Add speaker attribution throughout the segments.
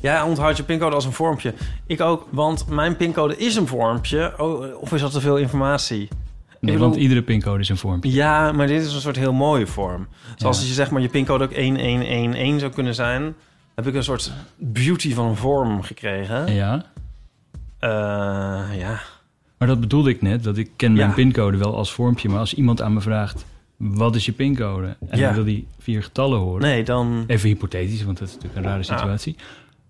Speaker 1: Jij onthoudt je pincode als een vormpje. Ik ook, want mijn pincode is een vormpje. Oh, of is dat te veel informatie?
Speaker 2: Nee,
Speaker 1: bedoel-
Speaker 2: want iedere pincode is een vormpje.
Speaker 1: Ja, maar dit is een soort heel mooie vorm. Zoals als je zeg maar je pincode ook 1111 zou kunnen zijn... heb ik een soort beauty van een vorm gekregen. Eh,
Speaker 2: Ja,
Speaker 1: Ja.
Speaker 2: maar dat bedoelde ik net. Dat ik ken mijn
Speaker 1: Ja.
Speaker 2: pincode wel als vormpje. Maar als iemand aan me vraagt, wat is je pincode? En
Speaker 1: Ja.
Speaker 2: dan wil die vier getallen horen.
Speaker 1: Nee, Ah. dan...
Speaker 2: Even hypothetisch, want dat is natuurlijk een rare situatie.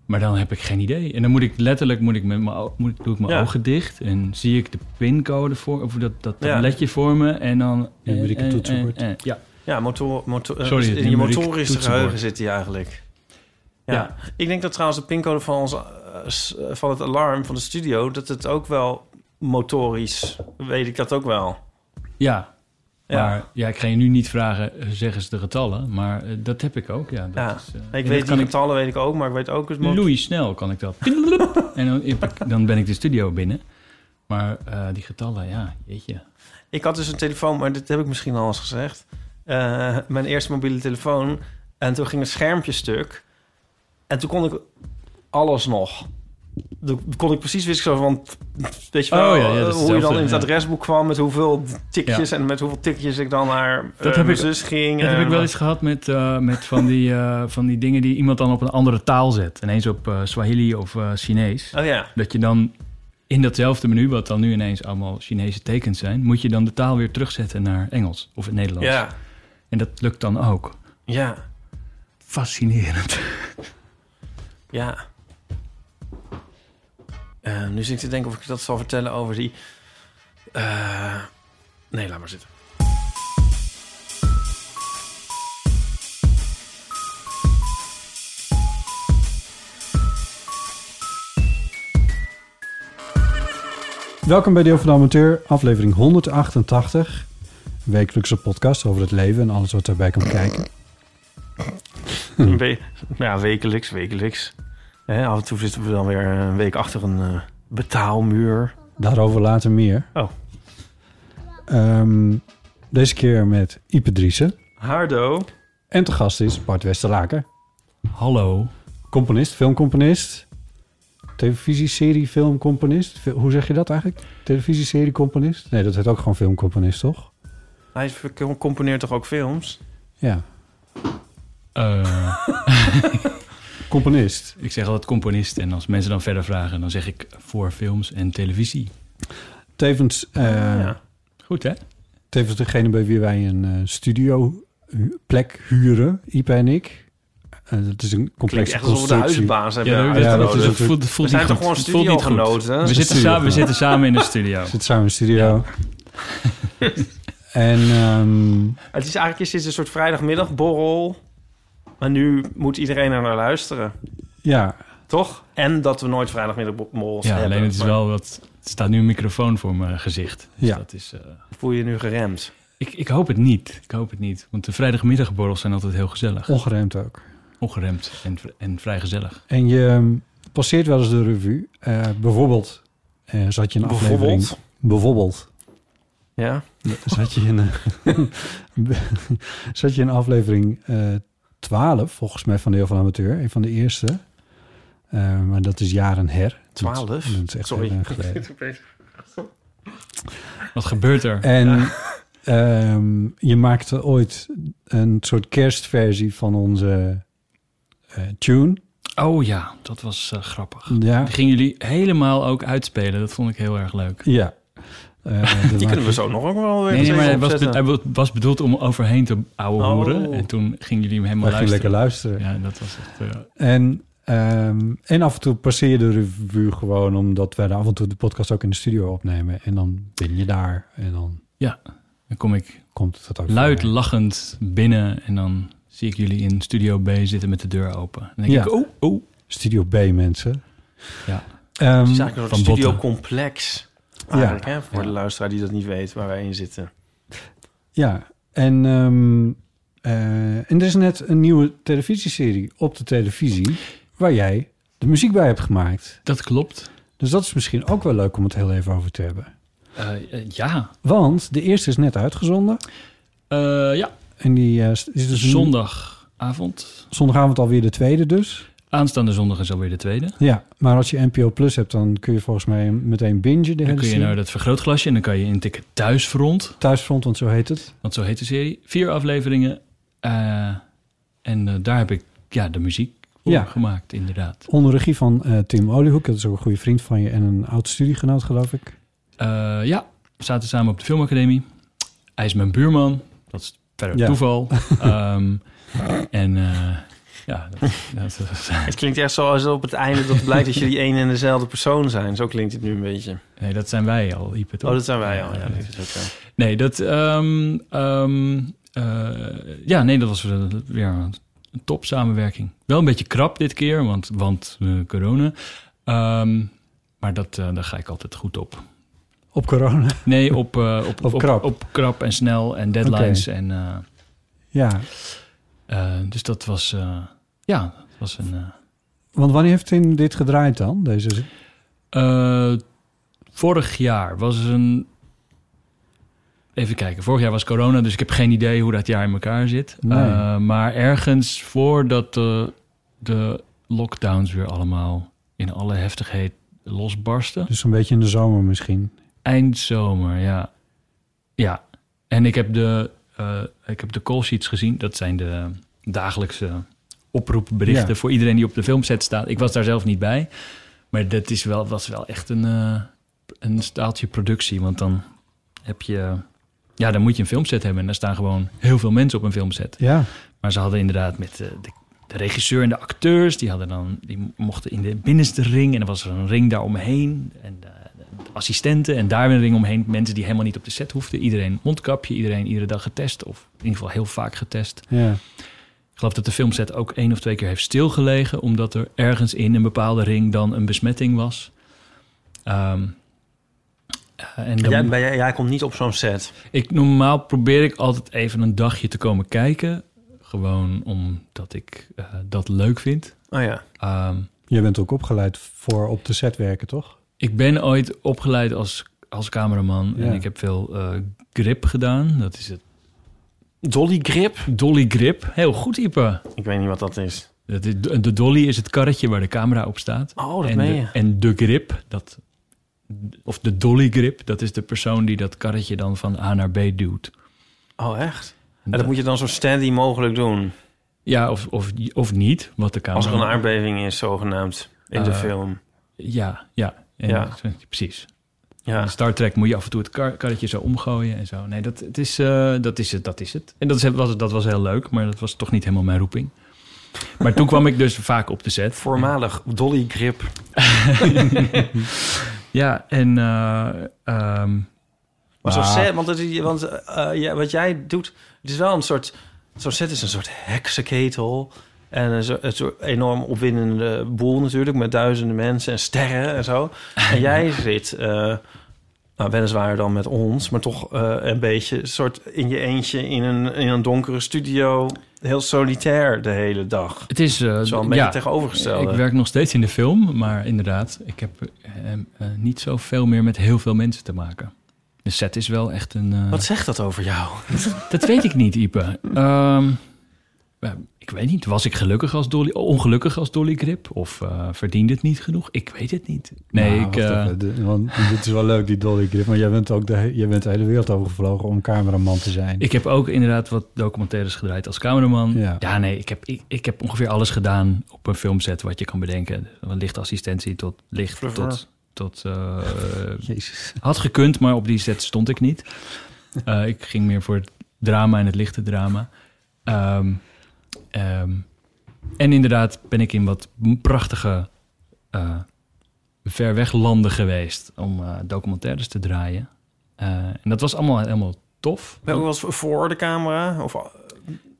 Speaker 2: Maar dan heb ik geen idee. En dan moet ik letterlijk, moet ik met mijn, o- moet, doe ik mijn
Speaker 1: Ja.
Speaker 2: ogen dicht. En zie ik de pincode voor, of dat, dat
Speaker 1: Ja.
Speaker 2: tabletje voor me. En dan...
Speaker 3: Nu ben ik een
Speaker 2: eh, eh,
Speaker 3: toetsenbord.
Speaker 2: eh, eh. ja.
Speaker 1: Ja, motor, motor, eh,
Speaker 2: Sorry, het
Speaker 1: in je
Speaker 2: numeriek
Speaker 1: motorische
Speaker 2: toetsenbord.
Speaker 1: geheugen zit hij eigenlijk. Ja.
Speaker 2: Ja.
Speaker 1: Ik denk dat trouwens de pincode van, ons, eh, s- eh, van het alarm van de studio... dat het ook wel motorisch... weet ik dat ook wel.
Speaker 2: ja.
Speaker 1: Ja.
Speaker 2: Maar ja, ik ga je nu niet vragen, eh, zeg eens de getallen. Maar eh, dat heb ik ook, ja. Dat
Speaker 1: Ja,
Speaker 2: is, eh, en
Speaker 1: ik
Speaker 2: dat
Speaker 1: weet die
Speaker 2: kan ik
Speaker 1: getallen weet ik ook, maar ik weet ook het mo-
Speaker 2: Louis snel kan ik dat. en dan, heb ik- dan ben ik de studio binnen. Maar eh, die getallen, ja, jeetje.
Speaker 1: Ik had dus een telefoon, maar dit heb ik misschien al eens gezegd. Eh, mijn eerste mobiele telefoon. En toen ging het schermpje stuk. En toen kon ik alles nog. Toen kon ik precies wisten van... Weet je wel,
Speaker 2: Oh ja, ja, dat is
Speaker 1: eh, hoe je
Speaker 2: hetzelfde,
Speaker 1: dan in het
Speaker 2: ja.
Speaker 1: adresboek kwam... met hoeveel tikjes en met hoeveel tikjes ik dan naar eh,
Speaker 2: heb
Speaker 1: mijn
Speaker 2: ik-
Speaker 1: zus ging.
Speaker 2: Dat heb
Speaker 1: en-
Speaker 2: ik wel eens gehad met, eh, met van, die, eh, van die dingen die iemand dan op een andere taal zet. Ineens op eh, Swahili of eh, Chinees.
Speaker 1: Oh ja,
Speaker 2: Dat je dan in datzelfde menu, wat dan nu ineens allemaal Chinese tekens zijn, moet je dan de taal weer terugzetten naar Engels of het Nederlands.
Speaker 1: ja,
Speaker 2: En dat lukt dan ook.
Speaker 1: ja,
Speaker 2: Fascinerend.
Speaker 1: ja. Eh, nu zit ik te denken of ik dat zal vertellen over die... eh, nee, laat maar zitten.
Speaker 3: Welkom bij Deel van de Amateur, aflevering 188. Een wekelijkse podcast over het leven en alles wat daarbij kan kijken.
Speaker 1: We- ja, wekelijks, wekelijks. Hè, af en toe zitten we dan weer een week achter een eh, betaalmuur.
Speaker 3: Daarover later meer.
Speaker 1: Oh.
Speaker 3: Ehm, deze keer met Ipe Driessen.
Speaker 1: Hardo.
Speaker 3: En te gast is Bart Westerlaken.
Speaker 2: Hallo.
Speaker 3: Componist, filmcomponist. Televisieserie, filmcomponist. Ve- Hoe zeg je dat eigenlijk? Televisieserie, componist? Nee, dat heet ook gewoon filmcomponist, toch?
Speaker 1: Hij verk- componeert toch ook films?
Speaker 3: Ja,
Speaker 2: Eh,
Speaker 3: componist.
Speaker 2: ik zeg altijd componist en als mensen dan verder vragen, dan zeg ik voor films en televisie.
Speaker 3: Tevens, eh,
Speaker 1: Ja.
Speaker 2: Goed hè?
Speaker 3: tevens degene bij wie wij een eh, studio hu- plek huren, Ipe en ik. Eh, dat is een
Speaker 1: Klinkt
Speaker 3: complexe
Speaker 1: echt alsof we de
Speaker 3: constructie.
Speaker 1: huisbaas hebben
Speaker 2: Ja, dat,
Speaker 3: ja,
Speaker 2: dat-
Speaker 3: dat
Speaker 1: uitgenodigd.
Speaker 3: is
Speaker 2: dat
Speaker 3: natuurlijk-
Speaker 2: voelt, voelt
Speaker 1: We zijn
Speaker 2: niet
Speaker 1: toch gewoon
Speaker 2: goed. Het voelt niet goed.
Speaker 1: studiogenoten?
Speaker 2: We zitten, samen, we zitten samen in de studio.
Speaker 3: Zit samen in de studio. en ehm,
Speaker 1: Het is eigenlijk is dit een soort vrijdagmiddagborrel. Maar nu moet iedereen er naar luisteren.
Speaker 3: ja,
Speaker 1: Toch? En dat we nooit vrijdagmiddagborrels
Speaker 2: Ja,
Speaker 1: hebben.
Speaker 2: alleen het is
Speaker 1: Maar
Speaker 2: wel wat. Er staat nu een microfoon voor mijn gezicht. Dus
Speaker 3: Ja.
Speaker 2: dat is, eh,
Speaker 1: Voel je je nu geremd?
Speaker 2: ik, ik hoop het niet. Ik hoop het niet. Want de vrijdagmiddagborrels zijn altijd heel gezellig.
Speaker 3: ongeremd ook.
Speaker 2: Ongeremd en, vri- en vrij gezellig.
Speaker 3: En je ehm, passeert wel eens de revue. Eh, bijvoorbeeld eh, zat je een aflevering...
Speaker 1: Bijvoorbeeld.
Speaker 3: Bijvoorbeeld.
Speaker 1: Ja.
Speaker 3: Zat je in, eh, zat je in aflevering eh 12, volgens mij, van Deel van de Amateur. Een van de eerste. Eh, maar dat is jaren her.
Speaker 1: 12?
Speaker 3: Dat is- dat is echt
Speaker 1: Sorry.
Speaker 3: heel lang geleden.
Speaker 2: Wat gebeurt er?
Speaker 3: En ehm, je maakte ooit een soort kerstversie van onze eh, tune.
Speaker 2: Oh ja, dat was eh, grappig.
Speaker 3: Ja.
Speaker 2: Die gingen jullie helemaal ook uitspelen. Dat vond ik heel erg leuk.
Speaker 3: Ja. Eh,
Speaker 1: Die
Speaker 3: er waren-
Speaker 1: kunnen we zo nog ook wel weer
Speaker 2: Nee, nee, maar hij was,
Speaker 1: opzetten.
Speaker 2: be- hij wa- was bedoeld om overheen te ouwe
Speaker 1: Oh.
Speaker 2: hoeren. En toen gingen jullie hem helemaal
Speaker 3: Wij gingen lekker
Speaker 2: luisteren.
Speaker 3: luisteren.
Speaker 2: Ja, dat was echt... eh,
Speaker 3: En, ehm, en af en toe passeer je de revue gewoon... omdat wij de af en toe de podcast ook in de studio opnemen. En dan ben je daar en dan
Speaker 2: dan kom ik
Speaker 3: komt het ook
Speaker 2: luid
Speaker 3: voorbij.
Speaker 2: lachend binnen en dan zie ik jullie in studio B zitten met de deur open. Dan denk
Speaker 3: Ja.
Speaker 2: ik, oh, oh.
Speaker 3: Studio B, mensen.
Speaker 2: Ja.
Speaker 3: Ehm,
Speaker 1: Het is Dus eigenlijk een
Speaker 2: Van
Speaker 1: soort
Speaker 2: Botten.
Speaker 1: studiocomplex. Eigenlijk, hè, voor de luisteraar die dat niet weet waar wij in zitten.
Speaker 3: ja, en, ehm, eh, en er is net een nieuwe televisieserie op de televisie... waar jij de muziek bij hebt gemaakt.
Speaker 2: Dat klopt.
Speaker 3: Dus dat is misschien ook wel leuk om het heel even over te hebben.
Speaker 2: Eh, eh, ja.
Speaker 3: Want de eerste is net uitgezonden.
Speaker 2: Eh, ja,
Speaker 3: En die eh, is dus nu-
Speaker 2: zondagavond.
Speaker 3: zondagavond alweer de tweede dus.
Speaker 2: Aanstaande zondag is alweer de tweede.
Speaker 3: Ja, maar als je NPO Plus hebt, dan kun je volgens mij meteen bingen de
Speaker 2: Dan
Speaker 3: hele
Speaker 2: kun je naar
Speaker 3: serie.
Speaker 2: dat vergrootglasje en dan kan je intikken thuisfront.
Speaker 3: Thuisfront, want zo heet het.
Speaker 2: Want zo heet de serie. Vier afleveringen. Eh, en eh, daar heb ik ja, de muziek voor
Speaker 3: Ja.
Speaker 2: gemaakt, inderdaad.
Speaker 3: Onder regie van eh, Tim Oliehoek, dat is ook een goede vriend van je en een oud studiegenoot, geloof ik.
Speaker 2: Eh, ja, we zaten samen op de filmacademie. Hij is mijn buurman. Dat is verder
Speaker 3: Ja.
Speaker 2: toeval. Ehm, en eh, ja, dat, dat, dat-
Speaker 1: Het klinkt echt zoals op het einde dat blijkt dat jullie één en dezelfde persoon zijn. Zo klinkt het nu een beetje.
Speaker 2: nee, dat zijn wij al, Ipe, toch?
Speaker 1: Oh, dat zijn wij al. Ja,
Speaker 2: Ja,
Speaker 1: dat is ook, ja.
Speaker 2: Nee, dat, ehm, ehm, eh, ja, nee, dat was eh, weer een top samenwerking. Wel een beetje krap dit keer, want, want eh, corona. Ehm, maar dat, eh, daar ga ik altijd goed op.
Speaker 3: Op corona.
Speaker 2: Nee, op, eh, op,
Speaker 3: Op krap.
Speaker 2: op krap en snel en deadlines. En, eh,
Speaker 3: Ja,
Speaker 2: Eh, dus dat was, eh, ja, dat was een. eh,
Speaker 3: want wanneer heeft Tim dit gedraaid dan? Deze...
Speaker 2: eh, vorig jaar was een. Even kijken, vorig jaar was corona, dus ik heb geen idee hoe dat jaar in elkaar zit.
Speaker 3: Nee.
Speaker 2: Eh, maar ergens voordat de, de lockdowns weer allemaal in alle heftigheid losbarsten.
Speaker 3: Dus een beetje in de zomer misschien.
Speaker 2: Eind zomer, ja. Ja. En ik heb de, eh ik heb de call sheets gezien. Dat zijn de dagelijkse oproepberichten
Speaker 3: Ja.
Speaker 2: voor iedereen die op de filmset staat. Ik was daar zelf niet bij. Maar dat is wel, was wel echt een, eh, een staaltje productie. Want dan heb je... Ja, dan moet je een filmset hebben. En daar staan gewoon heel veel mensen op een filmset.
Speaker 3: Ja,
Speaker 2: Maar ze hadden inderdaad met eh, de, de regisseur en de acteurs, die, hadden dan, die mochten in de binnenste ring en er was er een ring daaromheen. En eh, de assistenten en daar weer een ring omheen. Mensen die helemaal niet op de set hoefden. Iedereen mondkapje, iedereen iedere dag getest. Of in ieder geval heel vaak getest.
Speaker 3: ja.
Speaker 2: Ik geloof dat de filmset ook één of twee keer heeft stilgelegen, omdat er ergens in een bepaalde ring dan een besmetting was. Ehm, eh, en dan,
Speaker 1: Jij, ben jij, jij komt niet op zo'n set.
Speaker 2: ik, normaal probeer ik altijd even een dagje te komen kijken. Gewoon omdat ik eh, dat leuk vind.
Speaker 1: Oh ja.
Speaker 2: Ehm,
Speaker 3: Jij bent ook opgeleid voor op de set werken, toch?
Speaker 2: ik ben ooit opgeleid als, als cameraman.
Speaker 3: Ja.
Speaker 2: En ik heb veel eh, grip gedaan. Dat is het.
Speaker 1: Dolly Grip.
Speaker 2: Dolly grip. Heel goed, Ipe.
Speaker 1: Ik weet niet wat dat is.
Speaker 2: Dat is, de de dolly is het karretje waar de camera op staat.
Speaker 1: Oh, dat
Speaker 2: en,
Speaker 1: meen
Speaker 2: de,
Speaker 1: je.
Speaker 2: en de grip, dat, of de dolly grip, dat is de persoon die dat karretje dan van A naar B duwt.
Speaker 1: Oh, echt? En dat moet je dan zo steady mogelijk doen.
Speaker 2: Ja, of, of, of niet, wat de camera...
Speaker 1: Als er een aardbeving is, zogenaamd. In de
Speaker 2: Eh,
Speaker 1: film.
Speaker 2: Ja, ja. En-
Speaker 1: Ja.
Speaker 2: Precies.
Speaker 1: Ja.
Speaker 2: In Star Trek moet je af en toe het kar- karretje zo omgooien en zo. Nee, dat, het is, eh, dat is het, dat is het. En dat, is, was, dat was heel leuk, maar dat was toch niet helemaal mijn roeping. Maar toen kwam ik dus vaak op de set.
Speaker 1: Voormalig Dolly Grip.
Speaker 2: Ja, en eh, ehm,
Speaker 1: Maar zo'n
Speaker 3: Maar-
Speaker 1: set, want, dat is- want eh, eh, ja, wat jij doet, het is wel een soort... Zo'n set is een soort heksenketel. En een soort, een soort enorm opwindende boel natuurlijk... met duizenden mensen en sterren en zo. En jij zit, eh nou, weliswaar dan met ons... maar toch eh, een beetje soort in je eentje in een, in een donkere studio... heel solitair de hele dag.
Speaker 2: het is... eh,
Speaker 1: Dat is wel een beetje
Speaker 2: ja,
Speaker 1: tegenovergestelde.
Speaker 2: Ik werk nog steeds in de film, maar inderdaad, ik heb eh, eh, niet zoveel meer met heel veel mensen te maken. De set is wel echt een... eh,
Speaker 1: Wat zegt dat over jou?
Speaker 2: Dat weet ik niet, Ipe. Ehm, maar ik weet niet. Was ik gelukkig als Dolly, ongelukkig als Dolly Grip? Of eh, verdiende het niet genoeg? Ik weet het niet. Nee,
Speaker 3: Nou,
Speaker 2: ik,
Speaker 3: wacht
Speaker 2: eh,
Speaker 3: even, de- want dit is wel leuk, die Dolly Grip. Maar jij bent ook de, he- jij bent de hele wereld overgevlogen om cameraman te zijn.
Speaker 2: ik heb ook inderdaad wat documentaires gedraaid als cameraman.
Speaker 3: Ja.
Speaker 2: Ja, nee, ik heb, ik, ik heb ongeveer alles gedaan op een filmset wat je kan bedenken. Van lichtassistentie tot licht,
Speaker 1: Fluffer.
Speaker 2: tot, tot eh,
Speaker 3: Jezus.
Speaker 2: had gekund, maar op die set stond ik niet. Eh, ik ging meer voor het drama en het lichte drama. Ehm, ehm, en inderdaad ben ik in wat prachtige eh ver weg landen geweest om eh, documentaires te draaien. Eh, en dat was allemaal helemaal tof.
Speaker 1: Wel, was voor de camera? Of,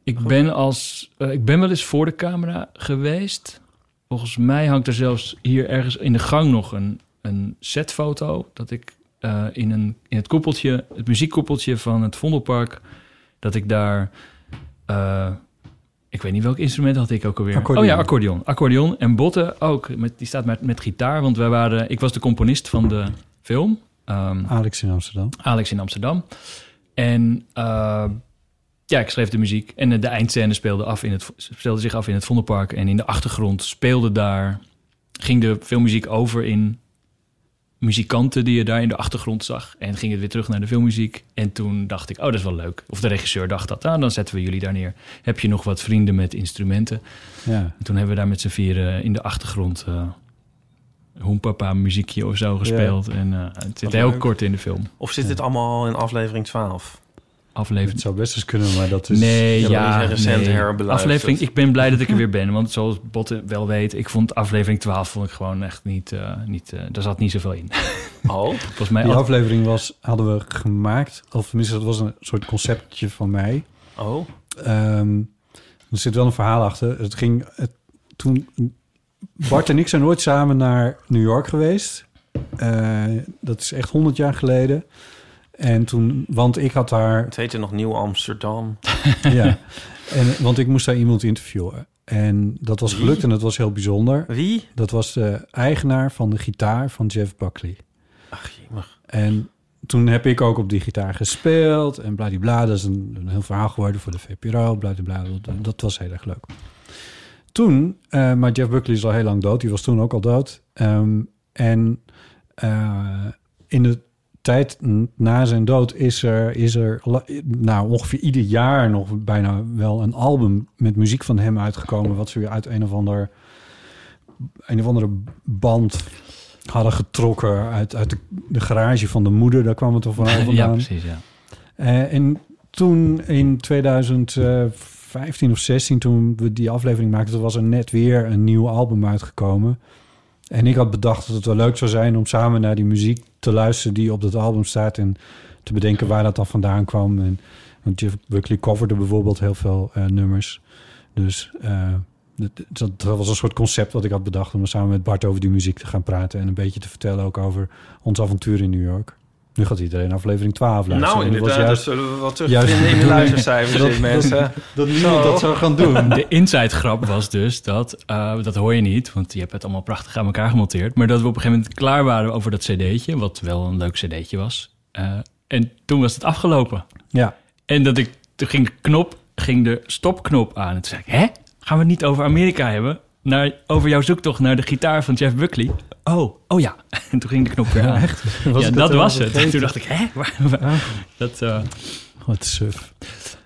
Speaker 2: Ik ben, als, eh, ik ben wel eens voor de camera geweest. Volgens mij hangt er zelfs hier ergens in de gang nog een, een setfoto. Dat ik eh, in, een, in het koepeltje, het muziekkoepeltje van het Vondelpark, dat ik daar. eh, ik weet niet welk instrument had ik ook alweer.
Speaker 3: Accordeon.
Speaker 2: Oh ja, accordeon. Accordeon en Botte ook. Met, die staat met, met gitaar, want wij waren, ik was de componist van de film. Ehm,
Speaker 3: Alex in Amsterdam.
Speaker 2: Alex in Amsterdam. En eh, ja, ik schreef de muziek. En eh, de eindscène speelde, af in het, speelde zich af in het Vondelpark. En in de achtergrond speelde daar... ging de filmmuziek over in muzikanten die je daar in de achtergrond zag. En ging het weer terug naar de filmmuziek. En toen dacht ik, oh, dat is wel leuk. Of de regisseur dacht dat, ah, dan zetten we jullie daar neer. Heb je nog wat vrienden met instrumenten?
Speaker 3: Ja.
Speaker 2: En toen hebben we daar met z'n vieren in de achtergrond... eh hoempapa muziekje of zo gespeeld. En eh, het zit
Speaker 1: Wat
Speaker 2: heel
Speaker 1: leuk.
Speaker 2: kort in de film.
Speaker 1: of zit dit allemaal in aflevering 12?
Speaker 2: Aflevering
Speaker 3: Het zou best eens kunnen, maar dat is...
Speaker 2: nee,
Speaker 1: Ja,
Speaker 2: ja,
Speaker 1: maar die zijn recent
Speaker 2: nee.
Speaker 1: herbeluisterd.
Speaker 2: Aflevering, ik ben blij dat ik er weer ben. Want zoals Botte wel weet, ik vond aflevering 12 vond ik gewoon echt niet... eh, niet eh, daar zat niet zoveel in.
Speaker 1: Oh,
Speaker 2: Volgens mij...
Speaker 3: Die
Speaker 2: af-
Speaker 3: aflevering was, hadden we gemaakt, of tenminste, dat was een soort conceptje van mij.
Speaker 1: oh.
Speaker 3: Ehm, er zit wel een verhaal achter. Het ging het, toen. Bart en ik zijn nooit samen naar New York geweest. Eh, dat is echt 100 jaar geleden. En toen, want ik had daar.
Speaker 1: Het heette nog Nieuw Amsterdam.
Speaker 3: ja, en, want ik moest daar iemand interviewen. En dat was gelukt en dat was heel bijzonder.
Speaker 1: Wie?
Speaker 3: Dat was de eigenaar van de gitaar van Jeff Buckley.
Speaker 1: Ach, je mag.
Speaker 3: En toen heb ik ook op die gitaar gespeeld en bladibla. Dat is een, een heel verhaal geworden voor de VPRO, bladibla. Dat- Dat was heel erg leuk. Toen, eh, maar Jeff Buckley is al heel lang dood. Die was toen ook al dood. Ehm, en eh, in de tijd n- na zijn dood is er, is er la- nou, ongeveer ieder jaar nog bijna wel een album met muziek van hem uitgekomen. Wat ze weer uit een of, ander, een of andere band hadden getrokken uit, uit de, de garage van de moeder. Daar kwam het toch vooral vandaan.
Speaker 2: ja, precies, ja.
Speaker 3: Eh, en toen in 2015 of 16, toen we die aflevering maakten, toen was er net weer een nieuw album uitgekomen. En ik had bedacht dat het wel leuk zou zijn om samen naar die muziek te luisteren die op dat album staat en te bedenken waar dat dan vandaan kwam. En, want Jeff Buckley coverde bijvoorbeeld heel veel eh, nummers. Dus eh, dat, dat, dat was een soort concept wat ik had bedacht om samen met Bart over die muziek te gaan praten en een beetje te vertellen ook over ons avontuur in New York. Nu gaat iedereen aflevering 12 luisteren.
Speaker 1: Nou,
Speaker 3: En dat was
Speaker 1: inderdaad, dat
Speaker 3: juist-
Speaker 1: zullen we wat
Speaker 3: juist
Speaker 1: terugvinden
Speaker 3: de
Speaker 1: in de
Speaker 3: bedoeling.
Speaker 1: luistercijfers,
Speaker 3: Dat-
Speaker 1: dit, mensen.
Speaker 3: dat niemand
Speaker 1: Zo.
Speaker 3: dat zou gaan doen.
Speaker 2: De inside grap was dus dat, eh, dat hoor je niet, want je hebt het allemaal prachtig aan elkaar gemonteerd. Maar dat we op een gegeven moment klaar waren over dat cd'tje, wat wel een leuk cd'tje was. Eh, en toen was het afgelopen.
Speaker 3: Ja,
Speaker 2: En dat ik, toen ging de knop, ging de stopknop aan. En toen zei ik, hè? Gaan we het niet over Amerika hebben? Naar, over jouw zoektocht naar de gitaar van Jeff Buckley? Oh, oh ja. En toen ging de knop weer aan.
Speaker 3: echt.
Speaker 2: Ja, dat was het. En toen dacht ik, hè? Waar- waar-
Speaker 3: Ah.
Speaker 2: Dat, eh,
Speaker 3: Wat suf.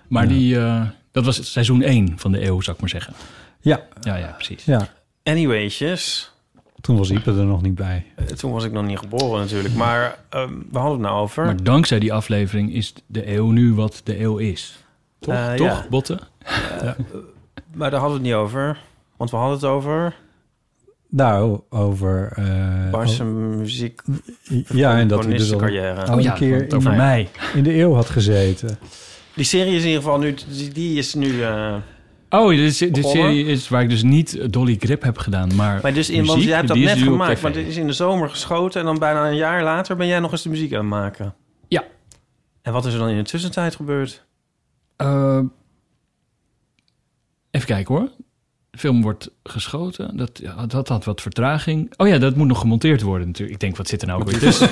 Speaker 2: maar
Speaker 3: Ja.
Speaker 2: die, eh, dat was het seizoen 1 van de eeuw, zou ik maar zeggen.
Speaker 3: Ja,
Speaker 2: Ja, ja, precies.
Speaker 3: ja.
Speaker 1: Anywaysjes.
Speaker 3: Toen was Ipe er nog niet bij.
Speaker 1: Eh, Toen was ik nog niet geboren natuurlijk, maar ehm, we hadden het nou over.
Speaker 2: Maar dankzij die aflevering is de eeuw nu wat de eeuw is. Toch,
Speaker 1: Eh,
Speaker 2: toch
Speaker 1: ja.
Speaker 2: Botten?
Speaker 1: Maar daar hadden we het niet over, want we hadden het over
Speaker 3: Nou, over... eh,
Speaker 1: Bart's
Speaker 3: oh,
Speaker 1: muziek,
Speaker 3: ja, en dat hij dus al
Speaker 1: carrière.
Speaker 2: Oh
Speaker 3: al een keer
Speaker 2: want over
Speaker 3: in,
Speaker 2: mij.
Speaker 3: in de eeuw had gezeten.
Speaker 1: Die serie is in ieder geval nu, die, die is nu... eh,
Speaker 2: Oh, dit, dit
Speaker 1: Begonnen.
Speaker 2: serie is waar ik dus niet Dolly Grip heb gedaan, maar...
Speaker 1: maar dus in, want
Speaker 2: muziek,
Speaker 1: jij hebt dat
Speaker 2: die is
Speaker 1: net
Speaker 2: nu op
Speaker 1: gemaakt,
Speaker 2: tv.
Speaker 1: maar dit is in de zomer geschoten en dan bijna een jaar later ben jij nog eens de muziek aan het maken.
Speaker 2: Ja.
Speaker 1: En wat is er dan in de tussentijd gebeurd?
Speaker 2: Eh, even kijken hoor. De film wordt geschoten. Dat, ja, dat had wat vertraging. Oh ja, dat moet nog gemonteerd worden natuurlijk. Ik denk, wat zit er nou ook weer tussen?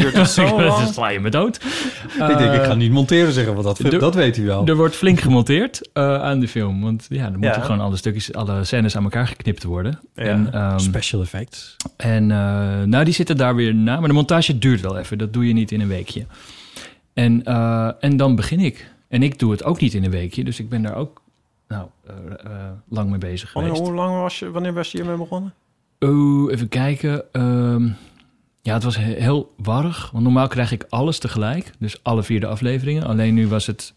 Speaker 1: Duurt het zo
Speaker 2: Dan
Speaker 1: lang?
Speaker 2: sla je me dood.
Speaker 3: ik denk, ik
Speaker 2: Eh,
Speaker 3: ga niet monteren zeggen, want dat,
Speaker 2: de-
Speaker 3: dat weet hij wel.
Speaker 2: Eh, Er wordt flink gemonteerd eh, aan de film. Want ja, er moeten
Speaker 1: Ja.
Speaker 2: gewoon alle stukjes, alle scènes aan elkaar geknipt worden.
Speaker 1: Ja.
Speaker 2: En, ehm,
Speaker 3: Special effects.
Speaker 2: en eh, nou, die zitten daar weer na. Maar de montage duurt wel even. Dat doe je niet in een weekje. En, eh, en dan begin ik. En ik doe het ook niet in een weekje. Dus ik ben daar ook nou, eh, eh, lang mee bezig
Speaker 1: Oh, Wanneer,
Speaker 2: geweest.
Speaker 1: hoe lang was je, wanneer was je hiermee begonnen?
Speaker 2: Oh, even kijken. Ehm, Ja, het was he- heel warrig. Want normaal krijg ik alles tegelijk. Dus alle vier de afleveringen. Alleen nu was het,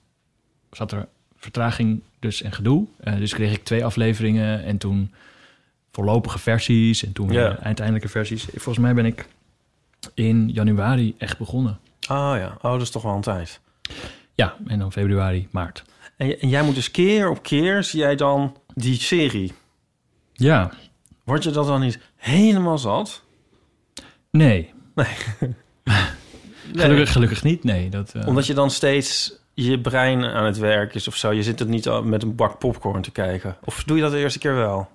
Speaker 2: zat er vertraging dus en gedoe. Eh, dus kreeg ik twee afleveringen en toen voorlopige versies en toen
Speaker 1: Ja.
Speaker 2: eh, uiteindelijke versies. Volgens mij ben ik in januari echt begonnen.
Speaker 1: Ah ja, oh, dat is toch wel een tijd.
Speaker 2: Ja, en dan februari, maart.
Speaker 1: En, j- en jij moet dus keer op keer, zie jij dan die serie.
Speaker 2: Ja,
Speaker 1: Word je dat dan niet helemaal zat?
Speaker 2: nee.
Speaker 1: Nee.
Speaker 2: Gelukkig, gelukkig niet, nee. Dat, eh,
Speaker 1: Omdat je dan steeds je brein aan het werk is of zo. Je zit het niet al met een bak popcorn te kijken. Of doe je dat de eerste keer wel?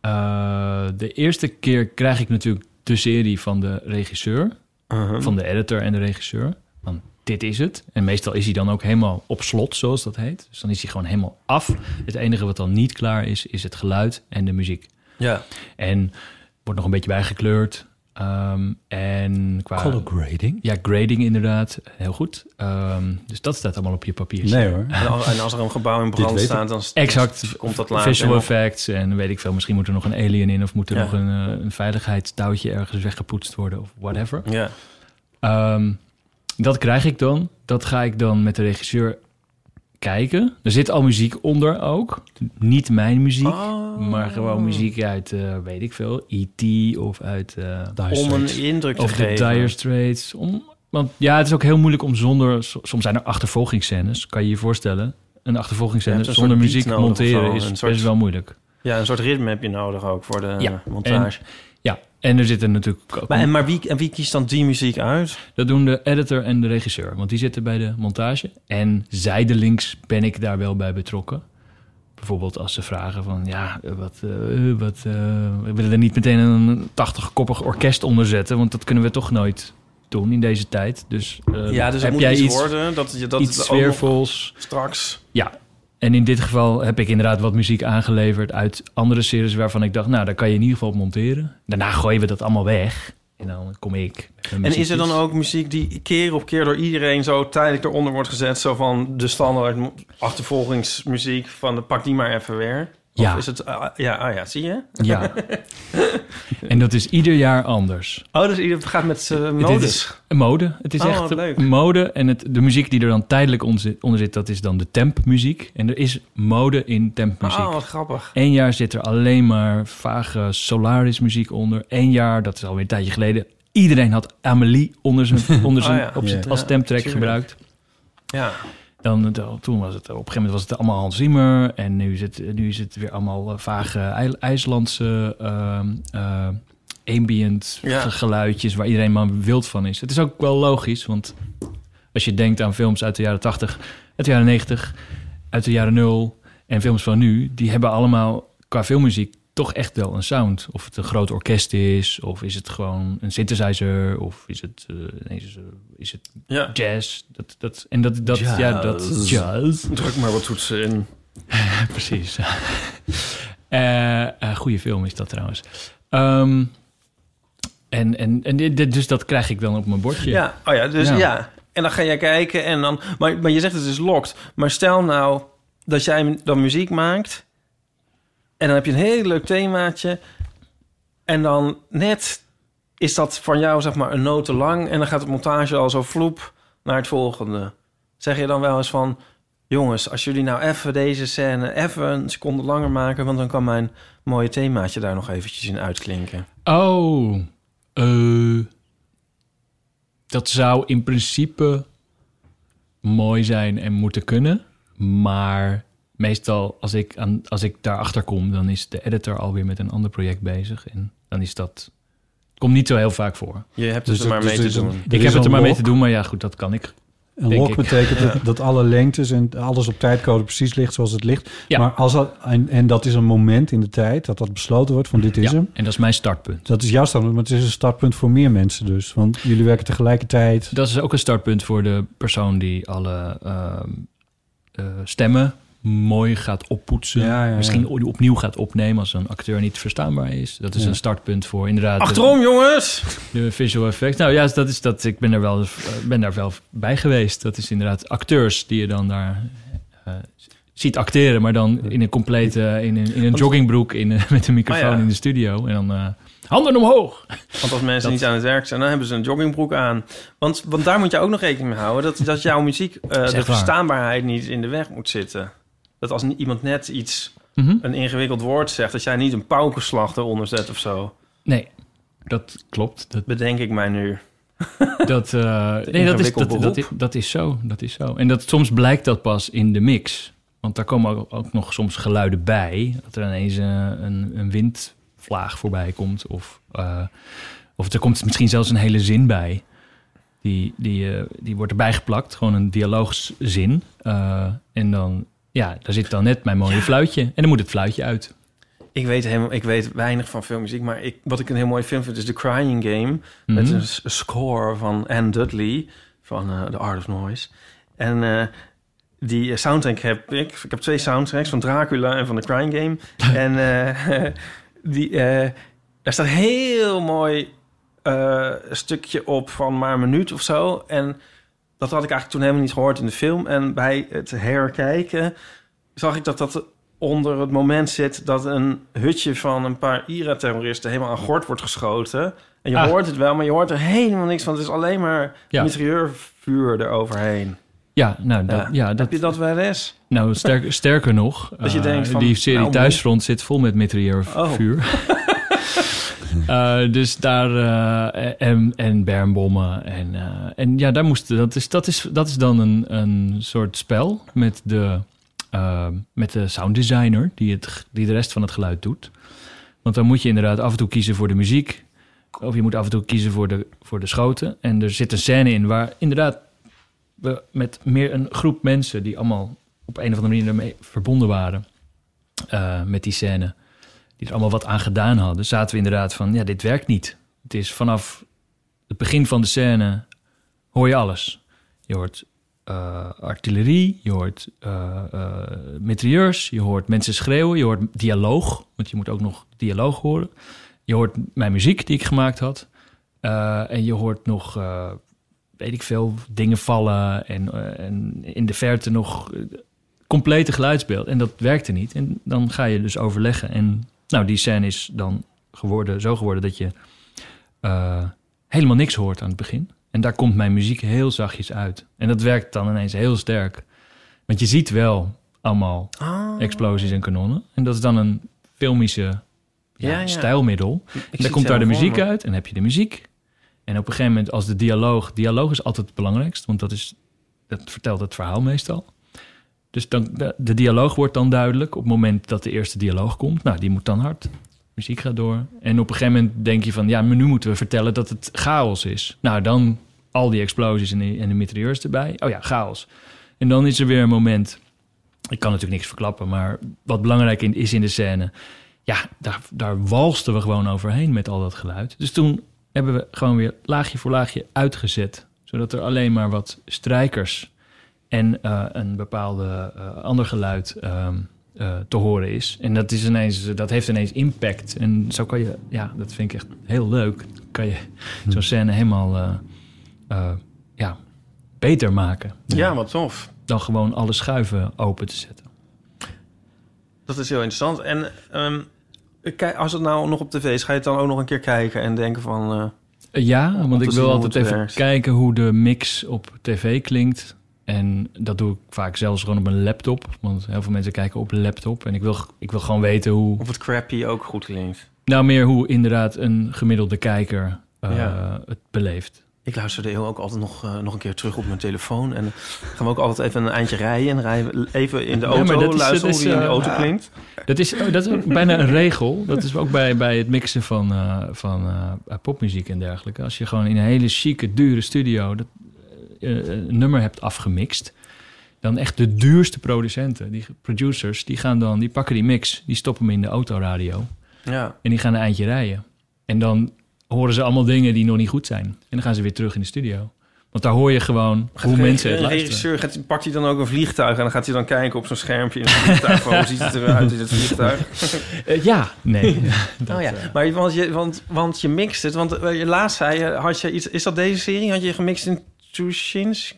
Speaker 2: Eh, de eerste keer krijg ik natuurlijk de serie van de regisseur,
Speaker 3: Hm.
Speaker 1: Uh-huh.
Speaker 2: van de editor en de regisseur. Van dit is het. En meestal is hij dan ook helemaal op slot, zoals dat heet. Dus dan is hij gewoon helemaal af. Het enige wat dan niet klaar is, is het geluid en de muziek.
Speaker 1: Ja.
Speaker 2: En wordt nog een beetje bijgekleurd. Ehm, en qua
Speaker 3: Color grading?
Speaker 2: ja, grading inderdaad, heel goed. Ehm, dus dat staat allemaal op je papier.
Speaker 3: Nee hoor.
Speaker 1: En als, en als er een gebouw in brand
Speaker 3: weet ik.
Speaker 1: staat, dan s-
Speaker 2: Exact.
Speaker 1: komt dat later.
Speaker 2: Visual
Speaker 1: nog.
Speaker 2: effects en weet ik veel. Misschien moet er nog een alien in of moet er
Speaker 1: Ja.
Speaker 2: nog een, eh, een veiligheidstouwtje ergens weggepoetst worden of whatever.
Speaker 1: Ja.
Speaker 2: Ehm, dat krijg ik dan. Dat ga ik dan met de regisseur kijken. Er zit al muziek onder ook. Niet mijn muziek,
Speaker 1: Oh.
Speaker 2: maar gewoon muziek uit, eh, weet ik veel, E.T. of uit... eh,
Speaker 3: Dire
Speaker 1: Om een
Speaker 3: Straits.
Speaker 1: indruk te
Speaker 2: of de
Speaker 1: geven.
Speaker 2: Dire Straits. Om, want ja, het is ook heel moeilijk om zonder... so- Soms zijn er achtervolgingsscènes, kan je je voorstellen. Een
Speaker 1: Je
Speaker 2: achtervolgingsscène
Speaker 1: hebt een
Speaker 2: zonder
Speaker 1: soort beat
Speaker 2: muziek
Speaker 1: nodig of
Speaker 2: monteren
Speaker 1: zo,
Speaker 2: is
Speaker 1: een
Speaker 2: best
Speaker 1: soort-
Speaker 2: wel moeilijk.
Speaker 1: Ja, een soort ritme heb je nodig ook voor de
Speaker 2: Ja.
Speaker 1: eh, montage.
Speaker 2: Ja, en er zitten natuurlijk ook...
Speaker 1: maar en, maar wie, en wie kiest dan die muziek uit?
Speaker 2: dat doen de editor en de regisseur, want die zitten bij de montage. En zijdelings ben ik daar wel bij betrokken. Bijvoorbeeld als ze vragen van, ja, eh, wat, eh, eh, wat, eh, we willen er niet meteen een 80-koppig orkest onder zetten, want dat kunnen we toch nooit doen in deze tijd. Dus, eh,
Speaker 1: ja, dus het
Speaker 2: heb
Speaker 1: moet
Speaker 2: jij
Speaker 1: iets,
Speaker 2: iets,
Speaker 1: worden. Dat, je- dat
Speaker 2: iets
Speaker 1: het ook nog
Speaker 2: sfeervols?
Speaker 1: straks...
Speaker 2: Ja, en in dit geval heb ik inderdaad wat muziek aangeleverd uit andere series waarvan ik dacht, nou, daar kan je in ieder geval op monteren. Daarna gooien we dat allemaal weg en dan kom ik. met mijn
Speaker 1: En is er dan
Speaker 2: muziekjes.
Speaker 1: ook muziek die keer op keer door iedereen zo tijdelijk eronder wordt gezet? Zo van de standaard mo- achtervolgingsmuziek van de pak die maar even weer. Of
Speaker 2: Ja.
Speaker 1: is het, ah, ja, ah ja, zie je?
Speaker 2: Ja. en dat is ieder jaar anders.
Speaker 1: Oh, dus ieder gaat met zijn
Speaker 2: Dit
Speaker 1: modus.
Speaker 2: is mode. Het is
Speaker 1: Oh,
Speaker 2: echt
Speaker 1: wat leuk.
Speaker 2: mode. En het, de muziek die er dan tijdelijk onder zit, onder zit, dat is dan de tempmuziek. En er is mode in tempmuziek.
Speaker 1: Oh, wat grappig.
Speaker 2: Eén jaar zit er alleen maar vage Solaris muziek onder. Eén jaar, dat is alweer een tijdje geleden. Iedereen had Amelie onder zijn, onder zijn,
Speaker 1: Oh ja.
Speaker 2: op zijn,
Speaker 3: Ja.
Speaker 2: als stemtrack
Speaker 1: Ja, tuurlijk.
Speaker 2: gebruikt.
Speaker 1: Ja.
Speaker 2: Dan, dan- toen was het, op een gegeven moment was het allemaal Hans Zimmer. En nu is het, nu is het weer allemaal eh, vage IJ- IJslandse ehm, eh, ambient
Speaker 1: Ja.
Speaker 2: ge- geluidjes... waar iedereen maar wild van is. Het is ook wel logisch, want als je denkt aan films uit de jaren 80... uit de jaren 90, uit de jaren 0 en films van nu... die hebben allemaal qua filmmuziek toch echt wel een sound. Of het een groot orkest is, of is het gewoon een synthesizer... of is het, eh, ineens, eh, is het
Speaker 1: ja.
Speaker 2: jazz. Dat, dat, en dat, dat,
Speaker 1: Jazz.
Speaker 2: ja, dat. Jazz.
Speaker 1: Druk maar wat toetsen in.
Speaker 2: Precies. Eh, eh, goede film is dat trouwens. Ehm, en, en, en dit- dit- dus dat krijg ik dan op mijn bordje.
Speaker 1: Ja, oh ja, dus ja.
Speaker 2: Ja.
Speaker 1: En dan ga jij kijken en dan... Maar, maar je zegt het is locked. Maar stel nou dat jij dan muziek maakt... en dan heb je een heel leuk themaatje... en dan net is dat van jou zeg maar een noot te lang... en dan gaat de montage al zo vloep naar het volgende. Zeg je dan wel eens van... jongens, als jullie nou even deze scène even een seconde langer maken... want dan kan mijn mooie themaatje daar nog eventjes in uitklinken.
Speaker 2: Oh, eh, dat zou in principe mooi zijn en moeten kunnen. Maar meestal, als ik, aan, als ik daarachter kom, dan is de editor alweer met een ander project bezig. En dan is dat. Komt niet zo heel vaak voor.
Speaker 1: Je hebt dus, er maar mee te doen.
Speaker 2: ik heb het er maar mee te doen, maar ja, goed, dat kan ik.
Speaker 3: Een
Speaker 2: denk
Speaker 3: log
Speaker 2: ik.
Speaker 3: betekent dat, dat alle lengtes en alles op tijdcode precies ligt zoals het ligt.
Speaker 2: Ja.
Speaker 3: Maar als dat, en, en dat is een moment in de tijd dat dat besloten wordt van dit is
Speaker 2: Ja,
Speaker 3: hem.
Speaker 2: en dat is mijn startpunt.
Speaker 3: Dat is jouw startpunt, maar het is een startpunt voor meer mensen dus. Want jullie werken tegelijkertijd.
Speaker 2: Dat is ook een startpunt voor de persoon die alle ehm, eh, stemmen mooi gaat oppoetsen.
Speaker 3: Ja, ja, ja.
Speaker 2: Misschien o- opnieuw gaat opnemen als een acteur niet verstaanbaar is. Dat is
Speaker 3: Ja.
Speaker 2: een startpunt voor inderdaad de-
Speaker 1: Achterom, jongens!
Speaker 2: De, visual effects. Nou ja, dat is dat. Ik ben, er wel, eh, ben daar wel bij geweest. Dat is inderdaad acteurs die je dan daar... eh, ziet acteren, maar dan in een complete, in een, in een joggingbroek, in, een- met een microfoon
Speaker 1: Oh ja.
Speaker 2: in de studio. En dan eh, Handen omhoog.
Speaker 1: Want als mensen niet aan het werk zijn, dan hebben ze een joggingbroek aan. Want, want daar moet je ook nog rekening mee houden... dat, dat jouw muziek eh,
Speaker 2: echt
Speaker 1: de
Speaker 2: waar.
Speaker 1: verstaanbaarheid niet in de weg moet zitten. Dat als ni- iemand net iets,
Speaker 2: Mhm.
Speaker 1: een ingewikkeld woord zegt... dat jij niet een paukenslag eronder zet of zo.
Speaker 2: Nee, dat klopt. Dat,
Speaker 1: Bedenk ik mij nu.
Speaker 2: dat, eh, nee, dat, is,
Speaker 1: ingewikkeld
Speaker 2: dat, dat, is,
Speaker 1: beroep.
Speaker 2: dat is zo. Dat is zo. En dat, soms blijkt dat pas in de mix. Want daar komen ook, ook nog soms geluiden bij. Dat er ineens eh, een, een windvlaag voorbij komt. Of, eh, of er komt misschien zelfs een hele zin bij. Die, die, eh, die wordt erbij geplakt. Gewoon een dialoogzin. Eh, en dan, ja, daar zit dan net mijn mooie fluitje. En dan moet het fluitje uit.
Speaker 1: Ik weet, helemaal, ik weet weinig van filmmuziek, maar ik, wat ik een heel mooi film vind is The Crying Game. Met
Speaker 2: Mhm.
Speaker 1: een s- score van Anne Dudley van eh, The Art of Noise. En eh, die eh, soundtrack heb ik. Ik heb twee soundtracks van Dracula en van The Crying Game. en eh, die, eh, daar staat een heel mooi eh, stukje op van maar een minuut of zo. En dat had ik eigenlijk toen helemaal niet gehoord in de film. En bij het herkijken zag ik dat dat onder het moment zit dat een hutje van een paar IRA-terroristen helemaal aan gort wordt geschoten. En je
Speaker 2: Ah.
Speaker 1: hoort het wel, maar je hoort er helemaal niks van. Het is alleen maar
Speaker 2: Ja.
Speaker 1: interieurvuur eroverheen.
Speaker 2: Ja, nou, dat, ja. dat,
Speaker 1: Heb je dat wel eens?
Speaker 2: Nou, sterker, sterker nog,
Speaker 1: Dat je
Speaker 2: eh,
Speaker 1: denkt van,
Speaker 2: die serie
Speaker 1: nou,
Speaker 2: Thuisfront zit vol met mitrailleurvuur. Eh, dus daar, eh, en, en bermbommen. En, eh, en ja, daar moesten, dat is, dat is, dat is dan een, een soort spel met de, eh, met de sounddesigner die, het, g- die de rest van het geluid doet. Want dan moet je inderdaad af en toe kiezen voor de muziek. Of je moet af en toe kiezen voor de, voor de schoten. En er zit een scène in waar inderdaad we met meer een groep mensen die allemaal op een of andere manier ermee verbonden waren eh, met die scène, die er allemaal wat aan gedaan hadden, zaten we inderdaad van, ja, dit werkt niet. Het is vanaf het begin van de scène hoor je alles. Je hoort eh, artillerie, je hoort eh eh, mitrailleurs, je hoort mensen schreeuwen, je hoort dialoog, want je moet ook nog dialoog horen. Je hoort mijn muziek die ik gemaakt had. eh, en je hoort nog eh, weet ik veel, dingen vallen en, eh, en in de verte nog eh, complete geluidsbeeld. En dat werkte niet. En dan ga je dus overleggen. En nou, die scène is dan geworden, zo geworden dat je eh, helemaal niks hoort aan het begin. En daar komt mijn muziek heel zachtjes uit. En dat werkt dan ineens heel sterk. Want je ziet wel allemaal
Speaker 1: Ah,
Speaker 2: explosies en kanonnen. En dat is dan een filmische ja,
Speaker 1: Ja, ja.
Speaker 2: stijlmiddel.
Speaker 1: ik
Speaker 2: En dan
Speaker 1: zie
Speaker 2: komt
Speaker 1: het
Speaker 2: daar de
Speaker 1: helemaal
Speaker 2: muziek
Speaker 1: voor me.
Speaker 2: uit en heb je de muziek. En op een gegeven moment, als de dialoog... Dialoog is altijd het belangrijkst, want dat, is, dat vertelt het verhaal meestal. Dus dan, de, de dialoog wordt dan duidelijk op het moment dat de eerste dialoog komt. Nou, die moet dan hard. Muziek gaat door. En op een gegeven moment denk je van... ja, maar nu moeten we vertellen dat het chaos is. Nou, dan al die explosies en de, en de mitrailleurs erbij. Oh ja, chaos. En dan is er weer een moment... Ik kan natuurlijk niks verklappen, maar wat belangrijk in, is in de scène ja, daar, daar walsten we gewoon overheen met al dat geluid. Dus toen hebben we gewoon weer laagje voor laagje uitgezet. Zodat er alleen maar wat strijkers en eh, een bepaalde eh, ander geluid ehm, eh, te horen is. En dat, is ineens, dat heeft ineens impact. En zo kan je, ja, dat vind ik echt heel leuk. Kan je zo'n scène helemaal eh, eh, ja, beter maken.
Speaker 1: Ja, wat tof.
Speaker 2: Dan gewoon alle schuiven open te zetten.
Speaker 1: Dat is heel interessant. En ehm, kijk, als het nou nog op tv is, ga je het dan ook nog een keer kijken en denken van... eh,
Speaker 2: Eh, Ja,
Speaker 1: om
Speaker 2: want
Speaker 1: te
Speaker 2: ik
Speaker 1: zien
Speaker 2: wil
Speaker 1: hoe
Speaker 2: altijd
Speaker 1: het
Speaker 2: even
Speaker 1: werkt.
Speaker 2: kijken hoe de mix op tv klinkt. En dat doe ik vaak zelfs gewoon op mijn laptop. Want heel veel mensen kijken op laptop. En ik wil, ik wil gewoon weten hoe...
Speaker 1: of het crappy ook goed klinkt.
Speaker 2: Nou, meer hoe inderdaad een gemiddelde kijker eh,
Speaker 1: Ja.
Speaker 2: het beleeft.
Speaker 1: Ik luister de heel ook altijd nog, eh, nog een keer terug op mijn telefoon. En dan gaan we ook altijd even een eindje rijden. En dan rijden we even in de
Speaker 2: Ja,
Speaker 1: auto,
Speaker 2: maar dat is-
Speaker 1: luisteren
Speaker 2: dat
Speaker 1: hoe
Speaker 2: is,
Speaker 1: die in de
Speaker 2: eh,
Speaker 1: auto klinkt.
Speaker 2: Dat is, oh, dat is ook bijna een regel. Dat is ook bij, bij het mixen van, eh, van eh, popmuziek en dergelijke. Als je gewoon in een hele chique, dure studio... Dat, eh, een nummer hebt afgemixt... dan echt de duurste producenten, die producers, die gaan dan, die pakken die mix, die stoppen hem in de autoradio
Speaker 1: Ja.
Speaker 2: en die gaan een eindje rijden. En dan horen ze allemaal dingen die nog niet goed zijn. En dan gaan ze weer terug in de studio. Want daar hoor je gewoon hoe mensen het
Speaker 1: Een
Speaker 2: luisteren.
Speaker 1: regisseur gaat, pakt hij dan ook een vliegtuig en dan gaat hij dan kijken op zo'n schermpje in het vliegtuig. van, hoe ziet het eruit in het vliegtuig?
Speaker 2: Eh, ja, nee.
Speaker 1: oh ja,
Speaker 2: eh,
Speaker 1: maar want je, want, want je mixt het. Want eh, je laatst zei je, had je iets, is dat deze serie? Had je gemixt in Tuschinsk?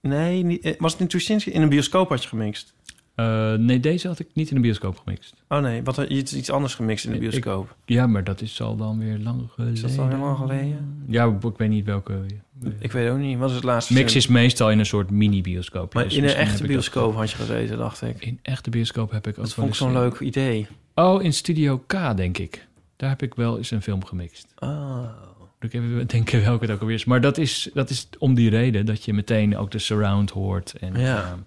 Speaker 1: Nee, niet, eh, was het in Tuschinsk? In een bioscoop had je gemixt.
Speaker 2: Eh, nee, deze had ik niet in de bioscoop gemixt.
Speaker 1: Oh nee, wat, iets, iets anders gemixt in de
Speaker 2: Ik-
Speaker 1: bioscoop.
Speaker 2: Ja, maar dat is al dan weer lang geleden.
Speaker 1: Is dat al helemaal geleden?
Speaker 2: Ja, ik weet niet welke.
Speaker 1: Ik weet ook niet. Wat is het laatste?
Speaker 2: Mix
Speaker 1: film?
Speaker 2: is meestal in een soort mini-bioscoop.
Speaker 1: Maar
Speaker 2: Dus
Speaker 1: in een
Speaker 2: misschien
Speaker 1: echte
Speaker 2: heb ik dat-
Speaker 1: bioscoop had je gezeten, dacht ik.
Speaker 2: in echte bioscoop heb ik ook
Speaker 1: Dat
Speaker 2: wel
Speaker 1: vond ik
Speaker 2: eens- eh,
Speaker 1: zo'n leuk idee.
Speaker 2: Oh, in Studio K, denk ik. Daar heb ik wel eens een film gemixt.
Speaker 1: Ah.
Speaker 2: Moet Ik even denken welke het ook alweer is. Maar dat is, dat is om die reden dat je meteen ook de surround hoort. En,
Speaker 1: Ja.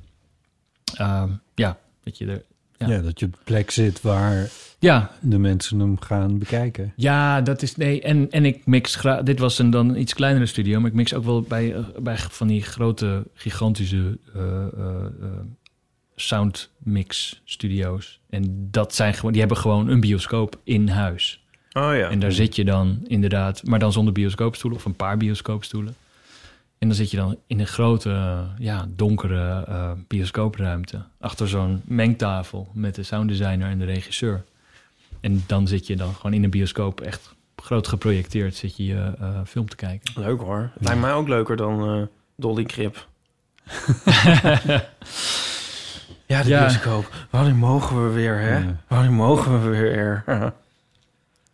Speaker 2: ehm, ehm, ja, dat je er... Ja.
Speaker 3: Ja. dat je op de plek zit waar
Speaker 2: Ja,
Speaker 3: de mensen hem gaan bekijken.
Speaker 2: ja, dat is... Nee, en, en ik mix graag... Dit was een dan iets kleinere studio, maar ik mix ook wel bij, eh, bij van die grote, gigantische eh, eh, eh, soundmix studio's. En dat zijn gewoon... Die hebben gewoon een bioscoop in huis.
Speaker 1: Oh ja.
Speaker 2: En daar zit je dan inderdaad, maar dan zonder bioscoopstoelen of een paar bioscoopstoelen. En dan zit je dan in een grote, eh, ja, donkere eh, bioscoopruimte. Achter zo'n mengtafel met de sounddesigner en de regisseur. En dan zit je dan gewoon in een bioscoop, echt groot geprojecteerd, zit je je eh, film te kijken.
Speaker 1: Leuk hoor. Lijkt mij ook leuker dan eh, Dolly Krip. Ja, de
Speaker 2: Ja.
Speaker 1: bioscoop. Wanneer mogen we weer, hè?
Speaker 3: Ja.
Speaker 1: Wanneer mogen we weer?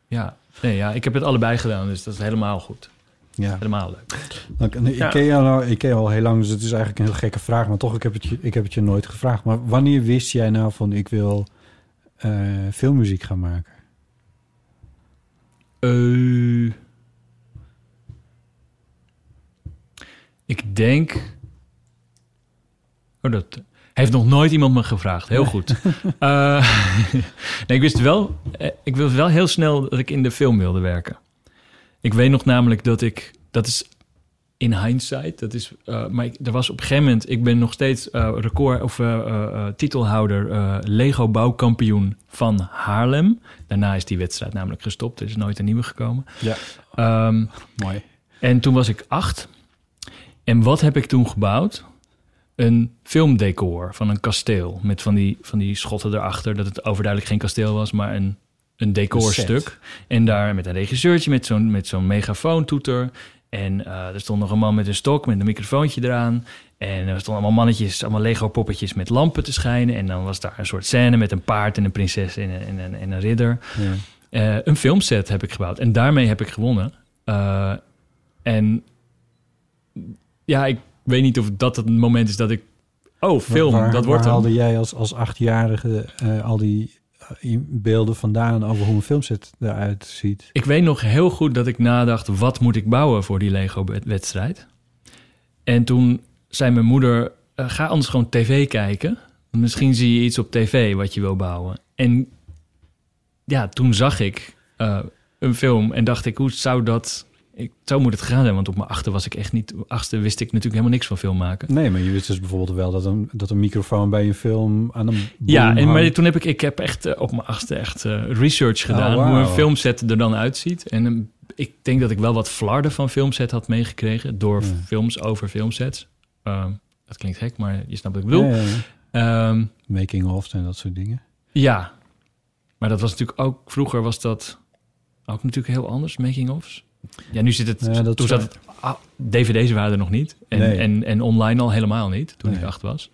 Speaker 2: ja. Nee, ja, ik heb het allebei gedaan, dus dat is helemaal goed.
Speaker 3: Ja.
Speaker 2: Helemaal leuk.
Speaker 3: Ik, nee,
Speaker 1: Ja.
Speaker 3: ik, ken jou al, ik ken jou al heel lang, dus het is eigenlijk een heel gekke vraag. Maar toch, ik heb het je, ik heb het je nooit gevraagd. Maar wanneer wist jij nou van ik wil eh, filmmuziek gaan maken?
Speaker 2: Eh, ik denk. Oh, dat heeft nog nooit iemand me gevraagd. Heel goed. Eh, nee, ik wist wel. eh, Ik wist wel heel snel dat ik in de film wilde werken. Ik weet nog namelijk dat ik. Dat is in hindsight. Dat is. eh, maar ik, er was op een gegeven moment. Ik ben nog steeds eh, record of eh, eh, eh, titelhouder eh, Lego bouwkampioen van Haarlem. Daarna is die wedstrijd namelijk gestopt. Er is nooit een nieuwe gekomen.
Speaker 3: Ja.
Speaker 2: Ehm,
Speaker 3: Mooi.
Speaker 2: en toen was ik acht. En wat heb ik toen gebouwd? Een filmdecor van een kasteel. Met van die, van die schotten erachter. Dat het overduidelijk geen kasteel was, maar een, een
Speaker 3: Een
Speaker 2: decorstuk.
Speaker 3: set.
Speaker 2: en daar met een regisseurtje, met zo'n, met zo'n megafoontoeter. En eh, er stond nog een man met een stok, met een microfoontje eraan. En er stonden allemaal mannetjes, allemaal Lego-poppetjes met lampen te schijnen. En dan was daar een soort scène met een paard en een prinses en een, en een, en een ridder.
Speaker 3: Ja.
Speaker 2: Eh, een filmset heb ik gebouwd. En daarmee heb ik gewonnen. Eh, en ja, ik weet niet of dat het moment is dat ik... Oh, film,
Speaker 3: Waar-
Speaker 2: dat
Speaker 3: waar
Speaker 2: wordt hem.
Speaker 3: haalde jij als, als achtjarige eh, al die eh, beelden vandaan over hoe een filmset eruit ziet?
Speaker 2: Ik weet nog heel goed dat ik nadacht... wat moet ik bouwen voor die Lego-wedstrijd? En toen zei mijn moeder... eh, ga anders gewoon tv kijken. Misschien zie je iets op tv wat je wil bouwen. En ja, toen zag ik eh, een film en dacht ik... hoe zou dat... Ik, zo moet het gegaan zijn, want op mijn achter was ik echt niet... achtste wist ik natuurlijk helemaal niks van film maken.
Speaker 3: Nee, maar je wist dus bijvoorbeeld wel dat een, dat een microfoon bij een film aan een
Speaker 2: Ja,
Speaker 3: boom
Speaker 2: en, maar
Speaker 3: hangt.
Speaker 2: toen heb ik, ik heb echt eh, op mijn achtste echt eh, research gedaan
Speaker 3: Oh, wauw.
Speaker 2: hoe een filmset er dan uitziet. En ehm, ik denk dat ik wel wat flarden van filmset had meegekregen door
Speaker 3: Ja.
Speaker 2: films over filmsets. Ehm, dat klinkt gek, maar je snapt wat ik bedoel.
Speaker 3: Ja, ja, ja.
Speaker 2: Ja.
Speaker 3: making of en dat soort dingen.
Speaker 2: ja, maar dat was natuurlijk ook vroeger was dat ook natuurlijk heel anders, making-ofs. Ja, nu zit het.
Speaker 3: Ja, dat
Speaker 2: toen
Speaker 3: is waar.
Speaker 2: zat het. ah, DVD's waren er nog niet. En,
Speaker 3: Nee.
Speaker 2: en, en online al helemaal niet. Toen ik
Speaker 3: Nee.
Speaker 2: acht was.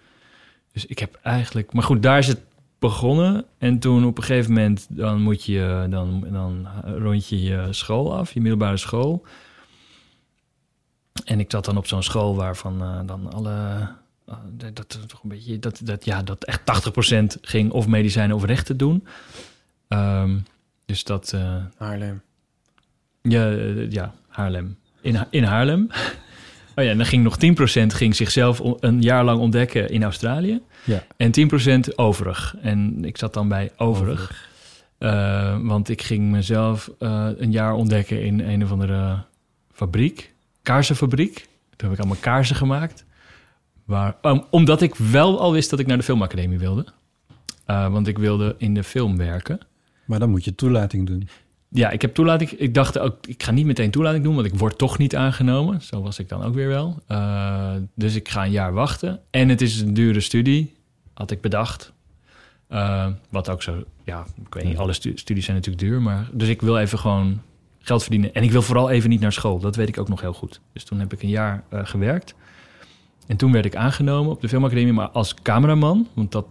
Speaker 2: Dus ik heb eigenlijk. Maar goed, daar is het begonnen. En toen op een gegeven moment. dan moet je. dan, dan rond je je school af, je middelbare school. En ik zat dan op zo'n school waarvan eh, dan alle. eh, dat, dat, toch een beetje, dat, dat, ja, dat echt 80% ging of medicijnen of rechten doen. Ehm, dus dat, eh,
Speaker 1: Haarlem.
Speaker 2: ja, eh, ja Haarlem. In, Ha- in Haarlem. Oh ja, en dan ging nog 10% ging zichzelf o- een jaar lang ontdekken in Australië.
Speaker 3: Ja.
Speaker 2: En 10% overig. En ik zat dan bij overig. Eh, want ik ging mezelf eh, een jaar ontdekken in een of andere fabriek. Kaarsenfabriek. Toen heb ik allemaal kaarsen gemaakt. Waar, om- omdat ik wel al wist dat ik naar de filmacademie wilde. Eh, want ik wilde in de film werken.
Speaker 3: Maar dan moet je toelating doen.
Speaker 2: Ja, ik heb toelating. Ik dacht ook, ik ga niet meteen toelating doen, want ik word toch niet aangenomen. Zo was ik dan ook weer wel. Eh, dus ik ga een jaar wachten. En het is een dure studie, had ik bedacht. Eh, wat ook zo, ja, ik weet niet, alle stu- studies zijn natuurlijk duur. Maar, dus ik wil even gewoon geld verdienen. En ik wil vooral even niet naar school, dat weet ik ook nog heel goed. Dus toen heb ik een jaar eh, gewerkt. En toen werd ik aangenomen op de filmacademie, maar als cameraman. Want dat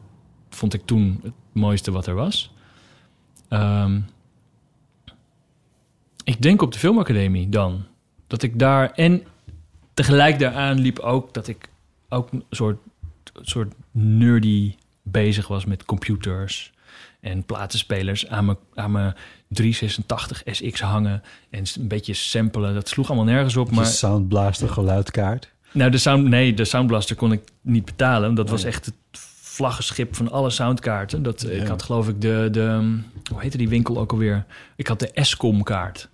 Speaker 2: vond ik toen het mooiste wat er was. Ehm, ik denk op de filmacademie dan. Dat ik daar... En tegelijk daaraan liep ook dat ik ook een soort, soort nerdy bezig was met computers... En platenspelers aan mijn, aan mijn 386 SX hangen. En een beetje samplen. Dat sloeg allemaal nergens op.
Speaker 3: Maar...
Speaker 2: Maar
Speaker 3: Soundblaster geluidkaart.
Speaker 2: nou, de sound, nee, de Soundblaster kon ik niet betalen. Dat was echt het vlaggenschip van alle soundkaarten. Dat, Ik had geloof ik de, de... ehm, Hoe heette die winkel ook alweer? Ik had de Escom-kaart.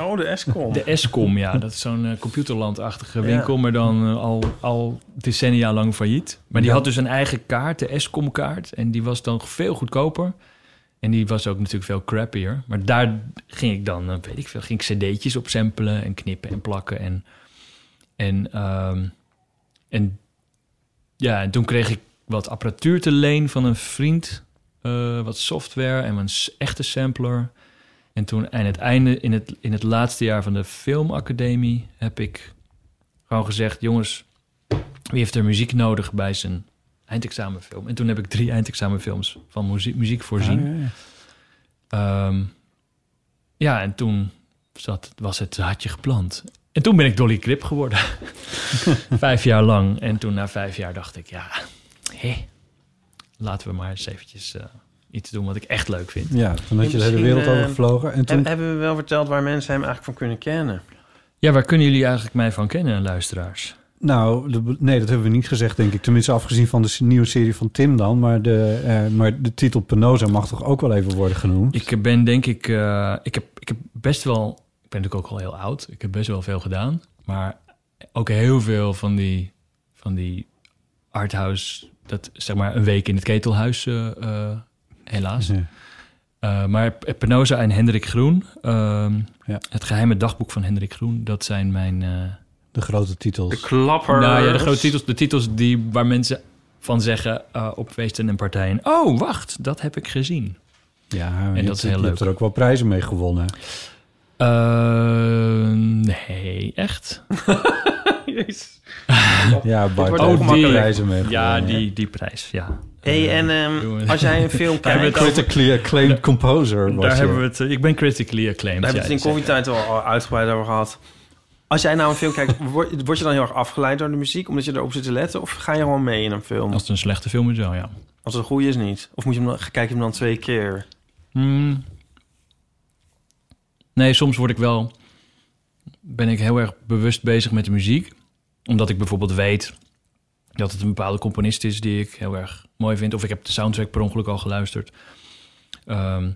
Speaker 1: Oh, de Escom.
Speaker 2: De Escom, ja. Dat is zo'n eh, computerlandachtige
Speaker 1: Ja.
Speaker 2: winkel... maar dan eh, al, al decennia lang failliet. Maar die
Speaker 3: Ja.
Speaker 2: had dus een eigen kaart, de Escom-kaart. En die was dan veel goedkoper. En die was ook natuurlijk veel crappier. Maar daar ging ik dan, eh, weet ik veel... ging ik cd'tjes op samplen en knippen en plakken. En, en, ehm, en ja, en toen kreeg ik wat apparatuur te leen van een vriend. eh, wat software en een s- echte sampler. En toen aan het einde, in het, in het laatste jaar van de filmacademie... heb ik gewoon gezegd... jongens, wie heeft er muziek nodig bij zijn eindexamenfilm? En toen heb ik drie eindexamenfilms van muziek, muziek voorzien.
Speaker 3: Ah, ja, ja.
Speaker 2: Ehm, ja, en toen zat, was het hartje geplant. En toen ben ik Dolly Crip geworden. vijf jaar lang. En toen na vijf jaar dacht ik, ja, hé, laten we maar eens eventjes eh, iets doen wat ik echt leuk vind.
Speaker 3: Ja, toen had je de hele
Speaker 1: Misschien,
Speaker 3: wereld
Speaker 1: eh,
Speaker 3: overgevlogen. En toen,
Speaker 1: Heb- Hebben we wel verteld waar mensen hem eigenlijk van kunnen kennen?
Speaker 2: Ja, waar kunnen jullie eigenlijk mij van kennen, luisteraars?
Speaker 3: nou, de- nee, dat hebben we niet gezegd, denk ik. Tenminste, afgezien van de s- nieuwe serie van Tim dan. Maar de, eh, maar de titel Penosa mag toch ook wel even worden genoemd?
Speaker 2: Ik ben denk ik, eh, ik, heb, ik heb best wel, ik ben natuurlijk ook al heel oud. Ik heb best wel veel gedaan. Maar ook heel veel van die, van die arthouse, dat zeg maar een week in het ketelhuis, eh, eh, helaas.
Speaker 3: Ja.
Speaker 2: Eh, maar P- Penosa en Hendrik Groen, ehm,
Speaker 3: Ja.
Speaker 2: het geheime dagboek van Hendrik Groen, dat zijn mijn... eh,
Speaker 3: De grote titels.
Speaker 1: De klapper.
Speaker 2: nou ja, de grote titels, de titels die, waar mensen van zeggen eh, op feesten en partijen... Oh, wacht, dat heb ik gezien.
Speaker 3: Ja,
Speaker 2: En
Speaker 3: je-
Speaker 2: dat is heel
Speaker 3: Je
Speaker 2: leuk.
Speaker 3: hebt er ook wel prijzen mee gewonnen.
Speaker 2: Eh, nee, echt?
Speaker 1: Jezus.
Speaker 3: Ja, Bart
Speaker 1: wordt
Speaker 3: heeft
Speaker 1: ook
Speaker 3: ook
Speaker 1: makkelijk.
Speaker 3: prijzen mee
Speaker 2: Ja,
Speaker 3: gewonnen.
Speaker 2: die, die prijs, ja.
Speaker 1: Hey, en ehm,
Speaker 2: jongen.
Speaker 1: als jij een film
Speaker 2: Daar hebben
Speaker 1: kijkt...
Speaker 2: we het
Speaker 1: over-
Speaker 3: Critically acclaimed composer was
Speaker 2: Daar
Speaker 3: je.
Speaker 2: hebben we het... eh, Ik ben critically acclaimed.
Speaker 1: Daar
Speaker 2: ja,
Speaker 1: hebben we het in
Speaker 2: dus,
Speaker 1: koffietijd al al uitgebreid over gehad. Als jij nou een film kijkt, word, word je dan heel erg afgeleid door de muziek... omdat je erop zit te letten? Of ga je gewoon mee in een
Speaker 2: eh,
Speaker 1: film?
Speaker 2: Als het een slechte film is, wel, ja.
Speaker 1: Als het een goede is, niet. Of moet je hem dan, kijk je hem dan twee keer?
Speaker 2: Hmm. Nee, soms word ik wel. Ben ik heel erg bewust bezig met de muziek. Omdat ik bijvoorbeeld weet dat het een bepaalde componist is die ik heel erg mooi vind. Of ik heb de soundtrack per ongeluk al geluisterd. Ehm,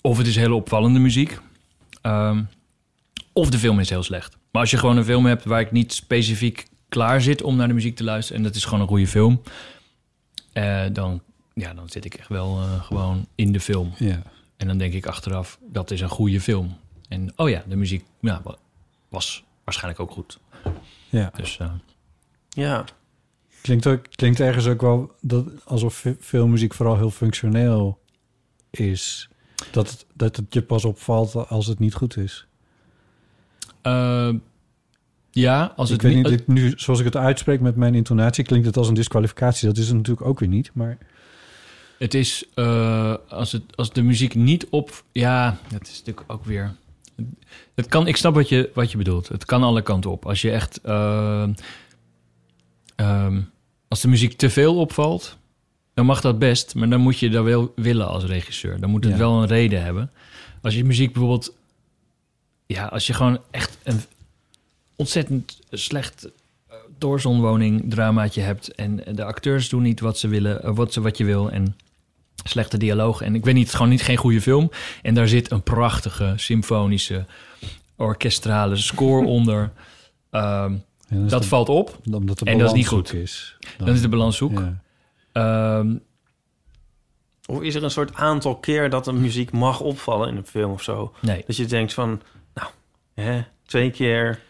Speaker 2: of het is hele opvallende muziek. Ehm, of de film is heel slecht. Maar als je gewoon een film hebt waar ik niet specifiek klaar zit om naar de muziek te luisteren. en dat is gewoon een goede film. eh, dan, ja, dan zit ik echt wel eh, gewoon in de film.
Speaker 3: Ja.
Speaker 2: En dan denk ik achteraf, dat is een goede film. En oh ja, de muziek nou, wa- was waarschijnlijk ook goed.
Speaker 3: ja.
Speaker 2: Dus eh,
Speaker 1: Ja.
Speaker 3: Klinkt, ook, klinkt ergens ook wel dat, alsof ve- veel muziek vooral heel functioneel is. Dat het, dat het je pas opvalt als het niet goed is.
Speaker 2: eh, ja, als
Speaker 3: ik
Speaker 2: het
Speaker 3: weet niet,
Speaker 2: niet-
Speaker 3: dit nu, zoals ik het uitspreek met mijn intonatie, klinkt het als een disqualificatie. Dat is het natuurlijk ook weer niet. Maar
Speaker 2: Het is eh, als, het, als de muziek niet op. Ja, dat is natuurlijk ook weer. Het kan, ik snap wat je, wat je bedoelt. Het kan alle kanten op. Als je echt. eh, ehm, als de muziek te veel opvalt, dan mag dat best. Maar dan moet je dat wel willen als regisseur. Dan moet het
Speaker 3: Ja.
Speaker 2: wel een reden hebben. Als je muziek bijvoorbeeld. Ja, als je gewoon echt een ontzettend slecht eh, doorzonwoning dramaatje hebt. En de acteurs doen niet wat ze willen, eh, wat, ze, wat je wil. En slechte dialoog. En ik weet niet, het is gewoon niet geen goede film. En daar zit een prachtige symfonische orkestrale score onder. Ehm,
Speaker 3: ja, dan is
Speaker 2: dat
Speaker 3: de-
Speaker 2: valt op.
Speaker 3: omdat de
Speaker 2: en dat is niet
Speaker 3: balans
Speaker 2: goed.
Speaker 3: Is,
Speaker 2: Dan is de balans zoek.
Speaker 3: Ja.
Speaker 2: Ehm,
Speaker 1: Of is er een soort aantal keer dat de muziek mag opvallen in een film of zo?
Speaker 2: nee.
Speaker 1: Dat je denkt van, nou, hè, twee keer.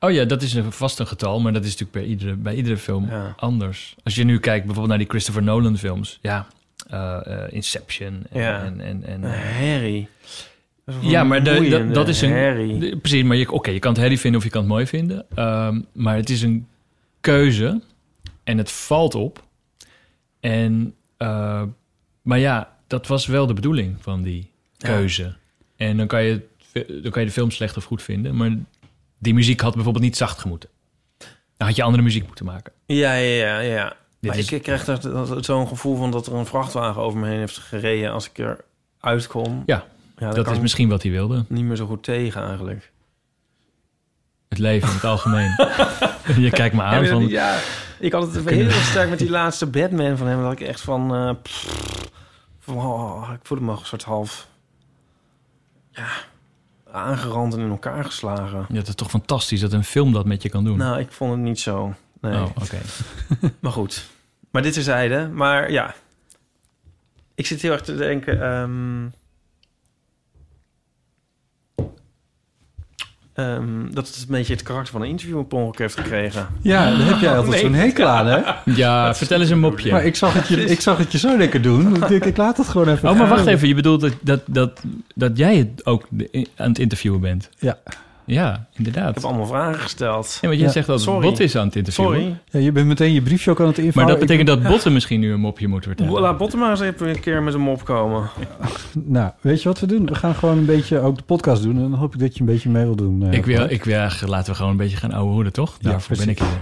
Speaker 2: Oh ja, dat is een, vast een getal, maar dat is natuurlijk bij iedere, bij iedere film
Speaker 1: Ja.
Speaker 2: anders. Als je nu kijkt bijvoorbeeld naar die Christopher Nolan films. Ja, eh, eh, Inception en,
Speaker 1: Ja.
Speaker 2: en, en, en eh,
Speaker 1: Een herrie. Eh, Dat is een
Speaker 2: Ja, maar de- dat-
Speaker 1: vermoeiende
Speaker 2: dat is een-
Speaker 1: herrie.
Speaker 2: De- Precies, maar je- oké, je kan het herrie vinden of je kan het mooi vinden. Ehm, maar het is een keuze en het valt op. En Eh, maar ja, dat was wel de bedoeling van die keuze. En dan kan, je, het- dan kan je de film slecht of goed vinden. Maar die muziek had bijvoorbeeld niet zacht gemoeten. Dan had je andere muziek moeten maken.
Speaker 1: Ja, ja, ja. ja.
Speaker 2: Dit
Speaker 1: Maar
Speaker 2: is-
Speaker 1: ik krijg dat- dat- zo'n gevoel van dat er een vrachtwagen over me heen heeft gereden als ik er uitkom.
Speaker 2: Ja,
Speaker 1: ja
Speaker 2: dat is misschien wat hij wilde.
Speaker 1: niet meer zo goed tegen eigenlijk.
Speaker 2: Het leven in het algemeen. je kijkt me aan
Speaker 1: ja,
Speaker 2: van...
Speaker 1: ja, ik had het heel
Speaker 2: kunnen-
Speaker 1: sterk met die laatste Batman van hem. Dat ik echt van... eh, pff, van, oh, ik voelde me een soort half... Ja, aangerand en in elkaar geslagen.
Speaker 2: Ja, dat is toch fantastisch dat een film dat met je kan doen.
Speaker 1: Nou, ik vond het niet zo. Nee.
Speaker 2: Oh, oké.
Speaker 1: Maar goed. Maar dit terzijde. Maar ja. Ik zit heel erg te denken. ehm, ehm, dat het een beetje het karakter van een interview op ongeluk heeft gekregen.
Speaker 3: Ja, daar heb jij altijd
Speaker 1: Nee.
Speaker 3: zo'n hekel aan, hè?
Speaker 2: Ja, vertel eens een mopje.
Speaker 3: Maar ik zag, het je, ik zag het je zo lekker doen. Ik denk, ik laat het gewoon even.
Speaker 2: Oh, maar wacht
Speaker 3: gaan.
Speaker 2: even. Je bedoelt dat, dat, dat, dat jij het ook de- aan het interviewen bent?
Speaker 3: Ja.
Speaker 2: Ja, inderdaad.
Speaker 1: Ik heb allemaal vragen gesteld.
Speaker 2: Ja, want jij
Speaker 3: Ja.
Speaker 2: zegt dat het
Speaker 1: Sorry.
Speaker 2: bot is aan het interviewen.
Speaker 1: Sorry.
Speaker 3: Ja, je bent meteen je briefje ook aan het invullen.
Speaker 2: Maar dat betekent dat botten misschien nu een mopje moet vertellen.
Speaker 1: Laat Bottema eens even een keer met hem opkomen.
Speaker 3: Nou, weet je wat we doen? We gaan gewoon een beetje ook de podcast doen. En dan hoop ik dat je een beetje mee wil doen. eh,
Speaker 2: Ik wil,
Speaker 3: Paul.
Speaker 2: ik wil eigenlijk, laten we gewoon een beetje gaan ouwe hoeden, toch?
Speaker 3: Ja,
Speaker 2: Daarvoor ben ik
Speaker 3: precies.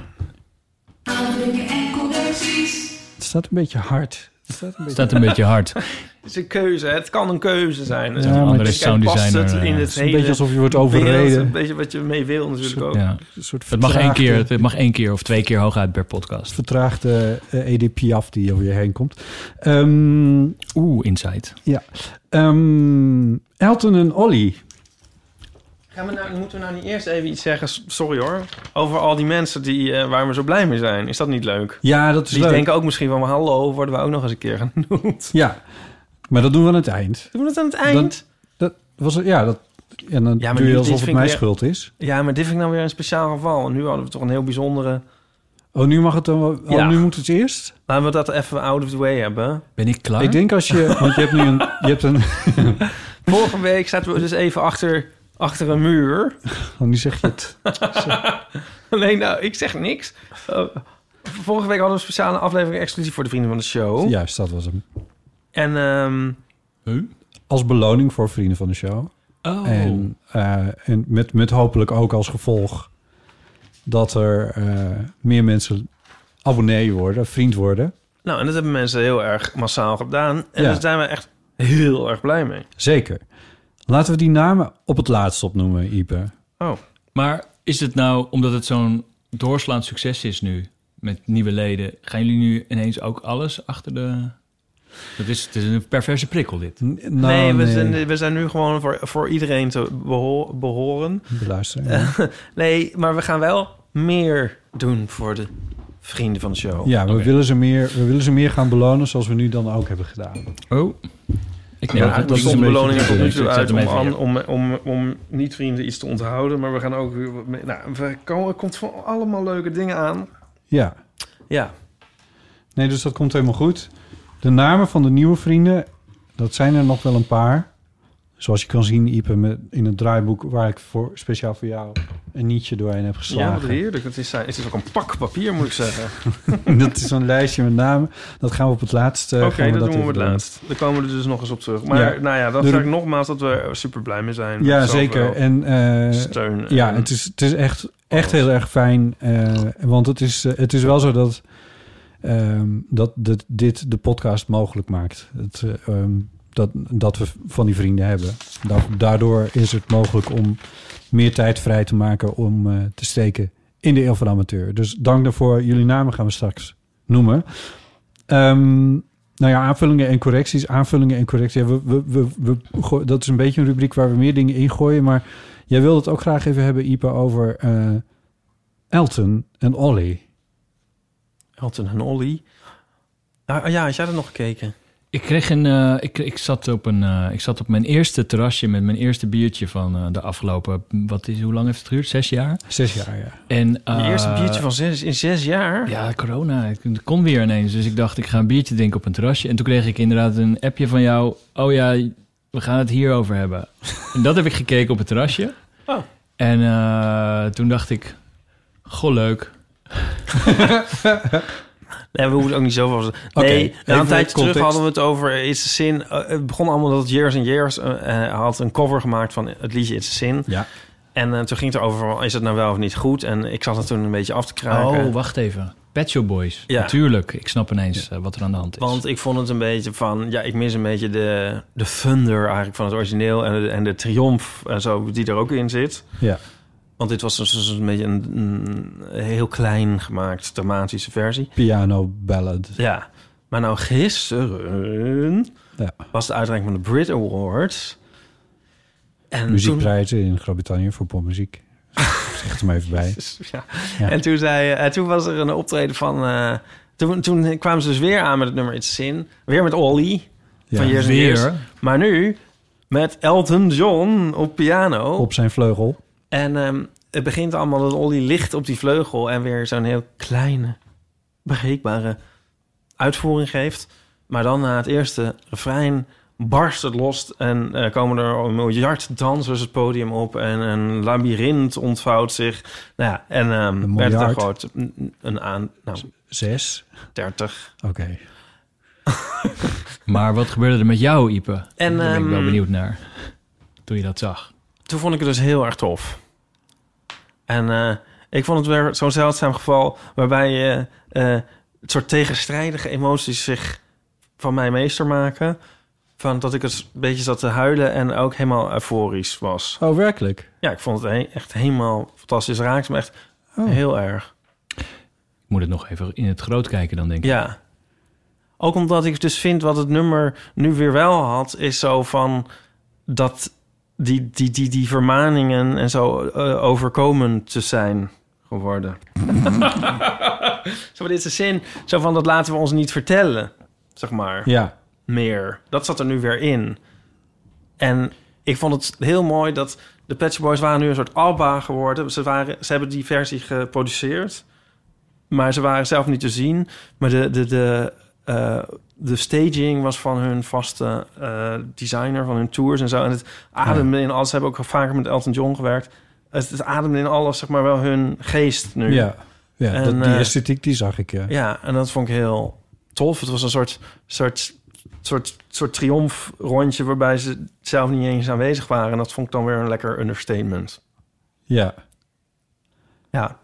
Speaker 2: hier.
Speaker 3: Het staat een beetje hard. Het staat een
Speaker 2: Het
Speaker 3: beetje...
Speaker 2: staat een beetje hard.
Speaker 1: Het is een keuze. hè. Het kan een keuze zijn. Dus
Speaker 3: Ja, maar
Speaker 2: een andere
Speaker 3: het is-
Speaker 1: kijk, past
Speaker 2: sounddesigner.
Speaker 1: het in
Speaker 2: eh,
Speaker 1: het
Speaker 3: Het is een beetje
Speaker 1: hele
Speaker 3: alsof je wordt
Speaker 1: beeld,
Speaker 3: overreden.
Speaker 1: Een beetje wat je mee wil natuurlijk ook.
Speaker 2: ja.
Speaker 3: Een soort
Speaker 2: Het mag, één
Speaker 3: vertraagde-
Speaker 2: keer, het mag één keer of twee keer hooguit per podcast.
Speaker 3: Vertraagde eh, EDP af die over je heen komt. Ehm,
Speaker 2: Oeh, insight.
Speaker 3: ehm, Elton en Olly.
Speaker 1: Gaan we nou, moeten we nou niet eerst even iets zeggen, s- sorry hoor, over al die mensen die, eh, waar we zo blij mee zijn? Is dat niet leuk?
Speaker 3: Ja, dat is
Speaker 1: Die
Speaker 3: leuk.
Speaker 1: denken ook misschien van, hallo, worden we ook nog eens een keer genoemd?
Speaker 3: Ja, maar dat doen we aan het eind.
Speaker 1: Doen we dat aan het eind?
Speaker 3: Dat was, ja, dat, en dan
Speaker 1: Ja, maar
Speaker 3: doe je
Speaker 1: dit- dit
Speaker 3: alsof
Speaker 1: vind
Speaker 3: het
Speaker 1: ik
Speaker 3: mijn
Speaker 1: weer-
Speaker 3: schuld is.
Speaker 1: Ja, maar dit vind ik nou weer een speciaal geval. En nu hadden we toch een heel bijzondere...
Speaker 3: Oh, nu mag het dan wel. Oh,
Speaker 1: Ja.
Speaker 3: nu moet het eerst.
Speaker 1: Laten we dat even out of the way hebben.
Speaker 2: Ben ik klaar?
Speaker 3: Ik denk als je, want je hebt nu een, je hebt een,
Speaker 1: Vorige week zaten we dus even achter, achter een muur.
Speaker 3: oh, nu zeg je het.
Speaker 1: Nee, nou, ik zeg niks. Eh, vorige week hadden we een speciale aflevering exclusief voor de vrienden van de show.
Speaker 3: Juist, dus dat was hem.
Speaker 1: En ehm,
Speaker 2: Huh?
Speaker 3: Als beloning voor vrienden van de show.
Speaker 2: Oh.
Speaker 3: En, eh, en met, met hopelijk ook als gevolg dat er eh, meer mensen abonnee worden, vriend worden.
Speaker 1: nou, en dat hebben mensen heel erg massaal gedaan. En
Speaker 3: Ja.
Speaker 1: daar zijn we echt heel erg blij mee.
Speaker 3: Zeker. Laten we die namen op het laatst opnoemen, Ipe.
Speaker 2: Maar is het nou, omdat het zo'n doorslaand succes is nu, met nieuwe leden, gaan jullie nu ineens ook alles achter de... Dat is, het is een perverse prikkel, dit.
Speaker 3: N- nou,
Speaker 1: nee, we, Zijn, we zijn nu gewoon voor, voor iedereen te beho- behoren.
Speaker 3: Luister. Ja.
Speaker 1: Oh, Nee, maar we gaan wel meer doen voor de vrienden van de show.
Speaker 3: Ja, we,
Speaker 2: Oké.
Speaker 3: willen ze meer, we willen ze meer gaan belonen zoals we nu dan ook hebben gedaan.
Speaker 2: Oh. Ik neem
Speaker 1: Ja,
Speaker 2: het op.
Speaker 1: dat
Speaker 3: is
Speaker 1: stond
Speaker 3: een
Speaker 1: de
Speaker 3: beetje
Speaker 1: beloningen tot nu
Speaker 2: Ik
Speaker 1: toe
Speaker 2: zet
Speaker 1: uit
Speaker 2: hem
Speaker 1: om,
Speaker 2: even
Speaker 1: aan-
Speaker 2: hier.
Speaker 1: om, om, om niet-vrienden iets te onthouden. Maar we gaan ook weer... wat mee- Nou, we komen, er komt van allemaal leuke dingen aan.
Speaker 3: Ja,
Speaker 1: Ja,
Speaker 3: nee, dus dat komt helemaal goed. De namen van de nieuwe vrienden, dat zijn er nog wel een paar. Zoals je kan zien, Ipe, met- in het draaiboek waar ik voor, speciaal voor jou een nietje doorheen heb
Speaker 1: ja wat
Speaker 3: geslagen.
Speaker 1: heerlijk. Het is, eh, het is ook een pak papier, moet ik
Speaker 3: Eh,
Speaker 1: zeggen.
Speaker 3: dat is zo'n lijstje met namen. Dat gaan we op het laatst. eh,
Speaker 1: Oké,
Speaker 3: gaan
Speaker 1: dat, doen
Speaker 3: even
Speaker 1: we het
Speaker 3: doen.
Speaker 1: laatst. Daar komen we er dus nog eens op terug. Maar
Speaker 3: Ja.
Speaker 1: nou ja, dan
Speaker 3: Doe
Speaker 1: zeg ik
Speaker 3: de-
Speaker 1: nogmaals dat we super blij mee zijn.
Speaker 3: Ja,
Speaker 1: Met zoveel
Speaker 3: zeker. En eh,
Speaker 1: steun.
Speaker 3: Ja,
Speaker 1: en-
Speaker 3: het is, het is echt, echt heel erg fijn. eh, want het is, eh, het is wel zo dat, ehm, dat, dat dit de podcast mogelijk maakt. Het, eh, ehm, dat, dat we van die vrienden hebben. Da- Daardoor is het mogelijk om meer tijd vrij te maken om eh, te steken in de eeuw van de amateur. Dus dank daarvoor. Jullie namen gaan we straks noemen. Ehm, nou ja, aanvullingen en correcties. Aanvullingen en correcties. Ja, we, we, we, we goo- dat is een beetje een rubriek waar we meer dingen in gooien. Maar Jij wilde het ook graag even hebben, Ipe, over eh, Elton en Olly.
Speaker 1: Elton en Olly. Ah, ja, had jij dat nog gekeken?
Speaker 2: Ik kreeg een. eh, ik, ik, zat op een eh, ik zat op mijn eerste terrasje met mijn eerste biertje van eh, de afgelopen. Wat is, hoe lang heeft het geduurd? Zes jaar.
Speaker 3: Zes jaar, ja.
Speaker 2: En,
Speaker 1: Je
Speaker 2: eh,
Speaker 1: eerste biertje van zes in zes jaar?
Speaker 2: Ja, corona. Het kon weer ineens. Dus ik dacht, ik ga een biertje drinken op een terrasje. En toen kreeg ik inderdaad een appje van jou. Oh ja, we gaan het hierover hebben. en dat heb ik gekeken op het terrasje.
Speaker 1: Oh.
Speaker 2: En eh, toen dacht ik, goh leuk.
Speaker 1: Nee, we hoeven ook niet zoveel. Nee, na een tijdje
Speaker 3: even
Speaker 1: terug
Speaker 3: context.
Speaker 1: hadden we het over It's a Sin. Eh, het begon allemaal dat Years and Years eh, eh, had een cover gemaakt van het liedje It's a Sin.
Speaker 3: Ja.
Speaker 1: En eh, toen ging het erover, van, is het nou wel of niet goed? En ik zat er toen een beetje af te kraken.
Speaker 2: Oh, wacht even. Pet Shop Boys.
Speaker 1: Ja.
Speaker 2: Natuurlijk. Ik snap ineens eh, wat er aan de hand is.
Speaker 1: Want ik vond het een beetje van... Ja, ik mis een beetje de, de thunder eigenlijk van het origineel... En de, en de triomf en zo die er ook in zit.
Speaker 3: Ja.
Speaker 1: Want dit was dus dus een beetje een, een heel klein gemaakt dramatische versie.
Speaker 3: Piano ballad.
Speaker 1: Ja. Maar nou gisteren
Speaker 3: Ja.
Speaker 1: was de uitreiking van de Brit Awards. En
Speaker 3: Muziekprijzen in Groot-Brittannië voor popmuziek. Zeg het er maar even bij.
Speaker 1: toen, ja.
Speaker 3: Ja.
Speaker 1: En toen, zei, eh, toen was er een optreden van... eh, toen, toen kwamen ze dus weer aan met het nummer It's Sin. Weer met Olly
Speaker 3: Ja.
Speaker 1: van Years and Years.
Speaker 2: Weer.
Speaker 1: Maar nu met Elton John op piano.
Speaker 3: Op zijn vleugel.
Speaker 1: En ehm, het begint allemaal dat Olly ligt op die vleugel... en weer zo'n heel kleine, begreepbare uitvoering geeft. Maar dan na het eerste refrein barst het los... en eh, komen er een miljard dansers het podium op... en een labyrint ontvouwt zich. Nou ja, en ehm,
Speaker 3: Een
Speaker 1: werd het er
Speaker 3: miljard?
Speaker 1: groot een- een aan... Nou,
Speaker 3: Zes.
Speaker 1: 30.
Speaker 3: Oké.
Speaker 2: Maar wat gebeurde er met jou, Ipe?
Speaker 1: En,
Speaker 2: Daar ben ik wel
Speaker 1: ehm,
Speaker 2: benieuwd naar. Toen je dat zag.
Speaker 1: toen vond ik het dus heel erg tof. En eh, ik vond het weer zo'n zeldzaam geval waarbij eh, eh, het soort tegenstrijdige emoties zich van mij meester maken. Van dat ik het een beetje zat te huilen en ook helemaal euforisch was.
Speaker 3: Oh, werkelijk?
Speaker 1: Ja, ik vond het he- echt helemaal fantastisch. Het Raakte me echt
Speaker 3: Oh.
Speaker 1: heel erg.
Speaker 2: Ik moet het nog even in het groot kijken dan, denk ik.
Speaker 1: Ja. Ook omdat ik dus vind wat het nummer nu weer wel had, is zo van dat die, die, die, die vermaningen en zo eh, overkomend te zijn geworden. zo van, dit is de zin, zo van dat laten we ons niet vertellen, zeg maar,
Speaker 3: Ja.
Speaker 1: meer. Dat zat er nu weer in. En ik vond het heel mooi dat de Pet Shop Boys waren nu een soort ABBA geworden. Ze, waren, ze hebben die versie geproduceerd, maar ze waren zelf niet te zien. Maar de, de, de, eh, de staging was van hun vaste eh, designer, van hun tours en zo. En het ademde in alles. Ze hebben ook vaker met Elton John gewerkt. Het, het ademde in alles, zeg maar, wel hun geest nu.
Speaker 3: Ja. ja
Speaker 1: En,
Speaker 3: dat, die
Speaker 1: eh,
Speaker 3: esthetiek, die zag ik, ja.
Speaker 1: Ja, en dat vond ik heel tof. Het was een soort, soort, soort, soort triomfrondje waarbij ze zelf niet eens aanwezig waren. En dat vond ik dan weer een lekker understatement.
Speaker 3: Ja.
Speaker 1: Ja,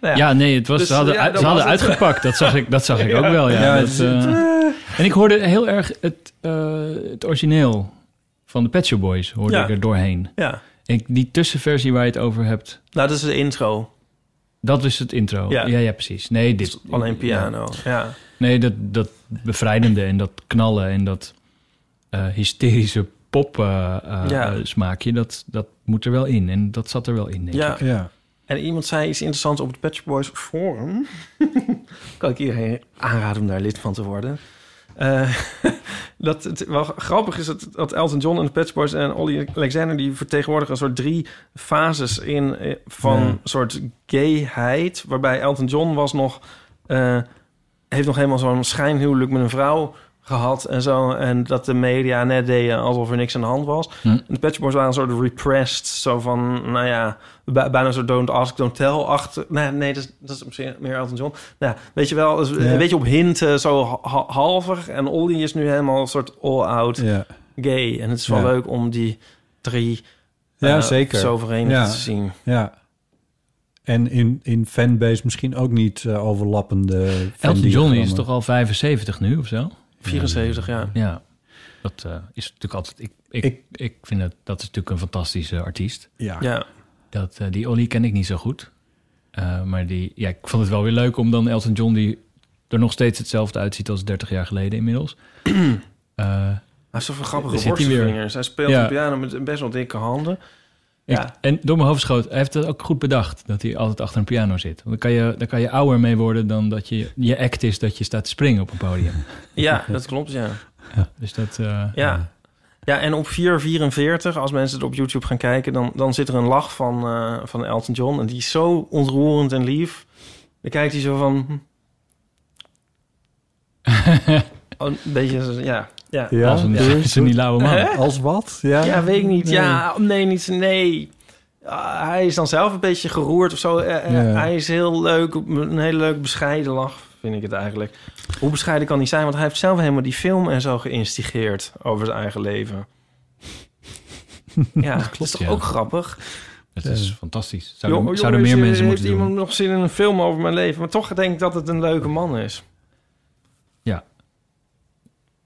Speaker 2: Ja, nee, het was,
Speaker 1: Dus,
Speaker 2: ze hadden,
Speaker 1: ja,
Speaker 2: uit-
Speaker 1: dat
Speaker 2: ze hadden
Speaker 1: was het.
Speaker 2: uitgepakt. Dat zag ik, dat zag ik ook wel, ja.
Speaker 3: Ja,
Speaker 2: Dat,
Speaker 3: het-
Speaker 2: eh, en ik hoorde heel erg het, eh, het origineel van de Pet Shop Boys hoorde
Speaker 1: Ja.
Speaker 2: ik er doorheen.
Speaker 1: ja.
Speaker 2: En ik- die tussenversie waar je het over hebt,
Speaker 1: Nou, dat is de intro.
Speaker 2: dat is het intro.
Speaker 1: Ja.
Speaker 2: Ja, ja, precies. Nee,
Speaker 1: Dit,
Speaker 2: dit,
Speaker 1: alleen piano. Ja.
Speaker 2: Nee, dat, dat bevrijdende en dat knallen en dat eh, hysterische pop eh, eh,
Speaker 1: Ja.
Speaker 2: smaakje, dat, dat moet er wel in. En dat zat er wel in, denk ik.
Speaker 1: ja.
Speaker 3: Ja.
Speaker 1: En iemand zei iets interessants op het Patch Boys Forum. kan ik iedereen aanraden om daar lid van te worden. Eh, dat het wel grappig is dat, dat Elton John en de Patch Boys en Olly Alexander... die vertegenwoordigen een soort drie fases in eh, van
Speaker 3: Ja.
Speaker 1: een soort gayheid. Waarbij Elton John was nog... eh, heeft nog helemaal zo'n schijnhuwelijk met een vrouw gehad en zo. En dat de media net deden alsof er niks aan de hand was.
Speaker 2: Hm.
Speaker 1: En de Pet Shop Boys waren een soort repressed. Zo van, nou ja, bij- bijna zo don't ask, don't tell. Achter, nee, nee dat, is, dat is misschien meer Elton John. Nou, ja, weet je wel, dus
Speaker 3: Ja.
Speaker 1: een beetje op hinten, zo ha- halver. En Olly is nu helemaal een soort all-out
Speaker 3: Ja.
Speaker 1: gay. En het is wel
Speaker 3: Ja.
Speaker 1: leuk om die drie
Speaker 3: Ja,
Speaker 1: eh,
Speaker 3: zeker.
Speaker 1: zo verenigd
Speaker 3: Ja.
Speaker 1: te zien.
Speaker 3: Ja. En in, in fanbase misschien ook niet eh, overlappende.
Speaker 2: Elton John
Speaker 3: fandiagrammen.
Speaker 2: is toch al 75 nu of zo?
Speaker 1: 74, ja.
Speaker 2: Ja, dat eh, is natuurlijk altijd... Ik, ik, ik,
Speaker 3: Ik-
Speaker 2: vind dat, dat is natuurlijk een fantastische artiest.
Speaker 3: Ja.
Speaker 1: Ja,
Speaker 2: Dat, eh, die Olly ken ik niet zo goed. Eh, maar die, ja, ik vond het wel weer leuk om dan Elton John... die er nog steeds hetzelfde uitziet als 30 jaar geleden inmiddels. Eh,
Speaker 1: hij heeft zoveel
Speaker 2: Daar
Speaker 1: grappige
Speaker 2: zit hij weer.
Speaker 1: worstelvingers. Hij speelt
Speaker 2: Ja.
Speaker 1: op piano met best wel dikke handen.
Speaker 2: Ik-
Speaker 1: Ja.
Speaker 2: En door mijn hoofd schoot, hij heeft dat ook goed bedacht, dat hij altijd achter een piano zit. Want dan kan je, dan kan je ouder mee worden dan dat je, je act is dat je staat te springen op een podium.
Speaker 1: Ja, dat klopt, ja.
Speaker 2: Dus dat, eh,
Speaker 1: Ja. Ja, en op 4.44, als mensen het op YouTube gaan kijken... dan, dan zit er een lach van, eh, van Elton John. En die is zo ontroerend en lief. Dan kijkt hij zo van... hm. Oh, een beetje, zo- ja. Ja,
Speaker 3: Ja,
Speaker 2: als een,
Speaker 3: doe je?
Speaker 2: als een lauwe man.
Speaker 3: Als wat? Ja,
Speaker 1: ja weet ik niet. Ja, oh, nee, niet, nee. Ah, hij is dan zelf een beetje geroerd of zo. Eh, eh,
Speaker 3: Ja.
Speaker 1: Hij is heel leuk, een hele leuk bescheiden lach, vind vind ik het eigenlijk. Hoe bescheiden kan hij zijn? Want hij heeft zelf helemaal die film en zo geïnstigeerd over zijn eigen leven. Ja, dat is toch
Speaker 2: ja.
Speaker 1: ook grappig?
Speaker 2: Het
Speaker 3: Ja.
Speaker 2: is fantastisch.
Speaker 1: Jo-
Speaker 2: Zouden,
Speaker 1: jongens,
Speaker 2: zouden meer
Speaker 1: heeft-
Speaker 2: mensen
Speaker 1: heeft
Speaker 2: moeten doen.
Speaker 1: iemand nog zin in een film over mijn leven? Maar toch denk ik dat het een leuke man is.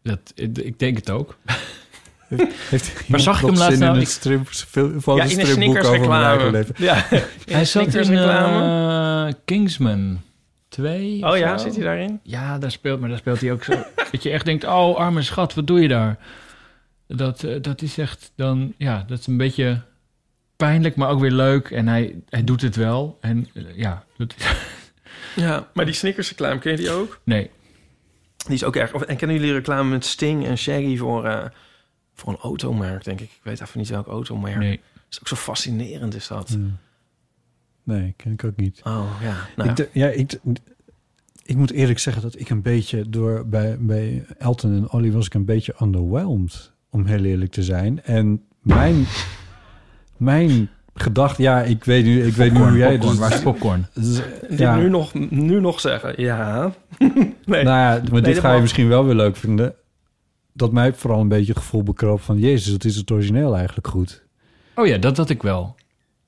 Speaker 2: Dat, ik denk het ook.
Speaker 3: Heeft
Speaker 2: Maar zag ik hem laatst
Speaker 3: laten
Speaker 2: nou?
Speaker 3: in
Speaker 2: Ik-
Speaker 3: het strip, veel,
Speaker 1: ja, in een
Speaker 3: fotostripboek
Speaker 1: Snickers
Speaker 3: over mijn eigen
Speaker 1: reclame.
Speaker 3: leven?
Speaker 1: Ja, in
Speaker 2: Hij
Speaker 1: een
Speaker 2: zat
Speaker 1: Snickers
Speaker 2: in
Speaker 1: reclame.
Speaker 2: eh, Kingsman 2.
Speaker 1: oh
Speaker 2: of
Speaker 1: ja,
Speaker 2: zo.
Speaker 1: zit hij daarin?
Speaker 2: Ja, daar speelt, maar daar speelt hij ook zo. dat je echt denkt, oh arme schat, wat doe je daar? Dat, eh, dat is echt dan, ja, dat is een beetje pijnlijk, maar ook weer leuk. En hij, hij doet het wel. En eh, ja, dat,
Speaker 1: Ja, maar die Snickers reclame, ken je die ook?
Speaker 2: nee.
Speaker 1: Die is ook erg. of- En kennen jullie reclame met Sting en Shaggy voor, eh, voor een automerk, denk ik? Ik weet even niet welk automerk.
Speaker 2: nee.
Speaker 1: is ook zo fascinerend, is dat.
Speaker 3: Ja. Nee, ken ik ook niet.
Speaker 1: Oh ja. Nou,
Speaker 3: Ik, d- ja, ik, d- ik moet eerlijk zeggen dat ik een beetje door bij, bij Elton en Olly was ik een beetje underwhelmed, om heel eerlijk te zijn. En mijn, mijn gedachte, ja, ik weet nu, ik weet nu hoe jij
Speaker 2: popcorn,
Speaker 3: dus-
Speaker 2: waar is popcorn?
Speaker 3: dus-
Speaker 1: dit
Speaker 3: ja,
Speaker 1: nu, nog, nu nog zeggen. Ja. nee.
Speaker 3: nou ja, maar
Speaker 1: dat
Speaker 3: dit ga
Speaker 1: mag.
Speaker 3: je misschien wel weer leuk vinden. Dat mij vooral een beetje het gevoel bekroop van, jezus, dat is het origineel eigenlijk goed.
Speaker 2: Oh ja, dat had ik wel.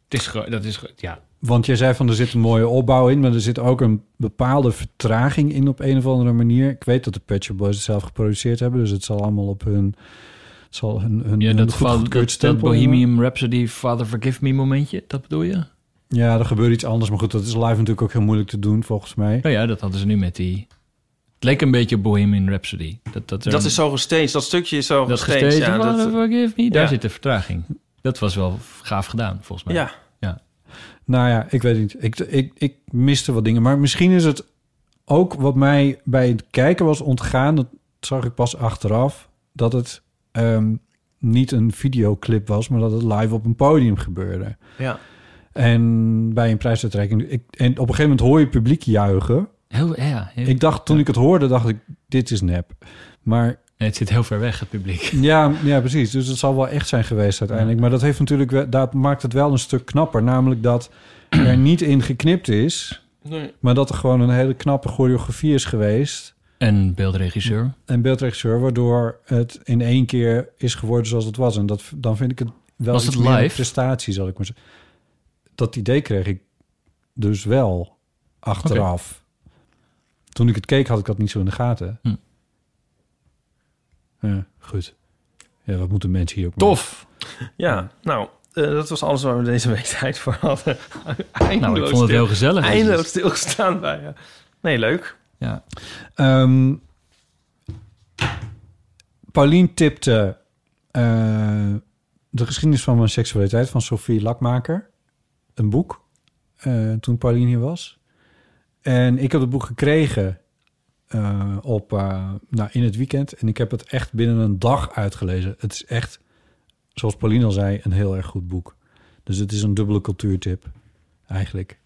Speaker 2: Het is, ge- dat is, ge- ja,
Speaker 3: Want jij zei van er zit een mooie opbouw in, maar er zit ook een bepaalde vertraging in op een of andere manier. Ik weet dat de Pet Shop Boys het zelf geproduceerd hebben, dus het zal allemaal op hun het zal hun, hun,
Speaker 2: Ja,
Speaker 3: hun
Speaker 2: dat,
Speaker 3: goed
Speaker 2: val-
Speaker 3: goedgekeurd
Speaker 2: dat, dat
Speaker 3: stempel
Speaker 2: Bohemian Rhapsody Father Forgive Me momentje, dat bedoel je?
Speaker 3: hebben. Ja, er gebeurt iets anders, maar goed, dat is live natuurlijk ook heel moeilijk te doen volgens mij.
Speaker 2: Nou ja, dat hadden ze nu met die... Het leek een beetje op Bohemian Rhapsody. Dat, dat, er
Speaker 1: Dat
Speaker 2: een-
Speaker 1: is zo gestaged. Dat stukje is zo
Speaker 2: dat
Speaker 1: gestaged.
Speaker 2: gesteeds.
Speaker 1: ja,
Speaker 2: Father
Speaker 1: dat,
Speaker 2: Forgive Me, daar
Speaker 1: Ja.
Speaker 2: zit de vertraging. Dat was wel gaaf gedaan, volgens mij.
Speaker 1: ja.
Speaker 3: Nou ja, ik weet niet. Ik, ik, ik miste wat dingen, maar misschien is het ook wat mij bij het kijken was ontgaan. Dat zag ik pas achteraf dat het ehm, niet een videoclip was, maar dat het live op een podium gebeurde.
Speaker 1: ja.
Speaker 3: En bij een prijsuitreiking. Ik, en op een gegeven moment hoor je het publiek juichen.
Speaker 2: Heel, ja, heel-
Speaker 3: Ik dacht, toen ik het hoorde, dacht ik, dit is nep. Maar
Speaker 2: nee, het zit heel ver weg, het publiek.
Speaker 3: ja, ja, precies. Dus het zal wel echt zijn geweest uiteindelijk. Maar dat, heeft natuurlijk wel, dat maakt het wel een stuk knapper. Namelijk dat er niet in geknipt is.
Speaker 1: Nee.
Speaker 3: Maar dat er gewoon een hele knappe choreografie is geweest.
Speaker 2: En beeldregisseur.
Speaker 3: En beeldregisseur, waardoor het in één keer is geworden zoals het was. En dat, dan vind ik het wel
Speaker 2: Was
Speaker 3: iets
Speaker 2: het
Speaker 3: meer een
Speaker 2: live?
Speaker 3: prestatie, zal ik maar zeggen. Dat idee kreeg ik dus wel achteraf. Toen ik het keek, had ik dat niet zo in de gaten.
Speaker 2: Hm.
Speaker 3: Ja, goed. Ja, wat moeten mensen hier ook mee?
Speaker 2: Tof!
Speaker 1: ja, nou, eh, dat was alles waar we deze week tijd voor hadden. Eindeloos
Speaker 2: Nou, ik vond het heel gezellig.
Speaker 1: Eindeloos stilgestaan bij je. Nee, leuk.
Speaker 2: Ja.
Speaker 3: Ehm Paulien tipte eh, de geschiedenis van mijn seksualiteit van Sophie Lakmaker. Een boek, eh, toen Paulien hier was. En ik heb het boek gekregen eh, op, eh, nou, in het weekend. En ik heb het echt binnen een dag uitgelezen. Het is echt, zoals Paulien al zei, een heel erg goed boek. Dus het is een dubbele cultuurtip, eigenlijk.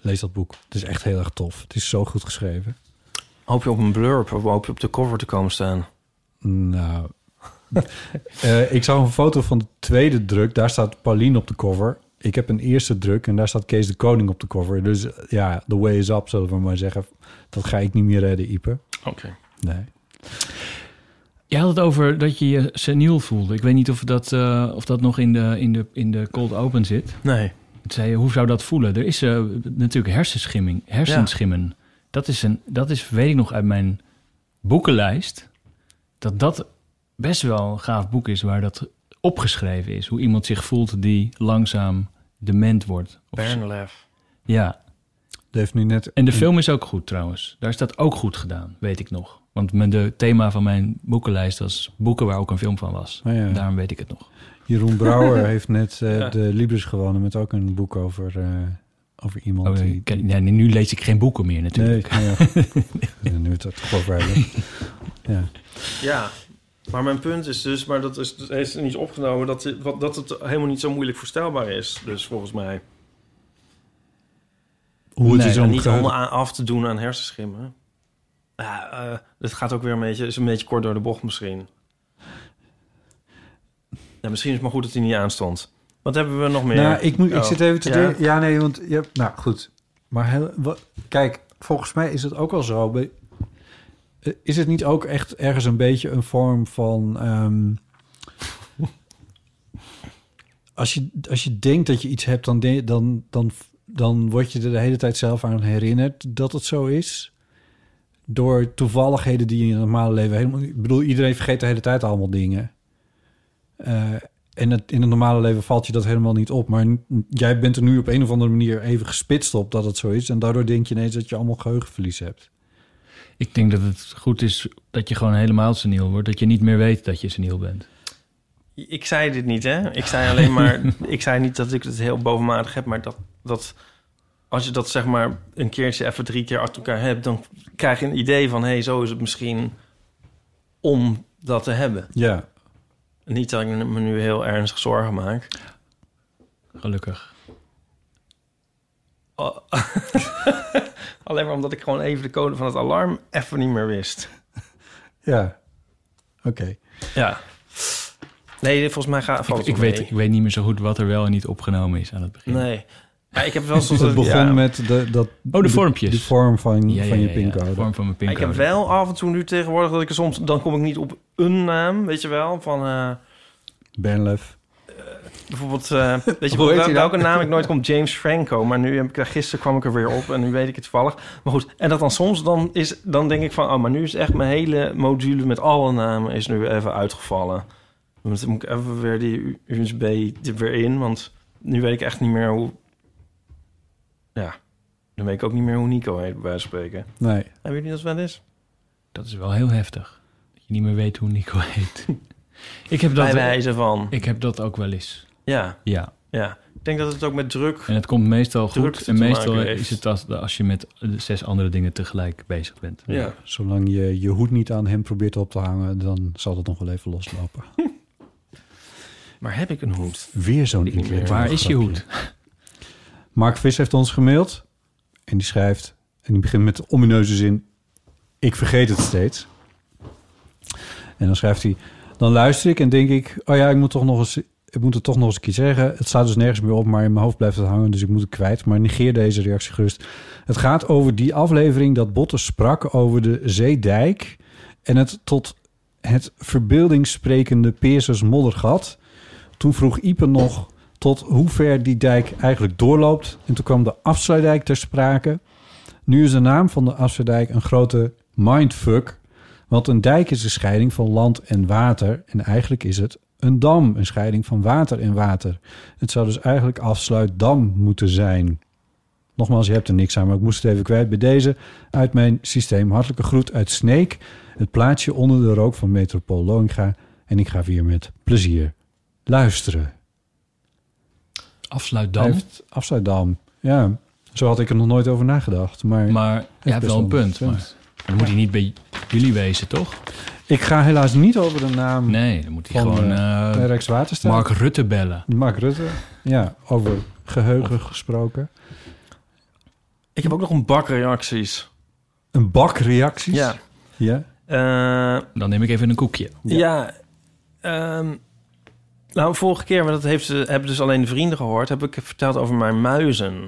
Speaker 3: Lees dat boek. Het is echt heel erg tof. Het is zo goed geschreven.
Speaker 1: Hoop je op een blurb of hoop je op de cover te komen staan?
Speaker 3: Nou, eh, ik zag een foto van de tweede druk. Daar staat Pauline op de cover. Ik heb een eerste druk en daar staat Kees de Koning op de cover. Dus eh, ja, the way is up, zullen we maar zeggen. Dat ga ik niet meer redden, Ipe.
Speaker 1: Oké.
Speaker 3: Nee.
Speaker 2: Jij had het over dat je je seniel voelde. Ik weet niet of dat, eh, of dat nog in de, in, de, in de cold open zit.
Speaker 1: Nee.
Speaker 2: Toen zei je, hoe zou dat voelen? Er is eh, natuurlijk hersenschimming, hersenschimmen. Dat, is een, dat is, weet ik nog uit mijn boekenlijst, dat dat best wel een gaaf boek is waar dat opgeschreven is. Hoe iemand zich voelt die langzaam dement wordt. Of-
Speaker 1: Bernlef.
Speaker 2: ja,
Speaker 3: Dat heeft nu net...
Speaker 2: en de film is ook goed trouwens. Daar is dat ook goed gedaan, weet ik nog. Want mijn de thema van mijn boekenlijst was boeken waar ook een film van was.
Speaker 3: Oh ja.
Speaker 2: Daarom weet ik het nog.
Speaker 3: Jeroen Brouwer heeft net eh, de Libris gewonnen met ook een boek over, eh, over iemand
Speaker 2: Oh,
Speaker 3: die...
Speaker 2: ik ken- ja, nu lees ik geen boeken meer natuurlijk.
Speaker 3: Nee, nou ja, goed. nu we het er toch over hebben. Ja.
Speaker 1: Ja, maar mijn punt is dus, maar dat is, dat is niet opgenomen, dat, dit- wat- dat het helemaal niet zo moeilijk voorstelbaar is. Dus volgens mij.
Speaker 3: Hoe het
Speaker 2: Nee,
Speaker 3: is
Speaker 1: En niet
Speaker 3: omgegaan.
Speaker 1: allemaal aan- af te doen aan hersenschimmen. Ja, eh, het gaat ook weer een beetje, is een beetje kort door de bocht misschien. Ja, misschien is het maar goed dat hij niet aanstond. Wat hebben we nog meer?
Speaker 3: Nou, ik, moet, ik
Speaker 1: Oh,
Speaker 3: zit even te
Speaker 1: ja.
Speaker 3: denken. Ja, nee, want je hebt- Nou, goed. Maar heel, wat, kijk, volgens mij is het ook al zo. bij- eh, Is het niet ook echt ergens een beetje een vorm van. ehm, als, je, als je denkt dat je iets hebt, dan, de- dan, dan, dan word je er de hele tijd zelf aan herinnerd dat het zo is. Door toevalligheden die je in het normale leven helemaal niet. Ik bedoel, iedereen vergeet de hele tijd allemaal dingen. Eh, en het, in het normale leven valt je dat helemaal niet op. Maar n- jij bent er nu op een of andere manier even gespitst op dat het zo is. En daardoor denk je ineens dat je allemaal geheugenverlies hebt.
Speaker 2: Ik denk dat het goed is dat je gewoon helemaal seniel wordt. Dat je niet meer weet dat je seniel bent.
Speaker 1: Ik zei dit niet, hè? Ik zei alleen maar... ik zei niet dat ik het heel bovenmatig heb, maar dat, dat... Als je dat zeg maar een keertje even drie keer achter elkaar hebt... dan krijg je een idee van... hé, hey, zo is het misschien om dat te hebben.
Speaker 3: Ja.
Speaker 1: Niet dat ik me nu heel ernstig zorgen maak.
Speaker 2: Gelukkig.
Speaker 1: Oh. alleen maar omdat ik gewoon even de code van het alarm even niet meer wist.
Speaker 3: Ja. Oké.
Speaker 1: Ja. Nee, volgens mij gaat
Speaker 2: Ik,
Speaker 1: valt het
Speaker 2: ik,
Speaker 1: wel
Speaker 2: weet,
Speaker 1: mee.
Speaker 2: ik weet niet meer zo goed wat er wel en niet opgenomen is aan het begin.
Speaker 1: Nee. Maar ik heb wel soms...
Speaker 3: Dus het begon
Speaker 1: ja.
Speaker 3: met de, dat,
Speaker 2: Oh, de vormpjes.
Speaker 3: De, vorm van,
Speaker 2: Ja, ja,
Speaker 3: van je
Speaker 2: ja, ja,
Speaker 3: pincode.
Speaker 2: de vorm van mijn
Speaker 1: Maar Ik
Speaker 2: pincode.
Speaker 1: heb wel af en toe nu tegenwoordig dat ik er soms... Dan kom ik niet op een naam, weet je wel. Van eh,
Speaker 3: Bernlef.
Speaker 1: bijvoorbeeld... eh, weet je
Speaker 3: Hoe heet
Speaker 1: wel,
Speaker 3: hij
Speaker 1: welke
Speaker 3: nou?
Speaker 1: naam ik nooit kom? James Franco. Maar nu heb ik daar... Gisteren kwam ik er weer op en nu weet ik het toevallig. Maar goed, en dat dan soms dan is... Dan denk ik van... Oh, maar nu is echt mijn hele module met alle namen is nu even uitgevallen. Want dan moet ik even weer die USB er weer in. Want nu weet ik echt niet meer hoe... Ja, dan weet ik ook niet meer hoe Nico heet, bij wijze van spreken.
Speaker 3: Nee.
Speaker 1: Hebben jullie dat wel eens?
Speaker 2: Dat is wel heel heftig. Dat je niet meer weet hoe Nico heet. ik, heb
Speaker 1: Bij
Speaker 2: dat,
Speaker 1: wijze van...
Speaker 2: ik heb dat ook wel eens.
Speaker 1: Ja,
Speaker 2: Ja.
Speaker 1: ja. Ik denk dat het ook met druk...
Speaker 2: En het komt meestal
Speaker 1: Druk
Speaker 2: goed.
Speaker 1: te
Speaker 2: En
Speaker 1: maken
Speaker 2: meestal
Speaker 1: heeft.
Speaker 2: is het als, als je met zes andere dingen tegelijk bezig bent.
Speaker 1: Ja.
Speaker 3: Zolang je je hoed niet aan hem probeert op te hangen, dan zal dat nog wel even loslopen.
Speaker 1: Maar heb ik een hoed?
Speaker 3: Weer zo'n
Speaker 1: Ik-
Speaker 3: ingewikkeld
Speaker 2: Waar is je
Speaker 3: grapje.
Speaker 2: hoed?
Speaker 3: Mark Vis heeft ons gemaild. En die schrijft, en die begint met de omineuze zin... Ik vergeet het steeds. En dan schrijft hij... Dan luister ik en denk ik... Oh ja, ik moet, toch nog eens, ik moet het toch nog eens een keer zeggen. Het staat dus nergens meer op, maar in mijn hoofd blijft het hangen. Dus ik moet het kwijt. Maar negeer deze reactie gerust. Het gaat over die aflevering dat Botten sprak over de Zeedijk... en het tot het verbeeldingssprekende Peersers moddergat. Toen vroeg Ipe nog tot hoe ver die dijk eigenlijk doorloopt. En toen kwam de afsluitdijk ter sprake. Nu is de naam van de afsluitdijk een grote mindfuck. Want een dijk is een scheiding van land en water. En eigenlijk is het een dam, een scheiding van water en water. Het zou dus eigenlijk afsluitdam moeten zijn. Nogmaals, je hebt er niks aan, maar ik moest het even kwijt bij deze. Uit mijn systeem hartelijke groet uit Sneek. Het plaatsje onder de rook van Metropool Loinga. En ik ga weer met plezier luisteren.
Speaker 2: Afsluit dan.
Speaker 3: Hij heeft Afsluitdam. Ja, zo had ik er nog nooit over nagedacht. Maar,
Speaker 2: maar je hebt
Speaker 3: best
Speaker 2: wel een
Speaker 3: wel een
Speaker 2: punt.
Speaker 3: punt.
Speaker 2: Maar dan moet hij niet bij jullie wezen, toch?
Speaker 3: ik ga helaas niet over de naam
Speaker 2: Nee, dan moet hij
Speaker 3: Van,
Speaker 2: gewoon
Speaker 3: eh,
Speaker 2: eh,
Speaker 3: Rijkswaterstaat.
Speaker 2: Mark Rutte bellen.
Speaker 3: Mark Rutte. Ja, over geheugen gesproken.
Speaker 1: Ik heb ook nog een bak reacties.
Speaker 3: Een bak reacties.
Speaker 1: Ja.
Speaker 3: ja.
Speaker 1: Eh,
Speaker 2: Dan neem ik even een koekje.
Speaker 1: ja. Ehm, nou, vorige keer, maar dat heeft, ze- hebben dus alleen de vrienden gehoord... heb ik verteld over mijn muizen.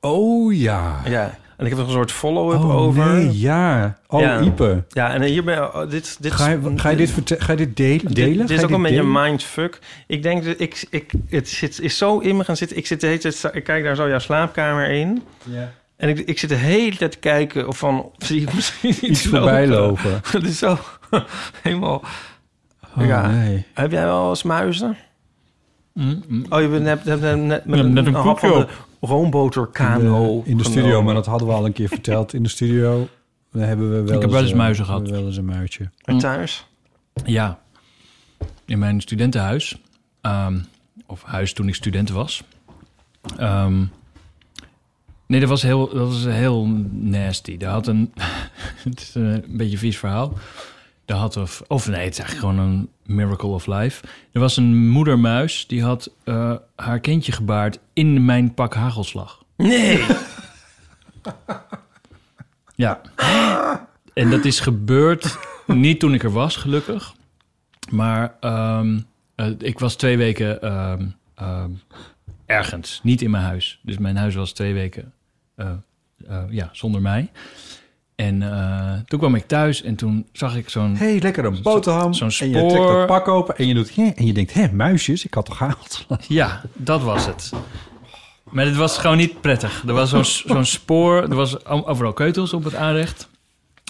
Speaker 3: Oh ja.
Speaker 1: Ja. En ik heb nog een soort follow-up
Speaker 3: Oh
Speaker 1: over.
Speaker 3: nee, ja. Oh,
Speaker 1: Ja.
Speaker 3: Ipe.
Speaker 1: Ja, en hierbij... oh, dit, dit,
Speaker 3: Ga je, ga je dit, verte- ga je dit delen?
Speaker 1: Dit,
Speaker 3: delen?
Speaker 1: dit
Speaker 3: Ga
Speaker 1: is
Speaker 3: je
Speaker 1: ook een beetje
Speaker 3: delen?
Speaker 1: een mindfuck. Ik denk dat ik, ik het zit, is zo in me gaan zitten. Ik zit de hele tijd, ik kijk daar zo jouw slaapkamer in. En ik, ik zit de hele tijd te kijken of van of zie ik misschien iets,
Speaker 3: Iets voorbij lopen.
Speaker 1: Dat is zo helemaal.
Speaker 3: Oh,
Speaker 1: Ja.
Speaker 3: nee.
Speaker 1: Heb jij wel eens muizen?
Speaker 2: Mm, mm.
Speaker 1: Oh, je bent net, net, net, net met
Speaker 2: Ja,
Speaker 1: een,
Speaker 2: net een
Speaker 1: een hap van
Speaker 2: koekje
Speaker 1: de roomboterkano.
Speaker 3: In de, in de studio, maar dat hadden we al een keer verteld. In de studio daar hebben we wel
Speaker 2: heb wel eens
Speaker 3: eh,
Speaker 2: muizen gehad.
Speaker 3: hebben we Wel eens een muitje.
Speaker 1: En thuis?
Speaker 2: Ja, in mijn studentenhuis, ehm, of huis toen ik student was. Ehm, nee, dat was heel, dat was heel nasty. Daar had een, het is een beetje een vies verhaal. Daar had of, of nee, het is eigenlijk gewoon een miracle of life. Er was een moedermuis die had eh, haar kindje gebaard in mijn pak hagelslag.
Speaker 1: Nee.
Speaker 2: Ja. En dat is gebeurd niet toen ik er was, gelukkig. Maar ehm, eh, ik was twee weken ehm, ehm, ergens, niet in mijn huis. Dus mijn huis was twee weken eh, eh, ja, zonder mij. En eh, toen kwam ik thuis en toen zag ik zo'n...
Speaker 3: hey, lekker een boterham.
Speaker 2: Zo'n
Speaker 3: En je trekt dat
Speaker 2: spoor.
Speaker 3: pak open en je, doet, hè, en je denkt, hé, muisjes, ik had toch gehaald.
Speaker 2: Ja, dat was het. Maar het was gewoon niet prettig. Er was zo'n zo'n spoor, er was o- overal keutels op het aanrecht.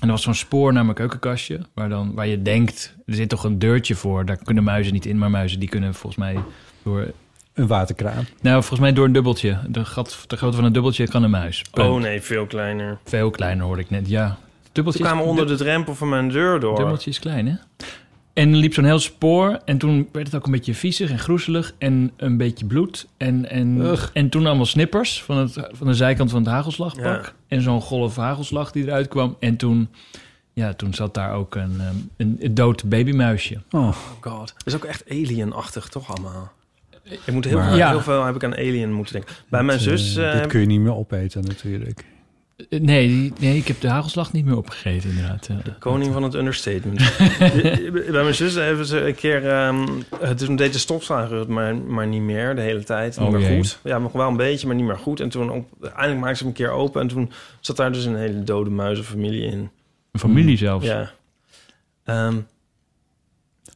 Speaker 2: En er was zo'n spoor naar mijn keukenkastje, waar, dan, waar je denkt, er zit toch een deurtje voor. Daar kunnen muizen niet in, maar muizen die kunnen volgens mij door...
Speaker 3: Een waterkraan.
Speaker 2: Nou, volgens mij door een dubbeltje. De, gat, de grootte van een dubbeltje kan een muis. Punt.
Speaker 1: Oh nee, veel kleiner.
Speaker 2: Veel kleiner hoorde ik net, ja.
Speaker 1: Ze
Speaker 2: Dubbeltje is-
Speaker 1: kwamen onder de drempel van mijn deur door.
Speaker 2: Dummeltje is klein, hè? En er liep zo'n heel spoor. En toen werd het ook een beetje viezig en groezelig. En een beetje bloed. En, en,
Speaker 3: Ugh.
Speaker 2: en toen allemaal snippers van, het, van de zijkant van het hagelslagpak.
Speaker 1: Ja.
Speaker 2: En zo'n golf hagelslag die eruit kwam. En toen, ja, toen zat daar ook een, ehm, een, een dood babymuisje.
Speaker 3: Oh, Eh,
Speaker 1: Oh god. Dat is ook echt alienachtig, toch allemaal? Ik moet heel,
Speaker 3: Maar-
Speaker 1: veel,
Speaker 2: Ja.
Speaker 1: heel veel heb ik aan alien moeten denken. Bij mijn
Speaker 3: dat,
Speaker 1: zus...
Speaker 3: eh,
Speaker 1: eh,
Speaker 3: dit kun je niet meer opeten natuurlijk.
Speaker 2: Eh, Nee, die- nee, ik heb de hagelslag niet meer opgegeten, inderdaad. Eh,
Speaker 1: Koning van het understatement. Bij mijn zus hebben ze een keer... ehm, het is een deed de stopslager het maar, maar niet meer de hele tijd. Niet
Speaker 2: Oh,
Speaker 1: meer
Speaker 2: jee.
Speaker 1: goed. Ja, nog wel een beetje, maar niet meer goed. En toen op, eindelijk maakte ze hem een keer open. En toen zat daar dus een hele dode muizenfamilie in.
Speaker 2: Een familie zelfs.
Speaker 1: Ja. Ehm,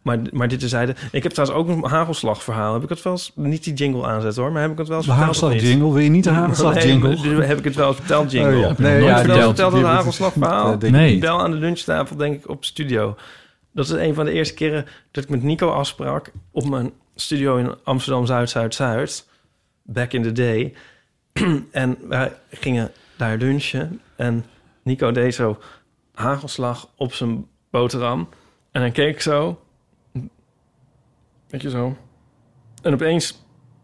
Speaker 1: maar, maar dit zeiden. Ik heb trouwens ook een hagelslagverhaal. Heb ik het wel eens... Niet die jingle aanzet hoor, maar heb ik het wel eens
Speaker 3: De
Speaker 1: verteld of
Speaker 3: hagelslag
Speaker 1: niet?
Speaker 3: jingle, wil je niet de hagelslag jingle?
Speaker 1: Nee, maar heb ik het wel eens verteld, jingle?
Speaker 3: Oh, ja.
Speaker 2: Heb je nog nooit
Speaker 3: ja,
Speaker 1: Heb ik wel eens verteld dat
Speaker 3: die-
Speaker 1: hagelslagverhaal?
Speaker 3: Eh, denk-
Speaker 2: Nee.
Speaker 1: Ik bel aan de lunchtafel, denk ik, op studio. Dat is een van de eerste keren dat ik met Nico afsprak... op mijn studio in Amsterdam Zuid-Zuid-Zuid. Back in the day. en wij gingen daar lunchen. En Nico deed zo hagelslag op zijn boterham. En hij keek zo. Weet je zo. En opeens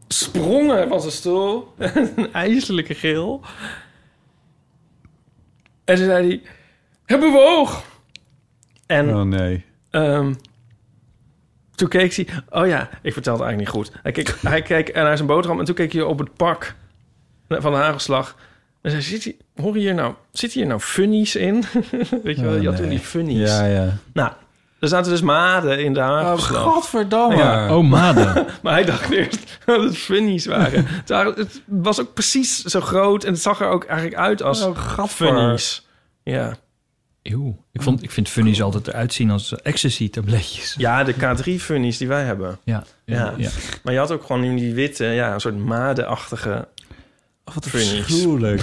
Speaker 1: sprong hij van zijn stoel. een ijselijke gil. En toen zei hij... Hebben we oog? En
Speaker 3: Oh nee.
Speaker 1: Ehm, toen keek hij... Oh ja, ik vertel het eigenlijk niet goed. Hij keek, hij keek naar zijn boterham en toen keek hij op het pak van de hagelslag. En zei, zit hier, hoor je hier nou, zit hier nou funnies in? Weet je wel, je had toen die funnies.
Speaker 3: Ja, ja.
Speaker 1: Nou, er zaten dus maden in de hagelslag.
Speaker 3: godverdamme. Ja.
Speaker 2: Oh, maden.
Speaker 1: Maar hij dacht eerst dat het funnies waren. Het waren- het was ook precies zo groot en het zag er ook eigenlijk uit als funnies. Ja.
Speaker 2: Eeuw. Ik, vond, ik vind funnies altijd eruit zien als eh, ecstasy-tabletjes.
Speaker 1: ja, de K3-funnies die wij hebben.
Speaker 2: Ja,
Speaker 1: Ja. Maar je had ook gewoon in die witte, ja, een soort madenachtige.
Speaker 3: Wat
Speaker 1: Funnies.
Speaker 3: gruwelijk.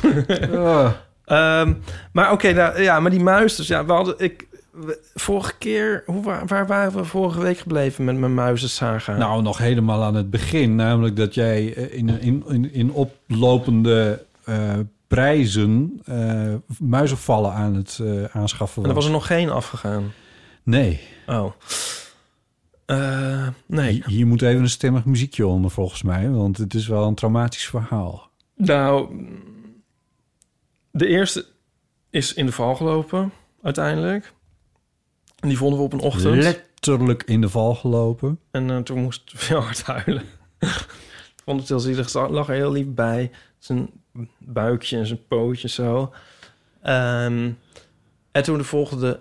Speaker 3: Ah.
Speaker 1: Ehm, maar oké, nou, ja, maar die muis, dus ja, we hadden ik we- vorige keer, hoe, wa- waar, waren we vorige week gebleven met mijn muizensaga?
Speaker 3: Nou, nog helemaal aan het begin. Namelijk dat jij eh, in, in, in, in oplopende eh, prijzen eh, muizenvallen aan het eh, aanschaffen
Speaker 1: en
Speaker 3: was.
Speaker 1: er was er nog geen afgegaan.
Speaker 3: Nee,
Speaker 1: Oh. Eh, nee.
Speaker 3: hier, hier moet even een stemmig muziekje onder volgens mij. Want het is wel een traumatisch verhaal.
Speaker 1: Nou, mm, de eerste is in de val gelopen, uiteindelijk. En die vonden we op een ochtend.
Speaker 3: Letterlijk in de val gelopen.
Speaker 1: En eh, toen moest ik heel hard huilen. Ik Vond het heel zielig. Ze lag er heel lief bij. Zijn buikje en zijn pootje zo. Ehm, en toen de volgende...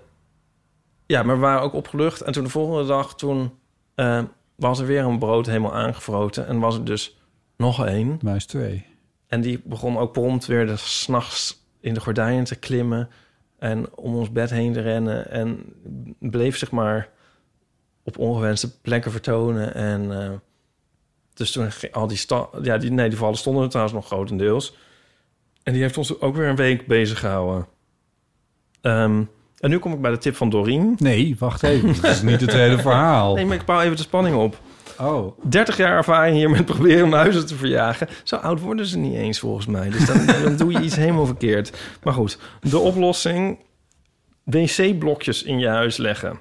Speaker 1: Ja, maar we waren ook opgelucht. En toen de volgende dag, toen eh, was er weer een brood helemaal aangevroten. En was er dus nog één.
Speaker 3: Muis 2.
Speaker 1: En die begon ook prompt weer de s'nachts in de gordijnen te klimmen. En om ons bed heen te rennen. En bleef zich maar op ongewenste plekken vertonen. En eh, dus toen ging al die sta Ja, die, nee, die vallen stonden er trouwens nog grotendeels. En die heeft ons ook weer een week bezig gehouden. Ehm, en nu kom ik bij de tip van Dorien.
Speaker 3: Nee, wacht even. dat is niet het hele verhaal.
Speaker 1: Nee, maar ik bouw even de spanning op.
Speaker 3: Oh,
Speaker 1: 30 jaar ervaring hier met proberen muizen te verjagen. Zo oud worden ze niet eens volgens mij. Dus dan, dan doe je iets helemaal verkeerd. Maar goed, de oplossing: wc-blokjes in je huis leggen.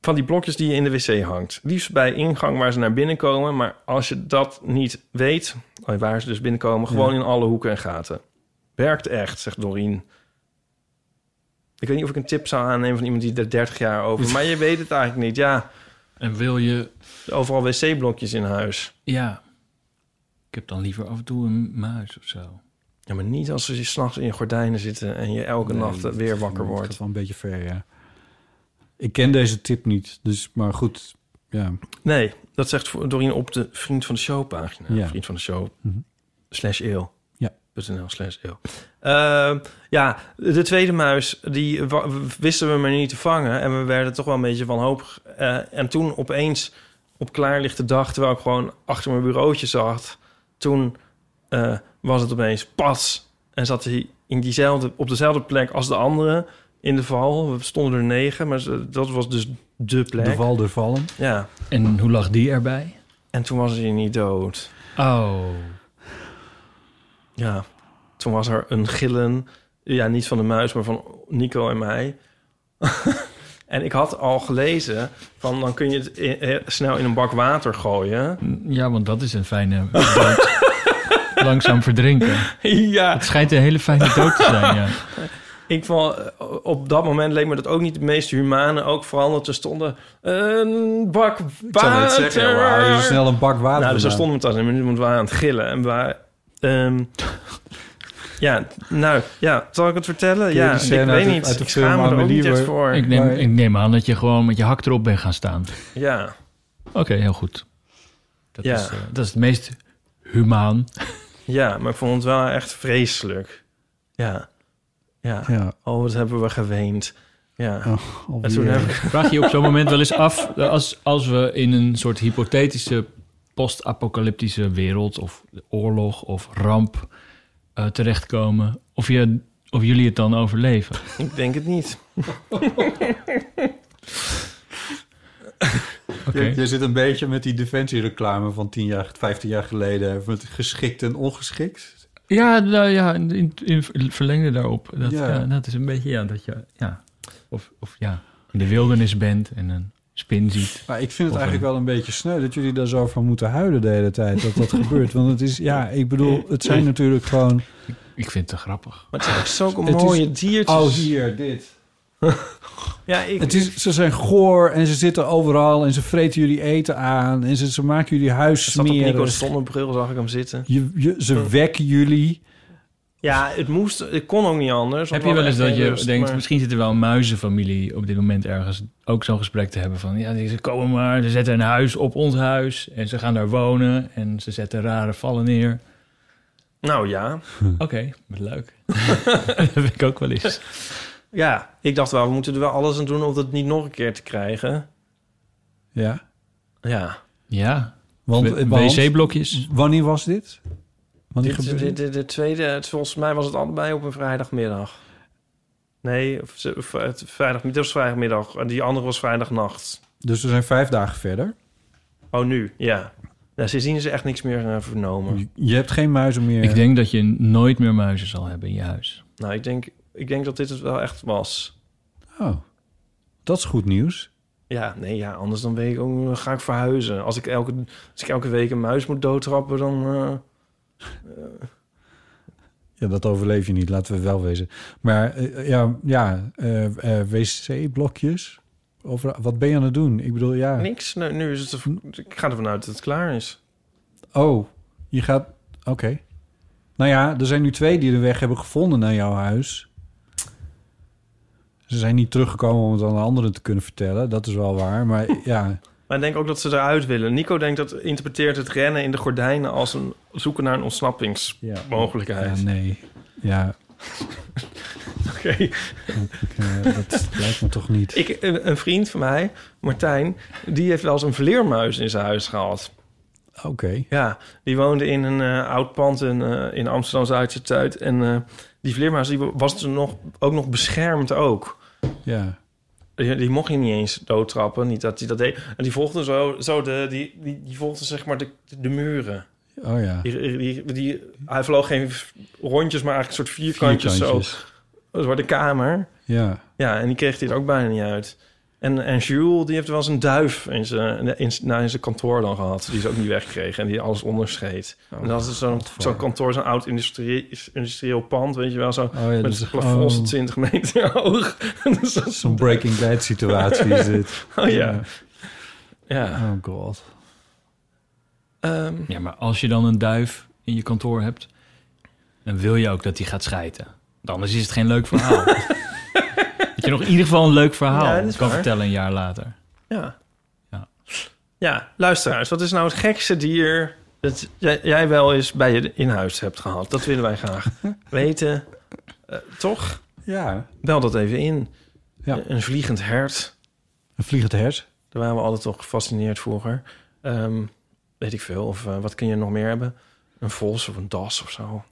Speaker 1: Van die blokjes die je in de wc hangt. Liefst bij ingang waar ze naar binnen komen. Maar als je dat niet weet, oh, waar ze dus binnenkomen, gewoon in alle hoeken en gaten. Werkt echt, zegt Dorien. Ik weet niet of ik een tip zou aannemen van iemand die er 30 jaar over. Maar je weet het eigenlijk niet. Ja,
Speaker 2: En wil je
Speaker 1: overal wc-blokjes in huis.
Speaker 2: Ja. Ik heb dan liever af en toe een muis of zo.
Speaker 1: Ja, maar niet als ze s'nachts in je gordijnen zitten en je elke
Speaker 3: Nee,
Speaker 1: nacht
Speaker 3: dat-
Speaker 1: weer wakker
Speaker 3: dat
Speaker 1: wordt.
Speaker 3: gaat wel een beetje ver, ja. Ik ken deze tip niet, dus maar goed. Ja,
Speaker 1: Nee, dat zegt Dorien op de Vriend van de Show pagina.
Speaker 3: Ja.
Speaker 1: Vriend van de Show
Speaker 3: Mhm.
Speaker 1: slash eeuw.
Speaker 3: Ja.
Speaker 1: Punt muis.nl slash eeuw. Eh, ja, de tweede muis, die wa- wisten we maar niet te vangen. En we werden toch wel een beetje wanhopig. Eh, en toen opeens, op klaarlichte dag... terwijl ik gewoon achter mijn bureautje zat... toen eh, was het opeens pas. En zat hij in diezelfde, op dezelfde plek als de andere in de val. We stonden er negen, maar ze- dat was dus de plek.
Speaker 3: De val der vallen.
Speaker 1: Ja,
Speaker 2: En hoe lag die erbij?
Speaker 1: en toen was hij niet dood.
Speaker 2: Oh,
Speaker 1: Ja, toen was er een gillen. Ja, niet van de muis, maar van Nico en mij. en ik had al gelezen van dan kun je het i- eh, snel in een bak water gooien.
Speaker 2: ja, want dat is een fijne dood. Langzaam verdrinken.
Speaker 1: ja,
Speaker 2: Het schijnt een hele fijne dood te zijn, ja.
Speaker 1: ik vond, eh, op dat moment leek me dat ook niet het meest humane. Ook vooral dat er stonden een bak
Speaker 3: Ik zou net
Speaker 1: water.
Speaker 3: zeggen, waar haal je zo snel een bak water
Speaker 1: Nou, dus daar
Speaker 3: vandaan?
Speaker 1: stonden we thuis en we waren aan het gillen. En we waren, ehm, ja, nou, ja, zal ik het vertellen?
Speaker 3: je die
Speaker 1: Ja, ik
Speaker 3: scène
Speaker 1: weet
Speaker 3: uit de-
Speaker 1: niet.
Speaker 3: uit de
Speaker 1: Ik
Speaker 3: film
Speaker 1: schaam me er ook
Speaker 3: Amelie
Speaker 1: niet echt
Speaker 3: waar-
Speaker 1: voor.
Speaker 2: Ik neem, ik neem aan dat je gewoon met je hak erop bent gaan staan.
Speaker 1: Ja.
Speaker 2: Oké, heel goed. Dat,
Speaker 1: Ja.
Speaker 2: is, eh, dat is het meest humaan.
Speaker 1: Ja, maar ik vond het wel echt vreselijk. Ja. Ja.
Speaker 3: Ja,
Speaker 1: Oh, wat hebben we geweend. Ja.
Speaker 3: Oh, alweer.
Speaker 1: en toen heb ik...
Speaker 2: Vraag je je op zo'n moment wel eens af, eh, als, als we in een soort hypothetische post-apocalyptische wereld of oorlog of ramp eh, terechtkomen, of, je, of jullie het dan overleven?
Speaker 1: Ik denk het niet.
Speaker 2: Oké.
Speaker 3: Je, je zit een beetje met die defensiereclame van 10 jaar, 15 jaar geleden. Met geschikt en ongeschikt.
Speaker 2: Ja, nou ja, in, in, in verlengde daarop. Dat,
Speaker 3: Ja.
Speaker 2: ja. dat is een beetje, ja, dat je, ja, of, of ja, in de wildernis bent en een spin ziet.
Speaker 3: Maar ik vind het
Speaker 2: Of
Speaker 3: eigenlijk wel een beetje sneu dat jullie daar zo van moeten huilen de hele tijd. Dat dat gebeurt. Want het is, ja, ik bedoel, het zijn natuurlijk gewoon...
Speaker 2: Ik vind het te grappig.
Speaker 1: Maar het zijn ook zulke
Speaker 3: Het is-
Speaker 1: mooie diertjes.
Speaker 3: Oh, hier, dit.
Speaker 1: Ja, ik...
Speaker 3: Het is, ze zijn goor en ze zitten overal en ze vreten jullie eten aan. En ze, ze maken jullie huis
Speaker 1: het zat op Nico's
Speaker 3: smerig.
Speaker 1: zonnebril, zag ik hem zitten.
Speaker 3: Je, je, ze wekken jullie.
Speaker 1: Ja, het moest... Het kon ook niet anders. want
Speaker 2: Heb je
Speaker 1: we
Speaker 2: wel eens
Speaker 1: hadden echt
Speaker 2: dat je
Speaker 1: geen rust,
Speaker 2: denkt,
Speaker 1: maar-
Speaker 2: misschien zit er wel een muizenfamilie op dit moment ergens ook zo'n gesprek te hebben van, ja, ze komen maar, ze zetten een huis op ons huis en ze gaan daar wonen en ze zetten rare vallen neer.
Speaker 1: Nou ja.
Speaker 2: Oké, wat leuk. dat heb ik ook wel eens.
Speaker 1: Ja, ik dacht wel, we moeten er wel alles aan doen om dat niet nog een keer te krijgen.
Speaker 3: Ja.
Speaker 1: Ja.
Speaker 2: Ja,
Speaker 3: Want,
Speaker 2: W-
Speaker 3: want-
Speaker 2: wc-blokjes.
Speaker 3: wanneer was dit? Wanneer
Speaker 1: Dit,
Speaker 3: gebeurde
Speaker 1: de,
Speaker 3: dit?
Speaker 1: de, de tweede, het- volgens mij was het allebei op een vrijdagmiddag. Nee, of, of, het vrijdag, dit was vrijdagmiddag. En die andere was vrijdagnacht.
Speaker 3: Dus we zijn vijf dagen verder.
Speaker 1: Oh, nu? Ja. Nou, sindsdien is er echt niks meer eh, vernomen.
Speaker 3: Je- Je hebt geen muizen meer.
Speaker 2: Ik denk dat je nooit meer muizen zal hebben in je huis.
Speaker 1: Nou, ik denk, ik denk dat dit het wel echt was.
Speaker 3: Oh, dat is goed nieuws.
Speaker 1: Ja, nee, ja, anders dan weet ik ook, dan ga ik verhuizen. Als ik elke, als ik elke week een muis moet doodtrappen, dan... eh,
Speaker 3: Ja, dat overleef je niet, laten we wel wezen. Maar eh, ja, ja eh, eh, wc-blokjes. Over, wat ben je aan het doen? Ik bedoel, ja.
Speaker 1: Niks. Nou, nu is het... Ik ga ervan uit dat het klaar is.
Speaker 3: Oh, je gaat. Oké. Nou ja, er zijn nu twee die de weg hebben gevonden naar jouw huis. Ze zijn niet teruggekomen om het aan de anderen te kunnen vertellen. Dat is wel waar. Maar ja,
Speaker 1: Maar ik denk ook dat ze eruit willen. Nico denkt dat interpreteert het rennen in de gordijnen als een zoeken naar een ontsnappingsmogelijkheid.
Speaker 3: ja. Ja, nee. Ja,
Speaker 1: Oké.
Speaker 3: ik, eh, dat lijkt me toch niet.
Speaker 1: Ik, een, een vriend van mij, Martijn, die heeft wel eens een vleermuis in zijn huis gehad.
Speaker 3: Oké.
Speaker 1: Ja, die woonde in een eh, oud pand in, eh, in Amsterdam Zuid-Zuid. En eh, die vleermuis die was toen nog, ook nog beschermd ook.
Speaker 3: Ja.
Speaker 1: Die, die mocht je niet eens doodtrappen, niet dat hij dat deed. En die volgde zo, zo de, die, die, die volgde zeg maar de, de muren.
Speaker 3: Oh ja.
Speaker 1: Die, die, die, hij vloog geen v- rondjes, maar eigenlijk een soort vierkantjes,
Speaker 3: Vierkantjes.
Speaker 1: zo door de kamer.
Speaker 3: Ja.
Speaker 1: Ja, en die kreeg dit ook bijna niet uit. En, en Jules, die heeft wel eens een duif in zijn, in, nou, in zijn kantoor dan gehad. Die ze ook niet wegkreeg en die alles onderscheed. en
Speaker 3: Oh
Speaker 1: dat is zo'n zo'n kantoor, zo'n oud industrie, industrieel pand, weet je wel. Zo,
Speaker 3: Oh ja,
Speaker 1: met
Speaker 3: dus-
Speaker 1: een plafond
Speaker 3: oh.
Speaker 1: 20 meter hoog. dus dat is-
Speaker 3: Zo'n Breaking Bad situatie is dit.
Speaker 1: oh ja. Ja.
Speaker 3: Oh god.
Speaker 1: Ehm,
Speaker 2: Ja, maar als je dan een duif in je kantoor hebt, dan wil je ook dat die gaat schijten. Want anders is het geen leuk verhaal. dat je nog in ieder geval een leuk verhaal
Speaker 1: Ja, dat is
Speaker 2: kan
Speaker 1: waar.
Speaker 2: vertellen een jaar later.
Speaker 1: ja.
Speaker 2: Ja.
Speaker 1: Ja, luisteraars, wat is nou het gekste dier dat jij, jij wel eens bij je in huis hebt gehad. Dat willen wij graag weten. Eh, toch?
Speaker 3: Ja,
Speaker 1: Bel dat even in. Eh,
Speaker 3: Ja.
Speaker 1: Een vliegend hert.
Speaker 3: een vliegend hers.
Speaker 1: Daar waren we altijd toch gefascineerd vroeger. Ehm, weet ik veel. Of eh, wat kun je nog meer hebben? Een vos of een das of zo.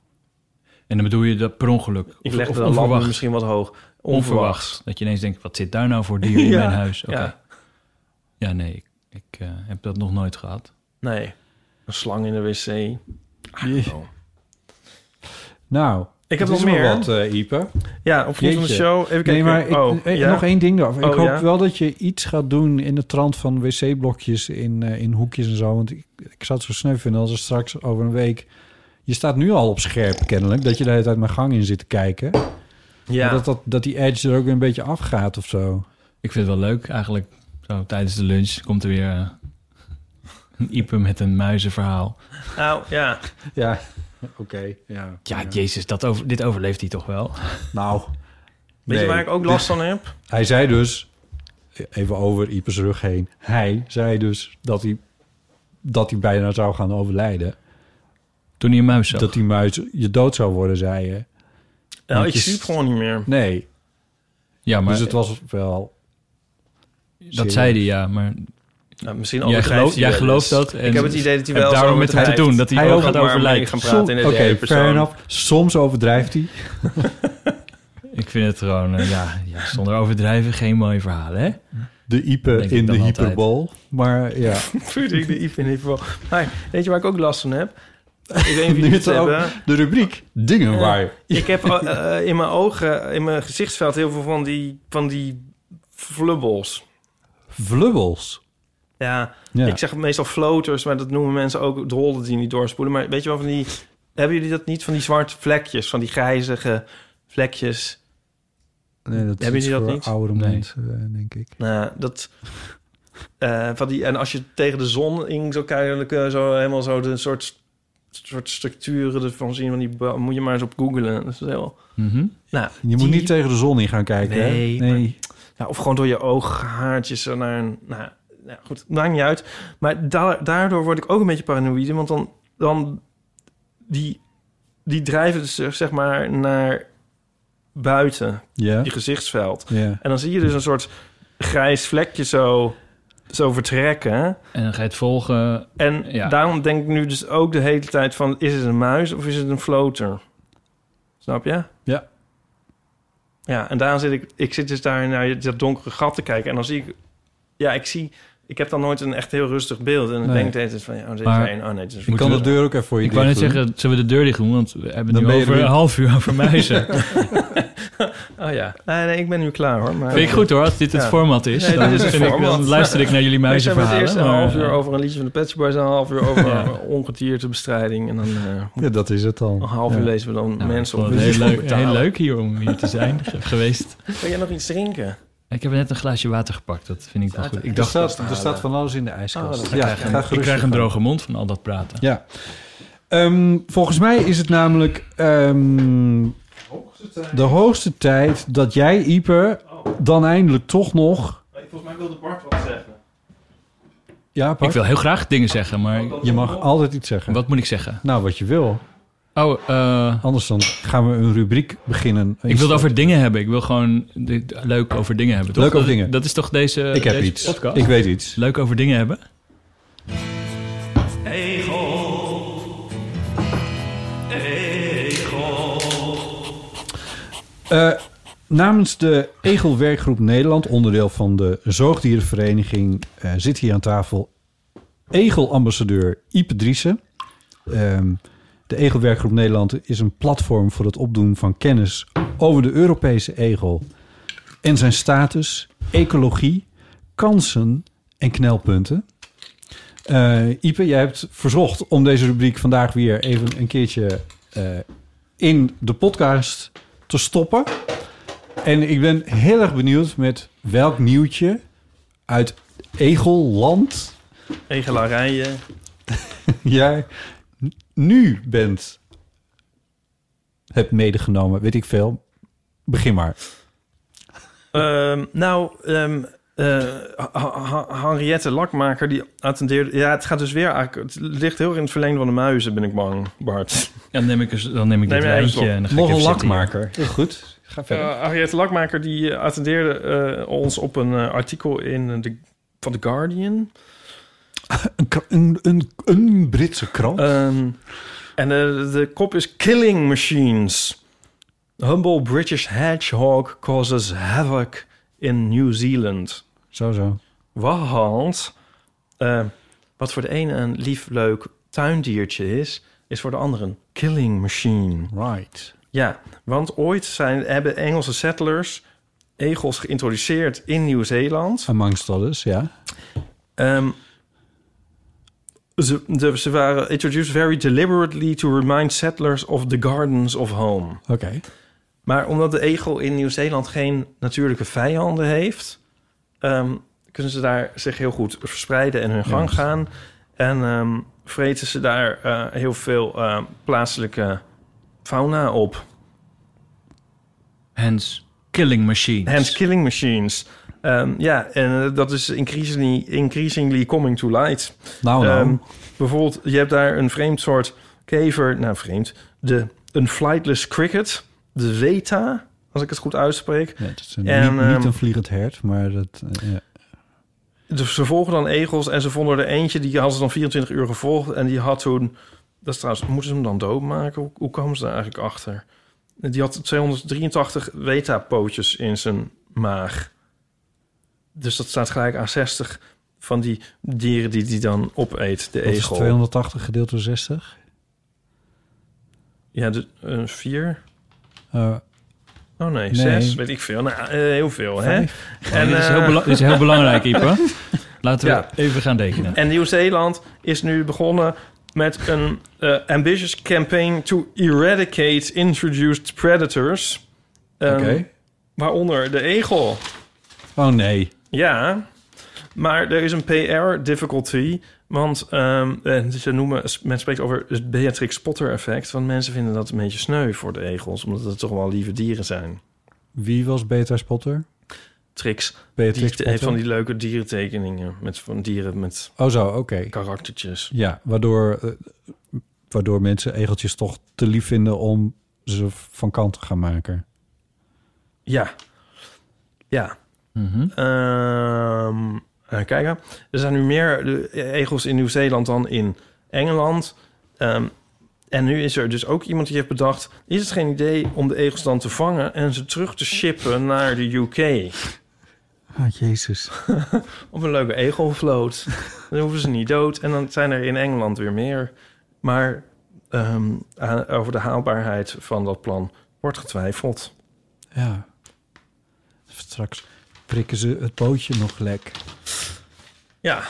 Speaker 2: En dan bedoel je dat per ongeluk.
Speaker 1: Ik
Speaker 2: Of-
Speaker 1: legde
Speaker 2: of
Speaker 1: de
Speaker 2: onverwacht.
Speaker 1: lamp misschien wat hoog. Onverwachts.
Speaker 2: Onverwachts. Dat je ineens denkt, wat zit daar nou voor dier in
Speaker 1: Ja,
Speaker 2: mijn huis? Oké.
Speaker 1: Ja.
Speaker 2: Ja, nee, ik, ik eh, heb dat nog nooit gehad.
Speaker 1: Nee. Een slang in de wc. Oh.
Speaker 3: Nou,
Speaker 1: Ik heb
Speaker 3: het
Speaker 1: nog
Speaker 3: is maar
Speaker 1: meer.
Speaker 3: wat, eh, Ipe.
Speaker 1: Ja, op vriend van de
Speaker 3: Jeetje.
Speaker 1: show. Even kijken.
Speaker 3: Nee, maar ik,
Speaker 1: oh,
Speaker 3: eh,
Speaker 1: ja.
Speaker 3: nog één ding daarover. ik
Speaker 1: Oh,
Speaker 3: hoop
Speaker 1: ja.
Speaker 3: wel dat je iets gaat doen in de trant van wc-blokjes in, eh, in hoekjes en zo. Want ik, ik zou het zo sneu vinden als er straks over een week... Je staat nu al op scherp kennelijk, dat je de hele tijd mijn gang in zit te kijken.
Speaker 1: Ja.
Speaker 3: Dat, dat, dat die edge er ook weer een beetje afgaat of zo.
Speaker 2: Ik vind het wel leuk eigenlijk. Zo, tijdens de lunch komt er weer eh, een Ipe met een muizenverhaal.
Speaker 1: Nou, ja.
Speaker 3: Ja, oké. ja.
Speaker 2: Ja, jezus, dat over, dit overleeft hij toch wel?
Speaker 3: Nou,
Speaker 1: Weet
Speaker 3: nee.
Speaker 1: je waar ik ook last van heb?
Speaker 3: hij zei dus, even over Ipes rug heen... Hij zei dus dat hij, dat hij bijna zou gaan overlijden.
Speaker 2: Toen hij een muis zag.
Speaker 3: Dat die muis je dood zou worden, zei je.
Speaker 1: Nou, ik
Speaker 3: Netjes.
Speaker 1: zie het gewoon niet meer.
Speaker 3: Nee,
Speaker 2: ja, maar
Speaker 3: dus het was wel...
Speaker 2: dat zei hij, ja. Maar
Speaker 1: Nou, misschien
Speaker 2: jij,
Speaker 1: overdrijft
Speaker 2: gelooft-
Speaker 1: hij
Speaker 2: jij
Speaker 1: wel
Speaker 2: gelooft
Speaker 1: eens.
Speaker 2: dat. En
Speaker 1: dus Ik heb het idee dat hij wel
Speaker 2: hebt
Speaker 1: zo
Speaker 2: daarom met hem te
Speaker 1: overdrijft.
Speaker 2: doen. Dat hij,
Speaker 3: Hij
Speaker 2: ook
Speaker 3: ook
Speaker 2: gaat
Speaker 1: maar mee
Speaker 2: overlijden.
Speaker 1: gaan praten in de
Speaker 3: Oké,
Speaker 1: derde
Speaker 3: fair
Speaker 1: persoon.
Speaker 3: enough. Soms overdrijft hij.
Speaker 2: Ik vind het gewoon, eh, ja, ja, zonder overdrijven geen mooie verhalen, hè?
Speaker 3: De Ipe
Speaker 2: Denk ik
Speaker 3: in de
Speaker 2: dan altijd.
Speaker 3: hyperbol. Maar ja,
Speaker 1: Vind ik de Iep in ieder geval. Maar weet je waar ik ook last van heb? Ik weet niet of
Speaker 3: Nu
Speaker 1: jullie het
Speaker 3: het ook-
Speaker 1: hebben.
Speaker 3: de rubriek dingen
Speaker 1: Ja.
Speaker 3: waar...
Speaker 1: Ik heb eh, eh, in mijn ogen, in mijn gezichtsveld heel veel van die, van die flubbels.
Speaker 3: Vlubbels.
Speaker 1: Ja,
Speaker 3: Ja.
Speaker 1: ik zeg meestal floaters, maar dat noemen mensen ook de rollen die niet doorspoelen. Maar weet je wel van die... Hebben jullie dat niet? Van die zwarte vlekjes, van die grijzige vlekjes.
Speaker 3: nee, dat
Speaker 1: Hebben
Speaker 3: is
Speaker 1: jullie dat
Speaker 3: voor
Speaker 1: niet?
Speaker 3: oudere
Speaker 2: Nee.
Speaker 3: mensen, eh, denk ik.
Speaker 1: Nou, dat... eh, van die, en als je tegen de zon in zou kijken, dan kun je zo helemaal zo de soort, soort structuren ervan zien. Van die, bo- moet je maar eens op googlen. Dat is heel,
Speaker 2: Mhm.
Speaker 1: nou,
Speaker 3: Je moet
Speaker 1: die-
Speaker 3: niet tegen de zon in gaan kijken. hè?
Speaker 1: Nee,
Speaker 3: nee.
Speaker 1: Nou, of gewoon door je ooghaartjes zo naar een... Nou, nou goed, maakt niet uit. Maar da- daardoor word ik ook een beetje paranoïde. Want dan... dan die, die drijven dus eh, zeg maar naar buiten,
Speaker 3: Ja,
Speaker 1: je gezichtsveld.
Speaker 3: ja.
Speaker 1: En dan zie je dus een soort grijs vlekje zo, zo vertrekken.
Speaker 2: En dan ga je het volgen.
Speaker 1: En
Speaker 2: Ja.
Speaker 1: daarom denk ik nu dus ook de hele tijd van... is het een muis of is het een floater? Snap je?
Speaker 3: Ja.
Speaker 1: Ja, en daarom zit ik... Ik zit dus daar naar dat donkere gat te kijken. En dan zie ik... Ja, ik zie... Ik heb dan nooit een echt heel rustig beeld. En dan
Speaker 3: Nee.
Speaker 1: denk ik de hele tijd van... Ja, oh, dit is
Speaker 2: Maar-
Speaker 1: één. Oh, nee, dit is
Speaker 3: Ik
Speaker 1: een
Speaker 3: kan de
Speaker 2: Moeten we-
Speaker 3: deur ook even voor je
Speaker 2: Ik wou net
Speaker 3: dicht doen?
Speaker 2: zeggen, zullen we de deur dicht doen? Want we hebben het
Speaker 3: Dan
Speaker 2: nu
Speaker 3: ben je er
Speaker 2: over
Speaker 3: weer.
Speaker 2: een half uur over muizen.
Speaker 1: Oh ja. Nee, nee, ik ben nu klaar hoor. Maar,
Speaker 2: vind ik goed hoor, als dit het
Speaker 1: Ja.
Speaker 2: format is.
Speaker 1: Nee,
Speaker 2: dan,
Speaker 1: dit is het
Speaker 2: vind ik, dan
Speaker 1: format.
Speaker 2: luister ik naar jullie
Speaker 1: Wij zijn het
Speaker 2: muizenverhalen.
Speaker 1: eerst een
Speaker 2: maar,
Speaker 1: half uur
Speaker 2: eh,
Speaker 1: over een liedje van de Pet Shop Boys... en een half uur over
Speaker 2: Ja.
Speaker 1: ongediertebestrijding. En dan eh,
Speaker 3: Ja, dat is het dan.
Speaker 1: een half uur
Speaker 3: Ja.
Speaker 1: lezen we dan
Speaker 2: nou, ik
Speaker 1: mensen
Speaker 2: vond
Speaker 1: op.
Speaker 2: het heel leuk,
Speaker 1: betalen.
Speaker 2: heel leuk hier om hier te zijn ge- geweest.
Speaker 1: Wil jij nog iets drinken?
Speaker 2: Ik heb net een glaasje water gepakt, dat vind ik wel goed. Ik
Speaker 3: Er
Speaker 2: dacht,
Speaker 3: staat, er staat van alles in de ijskast.
Speaker 1: Oh,
Speaker 3: ja, ga
Speaker 2: ik
Speaker 3: gerust
Speaker 2: krijg een
Speaker 3: gaan.
Speaker 2: droge mond van al dat praten.
Speaker 3: Ja. Ehm, volgens mij is het namelijk ehm, de hoogste tijd dat jij, Ieper, dan eindelijk toch nog...
Speaker 1: Volgens mij wilde Bart wat zeggen.
Speaker 3: Ja,
Speaker 2: Ik
Speaker 3: Bart,
Speaker 2: wil heel graag dingen zeggen, maar ik-
Speaker 3: je mag altijd iets zeggen.
Speaker 2: wat moet ik zeggen?
Speaker 3: Nou, wat je wil.
Speaker 2: Oh, eh,
Speaker 3: Anders dan gaan we een rubriek beginnen.
Speaker 2: ik wil het over dingen hebben. Ik wil gewoon de- de- leuk over dingen hebben. Toch?
Speaker 3: Leuk over
Speaker 2: Dat-
Speaker 3: dingen.
Speaker 2: Dat is toch deze,
Speaker 3: Ik heb
Speaker 2: deze
Speaker 3: iets.
Speaker 2: podcast?
Speaker 3: Ik weet iets.
Speaker 2: Leuk over dingen hebben?
Speaker 3: Eh, namens de Egelwerkgroep Nederland, onderdeel van de Zoogdierenvereniging, eh, zit hier aan tafel Egelambassadeur Ipe Driessen. Ehm, de Egelwerkgroep Nederland is een platform voor het opdoen van kennis over de Europese egel en zijn status, ecologie, kansen en knelpunten. Eh Ipe, jij hebt verzocht om deze rubriek vandaag weer even een keertje eh, in de podcast te stoppen. En ik ben heel erg benieuwd met welk nieuwtje uit Egelland
Speaker 1: Egelarijen.
Speaker 3: jij n- nu bent hebt medegenomen. Weet ik veel. Begin maar.
Speaker 1: Ehm, nou, ehm, eh, Ha- Ha- Henriette Lakmaker, die attendeerde... Ja, het gaat dus weer eigenlijk... Het ligt heel erg in het verlengde van de muizen, ben ik bang, Bart.
Speaker 2: Dan neem ik, eens- dan neem ik
Speaker 1: Neem
Speaker 2: dit
Speaker 1: jij even
Speaker 2: wijntje
Speaker 1: slok.
Speaker 2: en dan ga ik
Speaker 3: Nog een
Speaker 2: even zitten hier.
Speaker 3: lakmaker. Heel goed. Ga verder.
Speaker 1: Eh, Henriette Lakmaker, die eh, attendeerde eh, ons op een eh, artikel in eh, de, van The Guardian...
Speaker 3: Een, kra- een, een, een Britse krant.
Speaker 1: Ehm, en de, de kop is Killing Machines. Humble British Hedgehog causes havoc in New Zealand.
Speaker 3: zo, zo.
Speaker 1: Want eh, wat voor de ene een lief, leuk tuindiertje is, is voor de ander een killing machine.
Speaker 3: Right.
Speaker 1: Ja, want ooit zijn, hebben Engelse settlers egels geïntroduceerd in Nieuw-Zeeland.
Speaker 3: Amongst others, ja.
Speaker 1: Ehm, ze, de- ze waren introduced very deliberately to remind settlers of the gardens of home.
Speaker 3: Oké.
Speaker 1: Maar omdat de egel in Nieuw-Zeeland geen natuurlijke vijanden heeft, ehm, kunnen ze daar zich heel goed verspreiden en hun gang gaan. En ehm, vreten ze daar eh, heel veel eh, plaatselijke fauna op.
Speaker 2: Hence, killing machines.
Speaker 1: Hands killing machines. Ehm, ja, en eh, dat is increasingly, increasingly coming to light.
Speaker 3: Nou, nou.
Speaker 1: Ehm, bijvoorbeeld, je hebt daar een vreemd soort kever. Nou, vreemd. De, een flightless cricket. De weta, als ik het goed uitspreek.
Speaker 3: Ja, het is een-
Speaker 1: en,
Speaker 3: niet, niet
Speaker 1: ehm,
Speaker 3: een vliegend hert, maar dat... eh, ja.
Speaker 1: Dus ze volgen dan egels en ze vonden er eentje. Die hadden ze dan 24 uur gevolgd. En die had toen... Dat is trouwens, moeten ze hem dan doodmaken? Hoe, hoe kwamen ze daar eigenlijk achter? Die had 283 weta-pootjes in zijn maag. Dus dat staat gelijk aan 60 van die dieren die die dan opeet, de
Speaker 3: Dat is
Speaker 1: egel.
Speaker 3: 280 gedeeld door 60.
Speaker 1: Ja, de, eh, vier...
Speaker 3: Eh,
Speaker 1: Oh nee,
Speaker 3: Nee.
Speaker 1: zes, weet ik veel. Nou, eh, heel veel, hè?
Speaker 3: Vijf.
Speaker 2: Ja,
Speaker 1: En,
Speaker 2: Oh, dit, is
Speaker 1: eh,
Speaker 2: heel bela- dit is heel belangrijk, Ipe. Laten we
Speaker 1: Ja.
Speaker 2: even gaan tekenen.
Speaker 1: en Nieuw-Zeeland is nu begonnen met een eh, ambitious campaign to eradicate introduced predators. Ehm,
Speaker 3: Oké.
Speaker 1: Waaronder de egel.
Speaker 3: Oh nee.
Speaker 1: Ja, maar er is een PR-difficulty. Want ehm, eh, ze noemen, men spreekt over het Beatrix Potter-effect. Want mensen vinden dat een beetje sneu voor de egels. Omdat het toch wel lieve dieren zijn.
Speaker 3: Wie was Beta Spotter?
Speaker 1: Tricks.
Speaker 3: Beatrix
Speaker 1: die, heeft
Speaker 3: Potter?
Speaker 1: Van die leuke dierentekeningen. Met, van dieren met
Speaker 3: Oh zo, oké.
Speaker 1: karaktertjes.
Speaker 3: Ja, waardoor, eh, waardoor mensen egeltjes toch te lief vinden om ze van kant te gaan maken.
Speaker 1: Ja. Ja.
Speaker 2: Mhm.
Speaker 1: Ehm, even kijken. Er zijn nu meer eh, egels in Nieuw-Zeeland dan in Engeland. Ehm, en nu is er dus ook iemand die heeft bedacht... is het geen idee om de egels dan te vangen... en ze terug te shippen naar de UK?
Speaker 3: Ah, jezus.
Speaker 1: Op een leuke egelvloot. Dan hoeven ze niet dood. En dan zijn er in Engeland weer meer. Maar ehm, aan- over de haalbaarheid van dat plan wordt getwijfeld.
Speaker 3: Ja. Straks prikken ze het pootje nog lek.
Speaker 1: Ja.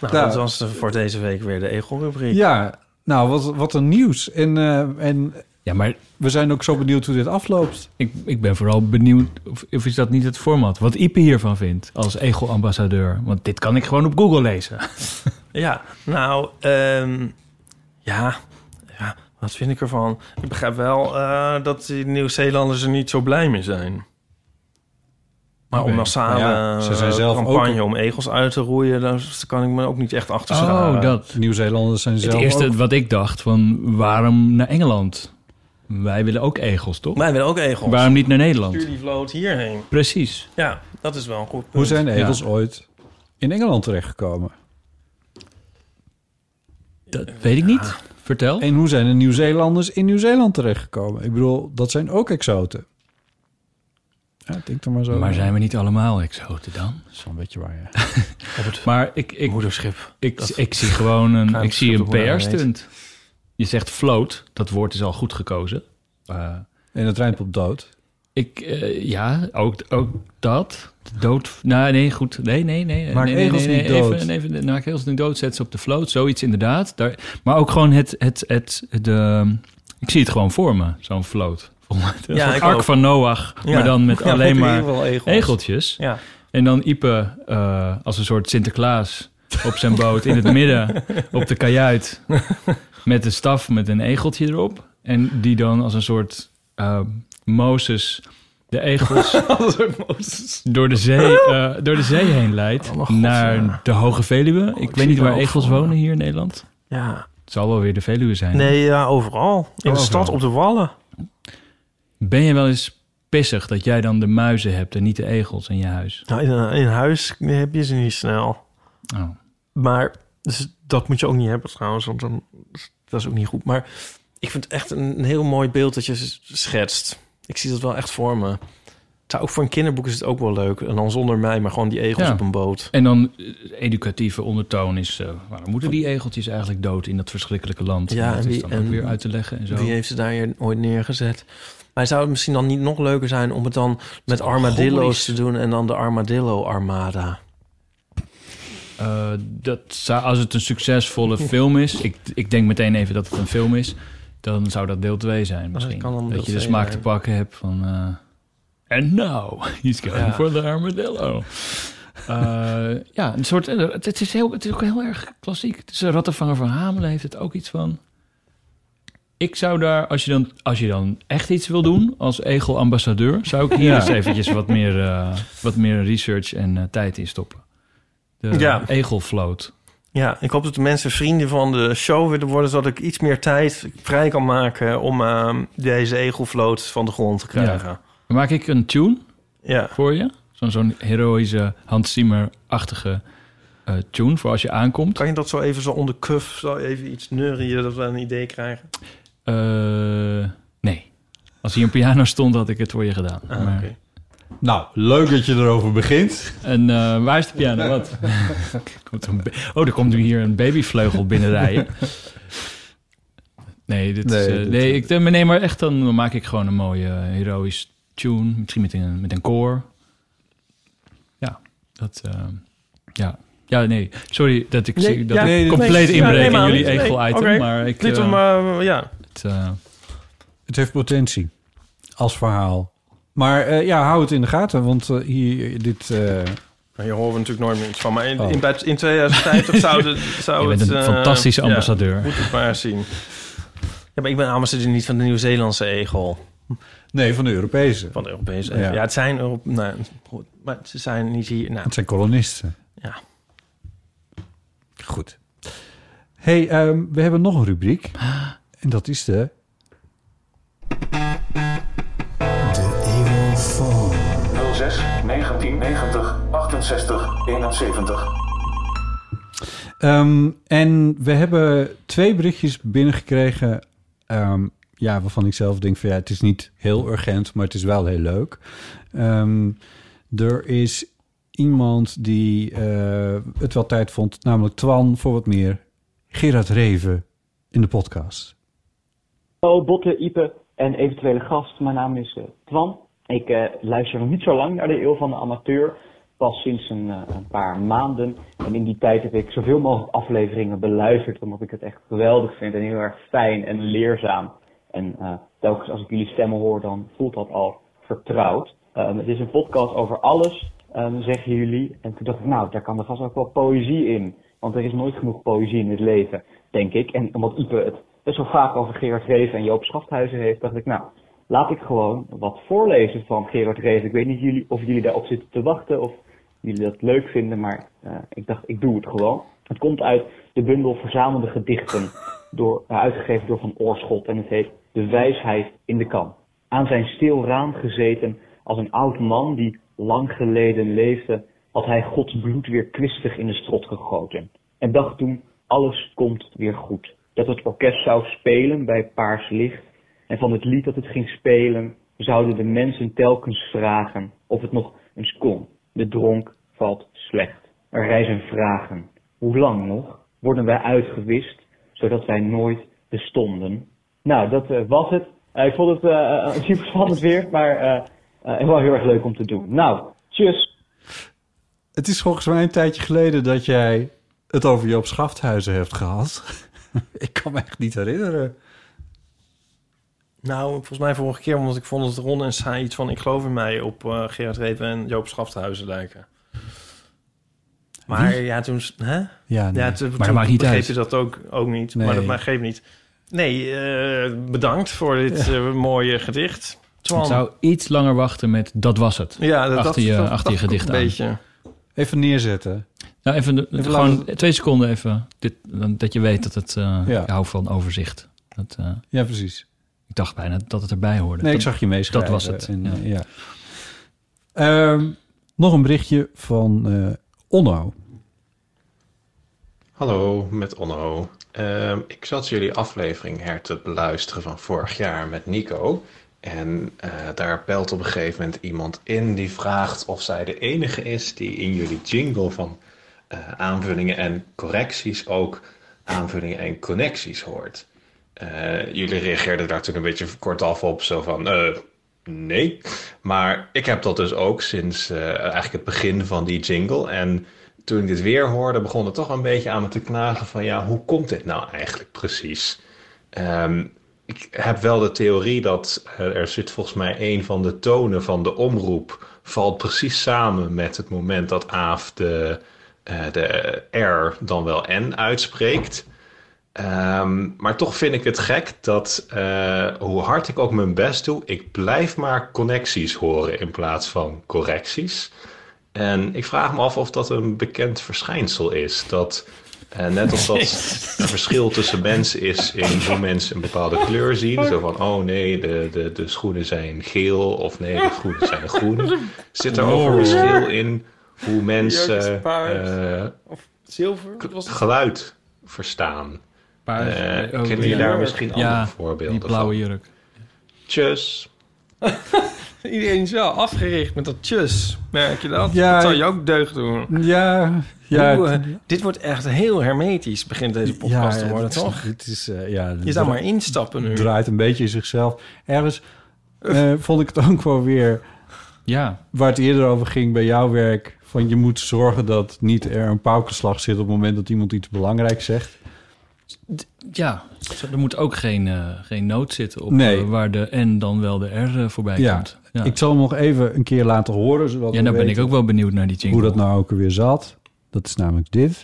Speaker 1: Nou,
Speaker 3: Nou.
Speaker 1: dat was eh, voor deze week weer de egelrubriek.
Speaker 3: Ja, nou, wat, wat een nieuws. En, eh, en
Speaker 2: Ja, maar
Speaker 3: we zijn ook zo benieuwd hoe dit afloopt.
Speaker 2: ik, ik ben vooral benieuwd of, of is dat niet het format. Wat Ipe hiervan vindt als ego-ambassadeur. Want dit kan ik gewoon op Google lezen.
Speaker 1: Ja, nou, ehm, ja, ja, wat vind ik ervan? Ik begrijp wel eh, dat die Nieuw-Zeelanders er niet zo blij mee zijn. Maar
Speaker 3: Oké,
Speaker 1: om massale
Speaker 3: ja, ze zijn
Speaker 1: eh,
Speaker 3: zelf
Speaker 1: campagne om egels uit te roeien, daar kan ik me ook niet echt achter scharen.
Speaker 2: Oh, dat.
Speaker 3: Nieuw-Zeelanders zijn
Speaker 2: Het
Speaker 3: zelf
Speaker 2: eerste
Speaker 3: ook-
Speaker 2: wat ik dacht van waarom naar Engeland? Wij willen ook egels, toch?
Speaker 1: Wij willen ook egels.
Speaker 2: Waarom niet naar
Speaker 1: Stuur
Speaker 2: Nederland?
Speaker 1: die vloot hierheen.
Speaker 2: Precies.
Speaker 1: Ja, dat is wel een goed punt.
Speaker 3: Hoe zijn egels ooit in Engeland terechtgekomen?
Speaker 2: Dat weet ik niet. Vertel.
Speaker 3: En hoe zijn de Nieuw-Zeelanders in Nieuw-Zeeland terechtgekomen? Ik bedoel, dat zijn ook exoten. Ja, denk er maar zo.
Speaker 2: Maar zijn we niet allemaal exoten dan?
Speaker 3: Dat is wel een beetje waar, ja.
Speaker 2: Maar ik, ik,
Speaker 1: Moederschip.
Speaker 2: Ik, ik zie gewoon een, ik zie een
Speaker 1: dat hoe dat
Speaker 2: PR-stunt. Je zegt float, dat woord is al goed gekozen. Eh,
Speaker 3: En het rijmt op dood.
Speaker 2: ik, eh, ja, ook, ook dat. Dood. Nou, nee, goed. Nee, nee, nee.
Speaker 3: Maak
Speaker 2: nee, nee,
Speaker 3: egels
Speaker 2: nee,
Speaker 3: niet
Speaker 2: nee,
Speaker 3: dood.
Speaker 2: Even, even, maak egels niet dood, zet ze op de float. Zoiets inderdaad. Daar, maar ook gewoon het, het, het, de, ik zie het gewoon voor me, zo'n float.
Speaker 1: Ja,
Speaker 2: Ja,
Speaker 1: ik
Speaker 2: Ark
Speaker 1: ook.
Speaker 2: van Noach,
Speaker 1: Ja.
Speaker 2: maar dan met
Speaker 1: Ja,
Speaker 2: alleen
Speaker 1: in
Speaker 2: maar
Speaker 1: ieder geval egels.
Speaker 2: egeltjes.
Speaker 1: Ja.
Speaker 2: En dan Ipe eh, als een soort Sinterklaas op zijn boot in het midden op de kajuit. Met een staf met een egeltje erop. En die dan als een soort eh, Mozes de egels door, de zee, eh, door de zee heen leidt
Speaker 1: Oh, mijn god,
Speaker 2: naar
Speaker 1: ja. Oh,
Speaker 2: de Hoge Veluwe. ik
Speaker 1: ik
Speaker 2: weet
Speaker 1: zie
Speaker 2: niet waar
Speaker 1: het ook
Speaker 2: egels
Speaker 1: voor me.
Speaker 2: wonen hier in Nederland.
Speaker 1: Ja.
Speaker 2: Het zal wel weer de Veluwe zijn.
Speaker 1: Nee, ja, overal. In de
Speaker 2: overal.
Speaker 1: stad, op de wallen.
Speaker 2: Ben je wel eens pissig dat jij dan de muizen hebt en niet de egels in je huis?
Speaker 1: Nou, in, eh, in huis heb je ze niet snel.
Speaker 2: Oh.
Speaker 1: Maar dus dat moet je ook niet hebben trouwens, want dan, dat is ook niet goed. Maar ik vind het echt een, een heel mooi beeld dat je s- schetst. Ik zie dat wel echt voor me. Het Zou ook voor een kinderboek is het ook wel leuk. En dan zonder mij, maar gewoon die egels
Speaker 2: Ja.
Speaker 1: op een boot.
Speaker 2: En dan eh, educatieve ondertoon is... eh, waarom moeten die egeltjes eigenlijk dood in dat verschrikkelijke land?
Speaker 1: Ja,
Speaker 2: En dat
Speaker 1: en
Speaker 2: is
Speaker 1: wie-
Speaker 2: dan
Speaker 1: en
Speaker 2: ook weer uit te leggen en zo.
Speaker 1: Wie heeft ze daar hier ooit neergezet? Maar zou het misschien dan niet nog leuker zijn om het dan met
Speaker 2: wel
Speaker 1: armadillo's
Speaker 2: gommelies.
Speaker 1: te doen en dan de armadillo armada?
Speaker 2: Eh, dat zou, als het een succesvolle film is... Ik, ik denk meteen even dat het een film is... dan zou dat deel 2 zijn misschien.
Speaker 1: kan dan deel
Speaker 2: dat je de
Speaker 1: twee
Speaker 2: smaak
Speaker 1: zijn.
Speaker 2: te pakken hebt van... eh, And now, he's going
Speaker 1: Ja.
Speaker 2: for the armadillo. Eh, ja, een soort... eh, Het, het is heel, het is ook heel erg klassiek. Het is een rattenvanger van Hamelen heeft het ook iets van... Ik zou daar, als je dan, als je dan echt iets wil doen als egelambassadeur, zou ik hier eens eventjes wat meer, eh, wat meer research en eh, tijd in stoppen. De
Speaker 1: Ja.
Speaker 2: egelvloot.
Speaker 1: Ja, ik hoop dat de mensen vrienden van de show willen worden... zodat ik iets meer tijd vrij kan maken om ehm, deze egelvloot van de grond te krijgen.
Speaker 2: Dan maak ik een tune
Speaker 1: Ja,
Speaker 2: voor je. Zo'n zo'n heroïsche Hans Zimmer-achtige eh, tune voor als je aankomt.
Speaker 1: kan je dat zo even zo onder cuff, zo even iets neurien... dat we een idee krijgen?
Speaker 2: Eh, nee. Als hier een piano stond, had ik het voor je gedaan.
Speaker 1: Ah,
Speaker 2: Maar-
Speaker 1: oké.
Speaker 3: Nou, leuk dat je erover begint.
Speaker 2: En eh, waar is de piano? Wat? komt er een ba- oh, er komt nu hier een babyvleugel binnenrijden. Nee, dit is,
Speaker 3: Nee,
Speaker 2: eh,
Speaker 3: dit-
Speaker 2: nee, ik, nee, maar echt, dan maak ik gewoon een mooie eh, heroïsche tune. Misschien met een, met een koor. Ja, dat... eh, ja. ja, nee, sorry dat ik,
Speaker 1: Nee,
Speaker 2: dat
Speaker 1: ja,
Speaker 2: ik
Speaker 1: nee,
Speaker 2: compleet
Speaker 1: nee,
Speaker 2: inbreek
Speaker 1: ja, nee,
Speaker 2: in
Speaker 1: maar
Speaker 2: jullie
Speaker 1: niet. Nee,
Speaker 2: egel-item.
Speaker 1: oké.
Speaker 2: Maar ik...
Speaker 1: Dit
Speaker 2: eh,
Speaker 1: om, eh, ja.
Speaker 2: het, eh,
Speaker 3: Het heeft potentie als verhaal. Maar eh, ja, hou het in de gaten, want eh, hier, dit... eh,
Speaker 1: Maar hier horen we natuurlijk nooit meer iets van. Maar in,
Speaker 3: Oh.
Speaker 1: in, bij- in 2050 zou, de, zou
Speaker 2: je bent
Speaker 1: het...
Speaker 2: een
Speaker 1: eh,
Speaker 2: fantastische
Speaker 1: ja,
Speaker 2: ambassadeur.
Speaker 1: moet het maar zien. Ja, maar ik ben ambassadeur niet van de Nieuw-Zeelandse egel.
Speaker 3: nee, van de Europese.
Speaker 1: Van de Europese
Speaker 3: Ja.
Speaker 1: egel. Ja, het zijn... Europ- nou, goed, maar ze zijn niet hier... Nou,
Speaker 3: Het zijn kolonisten.
Speaker 1: Ja.
Speaker 3: Goed. hey, ehm, we hebben nog een rubriek. En dat is de...
Speaker 4: De Eeuwfoon.
Speaker 5: 06 1990 68 71.
Speaker 3: Ehm, en we hebben twee berichtjes binnengekregen... ehm, ja, waarvan ik zelf denk van ja, het is niet heel urgent... maar het is wel heel leuk. Ehm, er is iemand die eh, het wel tijd vond... namelijk Twan voor wat meer Gerard Reven in de podcast.
Speaker 6: Hallo Botte, Ipe en eventuele gast. Mijn naam is eh, Twan. Ik eh, luister nog niet zo lang naar de Eeuw van de Amateur. Pas sinds een, eh, een paar maanden. En in die tijd heb ik zoveel mogelijk afleveringen beluisterd. Omdat ik het echt geweldig vind en heel erg fijn en leerzaam. En eh, telkens als ik jullie stemmen hoor, dan voelt dat al vertrouwd. Ehm, het is een podcast over alles, ehm, zeggen jullie. En toen dacht ik, nou, daar kan er vast ook wel poëzie in. Want er is nooit genoeg poëzie in het leven, denk ik. En omdat Ipe het best wel vaak over Gerard Reven en Joop Schafthuizen heeft, dacht ik, nou, laat ik gewoon wat voorlezen van Gerard Reven. Ik weet niet jullie, of jullie daarop zitten te wachten of jullie dat leuk vinden, maar eh, ik dacht, ik doe het gewoon. Het komt uit de bundel Verzamelde Gedichten, door, eh, uitgegeven door Van Oorschot. En het heet De Wijsheid in de Kan. Aan zijn stil raam gezeten, als een oud man die lang geleden leefde, had hij Gods bloed weer kwistig in de strot gegoten. En dacht toen, alles komt weer goed. Dat het orkest zou spelen bij Paars Licht. En van het lied dat het ging spelen, zouden de mensen telkens vragen of het nog eens kon. De dronk valt slecht. Er rijzen vragen. Hoe lang nog worden wij uitgewist, zodat wij nooit bestonden? Nou, dat eh, was het. Eh, ik vond het eh, eh, super spannend weer, maar eh eh, wel heel erg leuk om te doen. Nou, tjus!
Speaker 3: Het is volgens mij een tijdje geleden dat jij het over Joop Schafthuizen hebt gehad. ik kan me echt niet herinneren.
Speaker 1: Nou, volgens mij vorige keer, omdat ik vond dat Ron en Saai iets van... ik geloof in mij op eh Gerard Reven en Joop Schafthuizen lijken. Maar ja, toen... Hè?
Speaker 3: Ja, nee.
Speaker 1: Ja, toen,
Speaker 2: dat
Speaker 1: toen
Speaker 2: maakt niet
Speaker 1: begreep
Speaker 2: uit.
Speaker 1: je dat ook, ook niet.
Speaker 3: Nee.
Speaker 1: Maar dat maakt- geeft niet. Nee, eh, bedankt voor dit eh, mooie gedicht. Twan.
Speaker 2: Ik zou iets langer wachten met dat was het.
Speaker 1: Ja, dat,
Speaker 2: achter
Speaker 1: dat-
Speaker 2: je-
Speaker 1: dat
Speaker 2: achter je
Speaker 1: dacht ik
Speaker 2: gedicht
Speaker 1: een
Speaker 2: aan.
Speaker 1: beetje.
Speaker 3: Even neerzetten.
Speaker 2: Nou, even, de-
Speaker 3: Even
Speaker 2: gewoon
Speaker 3: laten-
Speaker 2: twee seconden even. Dit, dan- dat je weet dat het... eh,
Speaker 3: Ja.
Speaker 2: Ik hou van overzicht. Dat, eh,
Speaker 3: Ja, precies.
Speaker 2: ik dacht bijna dat het erbij hoorde.
Speaker 3: Nee, ik
Speaker 2: Dat-
Speaker 3: zag je meeschrijven.
Speaker 2: dat was het,
Speaker 3: En,
Speaker 2: ja.
Speaker 3: eh, ja. Ehm, nog een berichtje van eh, Onno.
Speaker 7: Hallo, met Onno. Ehm, ik zat jullie aflevering her te beluisteren van vorig jaar met Nico. En eh, daar belt op een gegeven moment iemand in die vraagt of zij de enige is die in jullie jingle van eh, aanvullingen en correcties ook aanvullingen en connecties hoort. Eh, jullie reageerden daar toen een beetje kortaf op, zo van eh, nee. Maar ik heb dat dus ook sinds eh, eigenlijk het begin van die jingle. En toen ik dit weer hoorde, begon het toch een beetje aan me te knagen van ja, hoe komt dit nou eigenlijk precies? Ehm, ik heb wel de theorie dat eh, er zit volgens mij een van de tonen van de omroep valt precies samen met het moment dat Aaf de, eh, de R dan wel N uitspreekt. Ehm, maar toch vind ik het gek dat eh, hoe hard ik ook mijn best doe, ik blijf maar connecties horen in plaats van correcties. En ik vraag me af of dat een bekend verschijnsel is. Dat eh, net als dat een verschil tussen mensen is in hoe mensen een bepaalde kleur zien. Zo van, oh nee, de, de, de schoenen zijn geel of nee, de schoenen zijn groen. Zit er ook een verschil in hoe mensen eh,
Speaker 1: Zilver?
Speaker 7: geluid verstaan?
Speaker 2: Paars,
Speaker 7: Eh,
Speaker 2: eh, oh,
Speaker 7: kennen
Speaker 2: ja.
Speaker 7: jullie daar misschien andere
Speaker 2: Ja,
Speaker 7: voorbeelden
Speaker 2: Die blauwe
Speaker 7: van?
Speaker 2: jurk.
Speaker 7: Tjus!
Speaker 1: Iedereen is wel afgericht met dat tjus. Merk je dat?
Speaker 3: Ja,
Speaker 1: dat zou je ook deugd doen.
Speaker 3: Ja, ja.
Speaker 1: Hoe, eh, dit wordt echt heel hermetisch, begint deze podcast te worden,
Speaker 3: eh, het is-
Speaker 1: toch?
Speaker 3: Het is, eh, ja,
Speaker 1: Je zou maar instappen nu.
Speaker 3: draait een beetje in zichzelf. Ergens eh, vond ik het ook wel weer
Speaker 2: Ja,
Speaker 3: waar het eerder over ging bij jouw werk. Van je moet zorgen dat niet er een paukenslag zit op het moment dat iemand iets belangrijks zegt.
Speaker 2: ja. Zo, er moet ook geen, eh, geen nood zitten op
Speaker 3: Nee.
Speaker 2: eh, waar de N dan wel de R eh, voorbij
Speaker 3: Ja,
Speaker 2: komt. Ja,
Speaker 3: Ik zal hem nog even een keer laten horen, zodat
Speaker 2: ja
Speaker 3: we
Speaker 2: nou ben ik
Speaker 3: weten
Speaker 2: ook wel benieuwd naar die jingle.
Speaker 3: hoe dat nou ook weer zat. Dat is namelijk dit.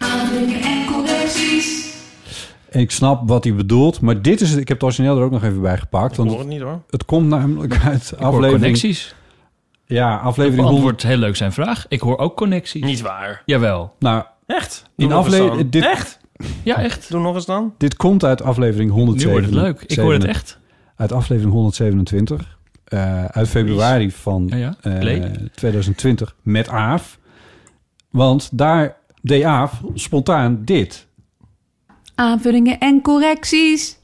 Speaker 3: En ik snap wat hij bedoelt, maar dit is het. Ik heb het origineel er ook nog even bij gepakt,
Speaker 1: Ik hoor
Speaker 3: want
Speaker 1: het niet hoor.
Speaker 3: het komt namelijk uit
Speaker 2: Ik hoor
Speaker 3: aflevering.
Speaker 2: connecties.
Speaker 3: Ja, aflevering
Speaker 2: Beantwoord
Speaker 3: 100.
Speaker 2: wordt heel leuk zijn vraag. Ik hoor ook connecties.
Speaker 1: Niet waar.
Speaker 2: Jawel.
Speaker 3: Nou,
Speaker 1: Echt? Doe
Speaker 3: in
Speaker 1: nog eens
Speaker 3: aflevering.
Speaker 1: dan.
Speaker 3: Dit,
Speaker 1: Echt?
Speaker 2: Ja, echt.
Speaker 1: Doe nog eens dan.
Speaker 3: Dit komt uit aflevering
Speaker 2: Nu
Speaker 3: 107.
Speaker 2: wordt het leuk. Ik hoor het
Speaker 3: zeven-
Speaker 2: echt.
Speaker 3: Uit aflevering 127. eh, uit februari van
Speaker 2: Ja, ja.
Speaker 3: eh,
Speaker 2: Play.
Speaker 3: 2020 met Aaf. Want daar deed Aaf spontaan dit.
Speaker 8: Aanvullingen en correcties.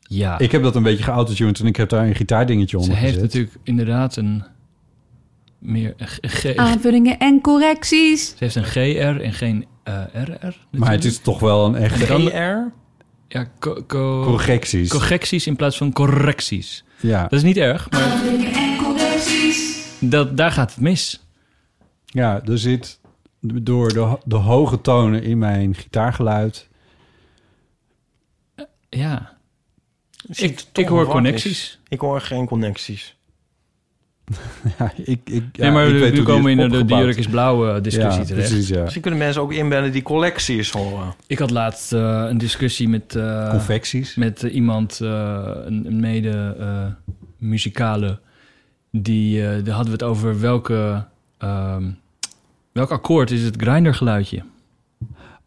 Speaker 2: Ja.
Speaker 3: Ik heb dat een beetje geautotuned en ik heb daar een gitaardingetje
Speaker 2: Ah. Ze
Speaker 3: onder
Speaker 2: heeft
Speaker 3: gezet.
Speaker 2: natuurlijk inderdaad een meer g- g-
Speaker 8: Aanvullingen en correcties.
Speaker 2: Ze heeft een GR en geen eh, RR.
Speaker 3: maar het is toch wel een echte
Speaker 2: Dan-
Speaker 1: GR?
Speaker 2: Ja, co- co-
Speaker 3: correcties.
Speaker 2: correcties in plaats van correcties.
Speaker 3: ja.
Speaker 2: Dat is niet erg, maar dat, daar gaat het mis.
Speaker 3: ja, er zit door de, ho- de hoge tonen in mijn gitaargeluid.
Speaker 2: Ja,
Speaker 1: Zit
Speaker 2: ik,
Speaker 1: toch
Speaker 2: ik hoor
Speaker 1: wat
Speaker 2: connecties.
Speaker 1: mis. Ik hoor geen connecties.
Speaker 3: Ja, ik, ik, ja,
Speaker 2: nee, maar
Speaker 3: ik
Speaker 2: we,
Speaker 3: weet
Speaker 2: we
Speaker 3: hoe die
Speaker 2: komen
Speaker 3: is
Speaker 2: in de, de
Speaker 3: opgebouwd.
Speaker 2: jurk is blauw eh, discussie
Speaker 3: ja,
Speaker 2: terecht. Dus
Speaker 3: Precies, ja.
Speaker 1: Misschien kunnen mensen ook inbellen die collecties horen.
Speaker 2: Ik had laatst eh, een discussie met, eh,
Speaker 3: Confecties.
Speaker 2: met eh, iemand, eh, een, een mede eh, muzikale. Die, eh, daar hadden we het over welke, ehm, welk akkoord is het grindergeluidje.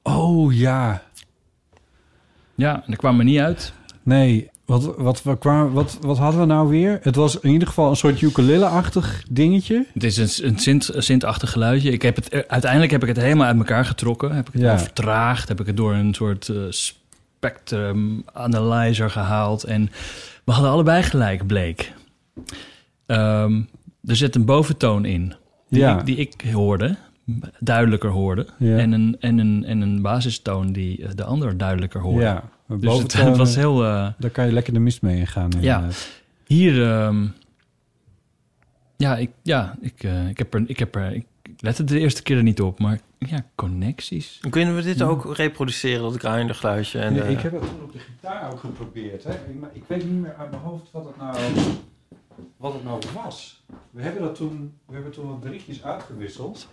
Speaker 3: Oh ja.
Speaker 2: Ja, en daar kwam er niet uit.
Speaker 3: Nee, wat, wat, wat, kwam- wat, wat hadden we nou weer? Het was in ieder geval een soort ukulele-achtig dingetje.
Speaker 2: Het is een, een, synth, een synthachtig geluidje. Ik heb het, eh, uiteindelijk heb ik het helemaal uit elkaar getrokken. Heb ik het
Speaker 3: Ja.
Speaker 2: vertraagd. Heb ik het door een soort eh, spectrum analyzer gehaald. En we hadden allebei gelijk, bleek. Ehm, er zit een boventoon in. Die,
Speaker 3: Ja.
Speaker 2: ik, die ik hoorde. Duidelijker hoorde.
Speaker 3: Ja.
Speaker 2: En, een, en, een, en een basistoon die eh, de ander duidelijker hoorde.
Speaker 3: Ja,
Speaker 2: Dus
Speaker 3: maar
Speaker 2: het,
Speaker 3: boventonen,
Speaker 2: het was heel... eh,
Speaker 3: daar kan je lekker de mist mee ingaan. inderdaad.
Speaker 2: hier, ehm, ja, ik, ja ik, eh, ik heb er, ik heb er, ik lette de eerste keer er niet op, maar ja, connecties.
Speaker 1: Kunnen we dit ook reproduceren, dat grinder geluidje? En, eh,
Speaker 3: ik heb het toen op de gitaar ook geprobeerd. Hè? Ik, maar ik weet niet meer uit mijn hoofd wat het nou, wat het nou was. We hebben, dat toen, we hebben toen wat berichtjes uitgewisseld.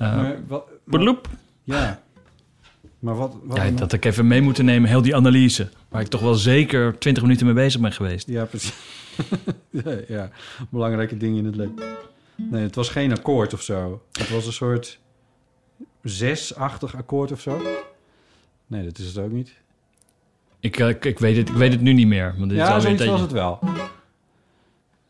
Speaker 2: Eh
Speaker 3: maar, wat, maar-
Speaker 2: Bloep.
Speaker 3: ja. Maar wat... wat
Speaker 2: Ja, dat ik even mee moeten nemen, heel die analyse. Waar ik toch wel zeker 20 minuten mee bezig ben geweest.
Speaker 3: Ja, precies. ja, ja, belangrijke dingen in het leven. Nee, het was geen akkoord of zo. Het was een soort zesachtig akkoord of zo. Nee, dat is het ook niet.
Speaker 2: Ik, eh, ik, ik, weet, het, ik weet het nu niet meer. Want dit is
Speaker 3: ja,
Speaker 2: alweer
Speaker 3: zoiets
Speaker 2: een
Speaker 3: was
Speaker 2: tijdje-
Speaker 3: het wel.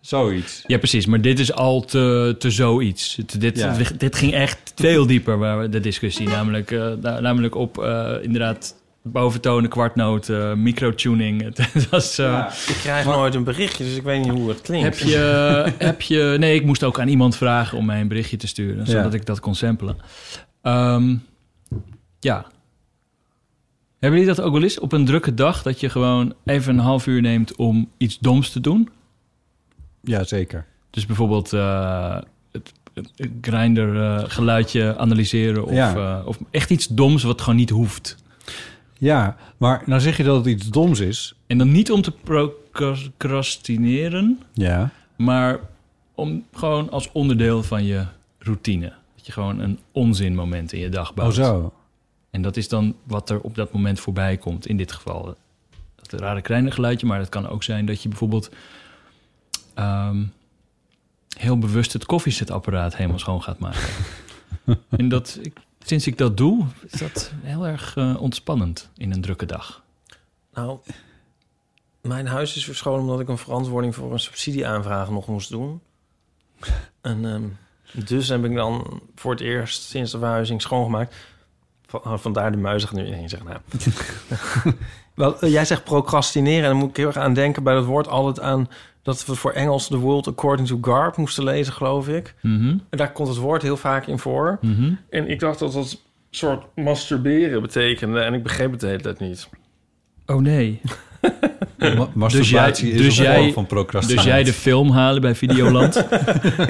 Speaker 3: Zoiets.
Speaker 2: Ja, precies. Maar dit is al te, te zoiets. Het- dit,
Speaker 3: Ja.
Speaker 2: dit- dit ging echt veel dieper, waar, de discussie. Namelijk, eh, na- namelijk op eh, inderdaad boventonen, kwartnoot, eh, microtuning. Het, was... eh,
Speaker 3: Ja.
Speaker 1: Ik krijg nooit een berichtje, dus ik weet niet hoe het klinkt.
Speaker 2: Heb je, heb je... Nee, ik moest ook aan iemand vragen om mij een berichtje te sturen. Zodat
Speaker 3: Ja.
Speaker 2: ik dat kon samplen. Ehm, ja. Hebben jullie dat ook wel eens op een drukke dag... dat je gewoon even een half uur neemt om iets doms te doen?
Speaker 3: ja, zeker.
Speaker 2: Dus bijvoorbeeld eh, het, het grinder eh, geluidje analyseren of,
Speaker 3: Ja.
Speaker 2: eh, of echt iets doms wat gewoon niet hoeft.
Speaker 3: Ja, maar nou zeg je dat het iets doms is.
Speaker 2: En dan niet om te procrastineren,
Speaker 3: Ja.
Speaker 2: maar om gewoon als onderdeel van je routine. Dat je gewoon een onzinmoment in je dag
Speaker 3: Oh
Speaker 2: bouwt.
Speaker 3: zo.
Speaker 2: En dat is dan wat er op dat moment voorbij komt. In dit geval dat rare kleine geluidje. Maar het kan ook zijn dat je bijvoorbeeld ehm, heel bewust het koffiezetapparaat helemaal schoon gaat maken. en dat, ik, sinds ik dat doe, is dat heel erg eh, ontspannend in een drukke dag.
Speaker 1: Nou, mijn huis is verscholen omdat ik een verantwoording voor een subsidieaanvraag nog moest doen. En ehm, dus heb ik dan voor het eerst sinds de verhuizing schoongemaakt. Va- oh, Vandaar de muizig nu ineens zeg nou. Wel, eh, jij zegt procrastineren en dan moet ik heel erg aan denken bij dat woord altijd aan dat we voor Engels The World According to Garb moesten lezen, geloof ik.
Speaker 2: Mhm,
Speaker 1: En daar komt het woord heel vaak in voor.
Speaker 2: mhm.
Speaker 1: En ik dacht dat dat een soort masturberen betekende en ik begreep het de hele tijd niet.
Speaker 2: Oh nee.
Speaker 3: Ma- masturbatie
Speaker 2: dus
Speaker 3: is een
Speaker 2: jij-
Speaker 3: vorm van procrastinatie.
Speaker 2: Dus jij de film halen bij Videoland
Speaker 1: ik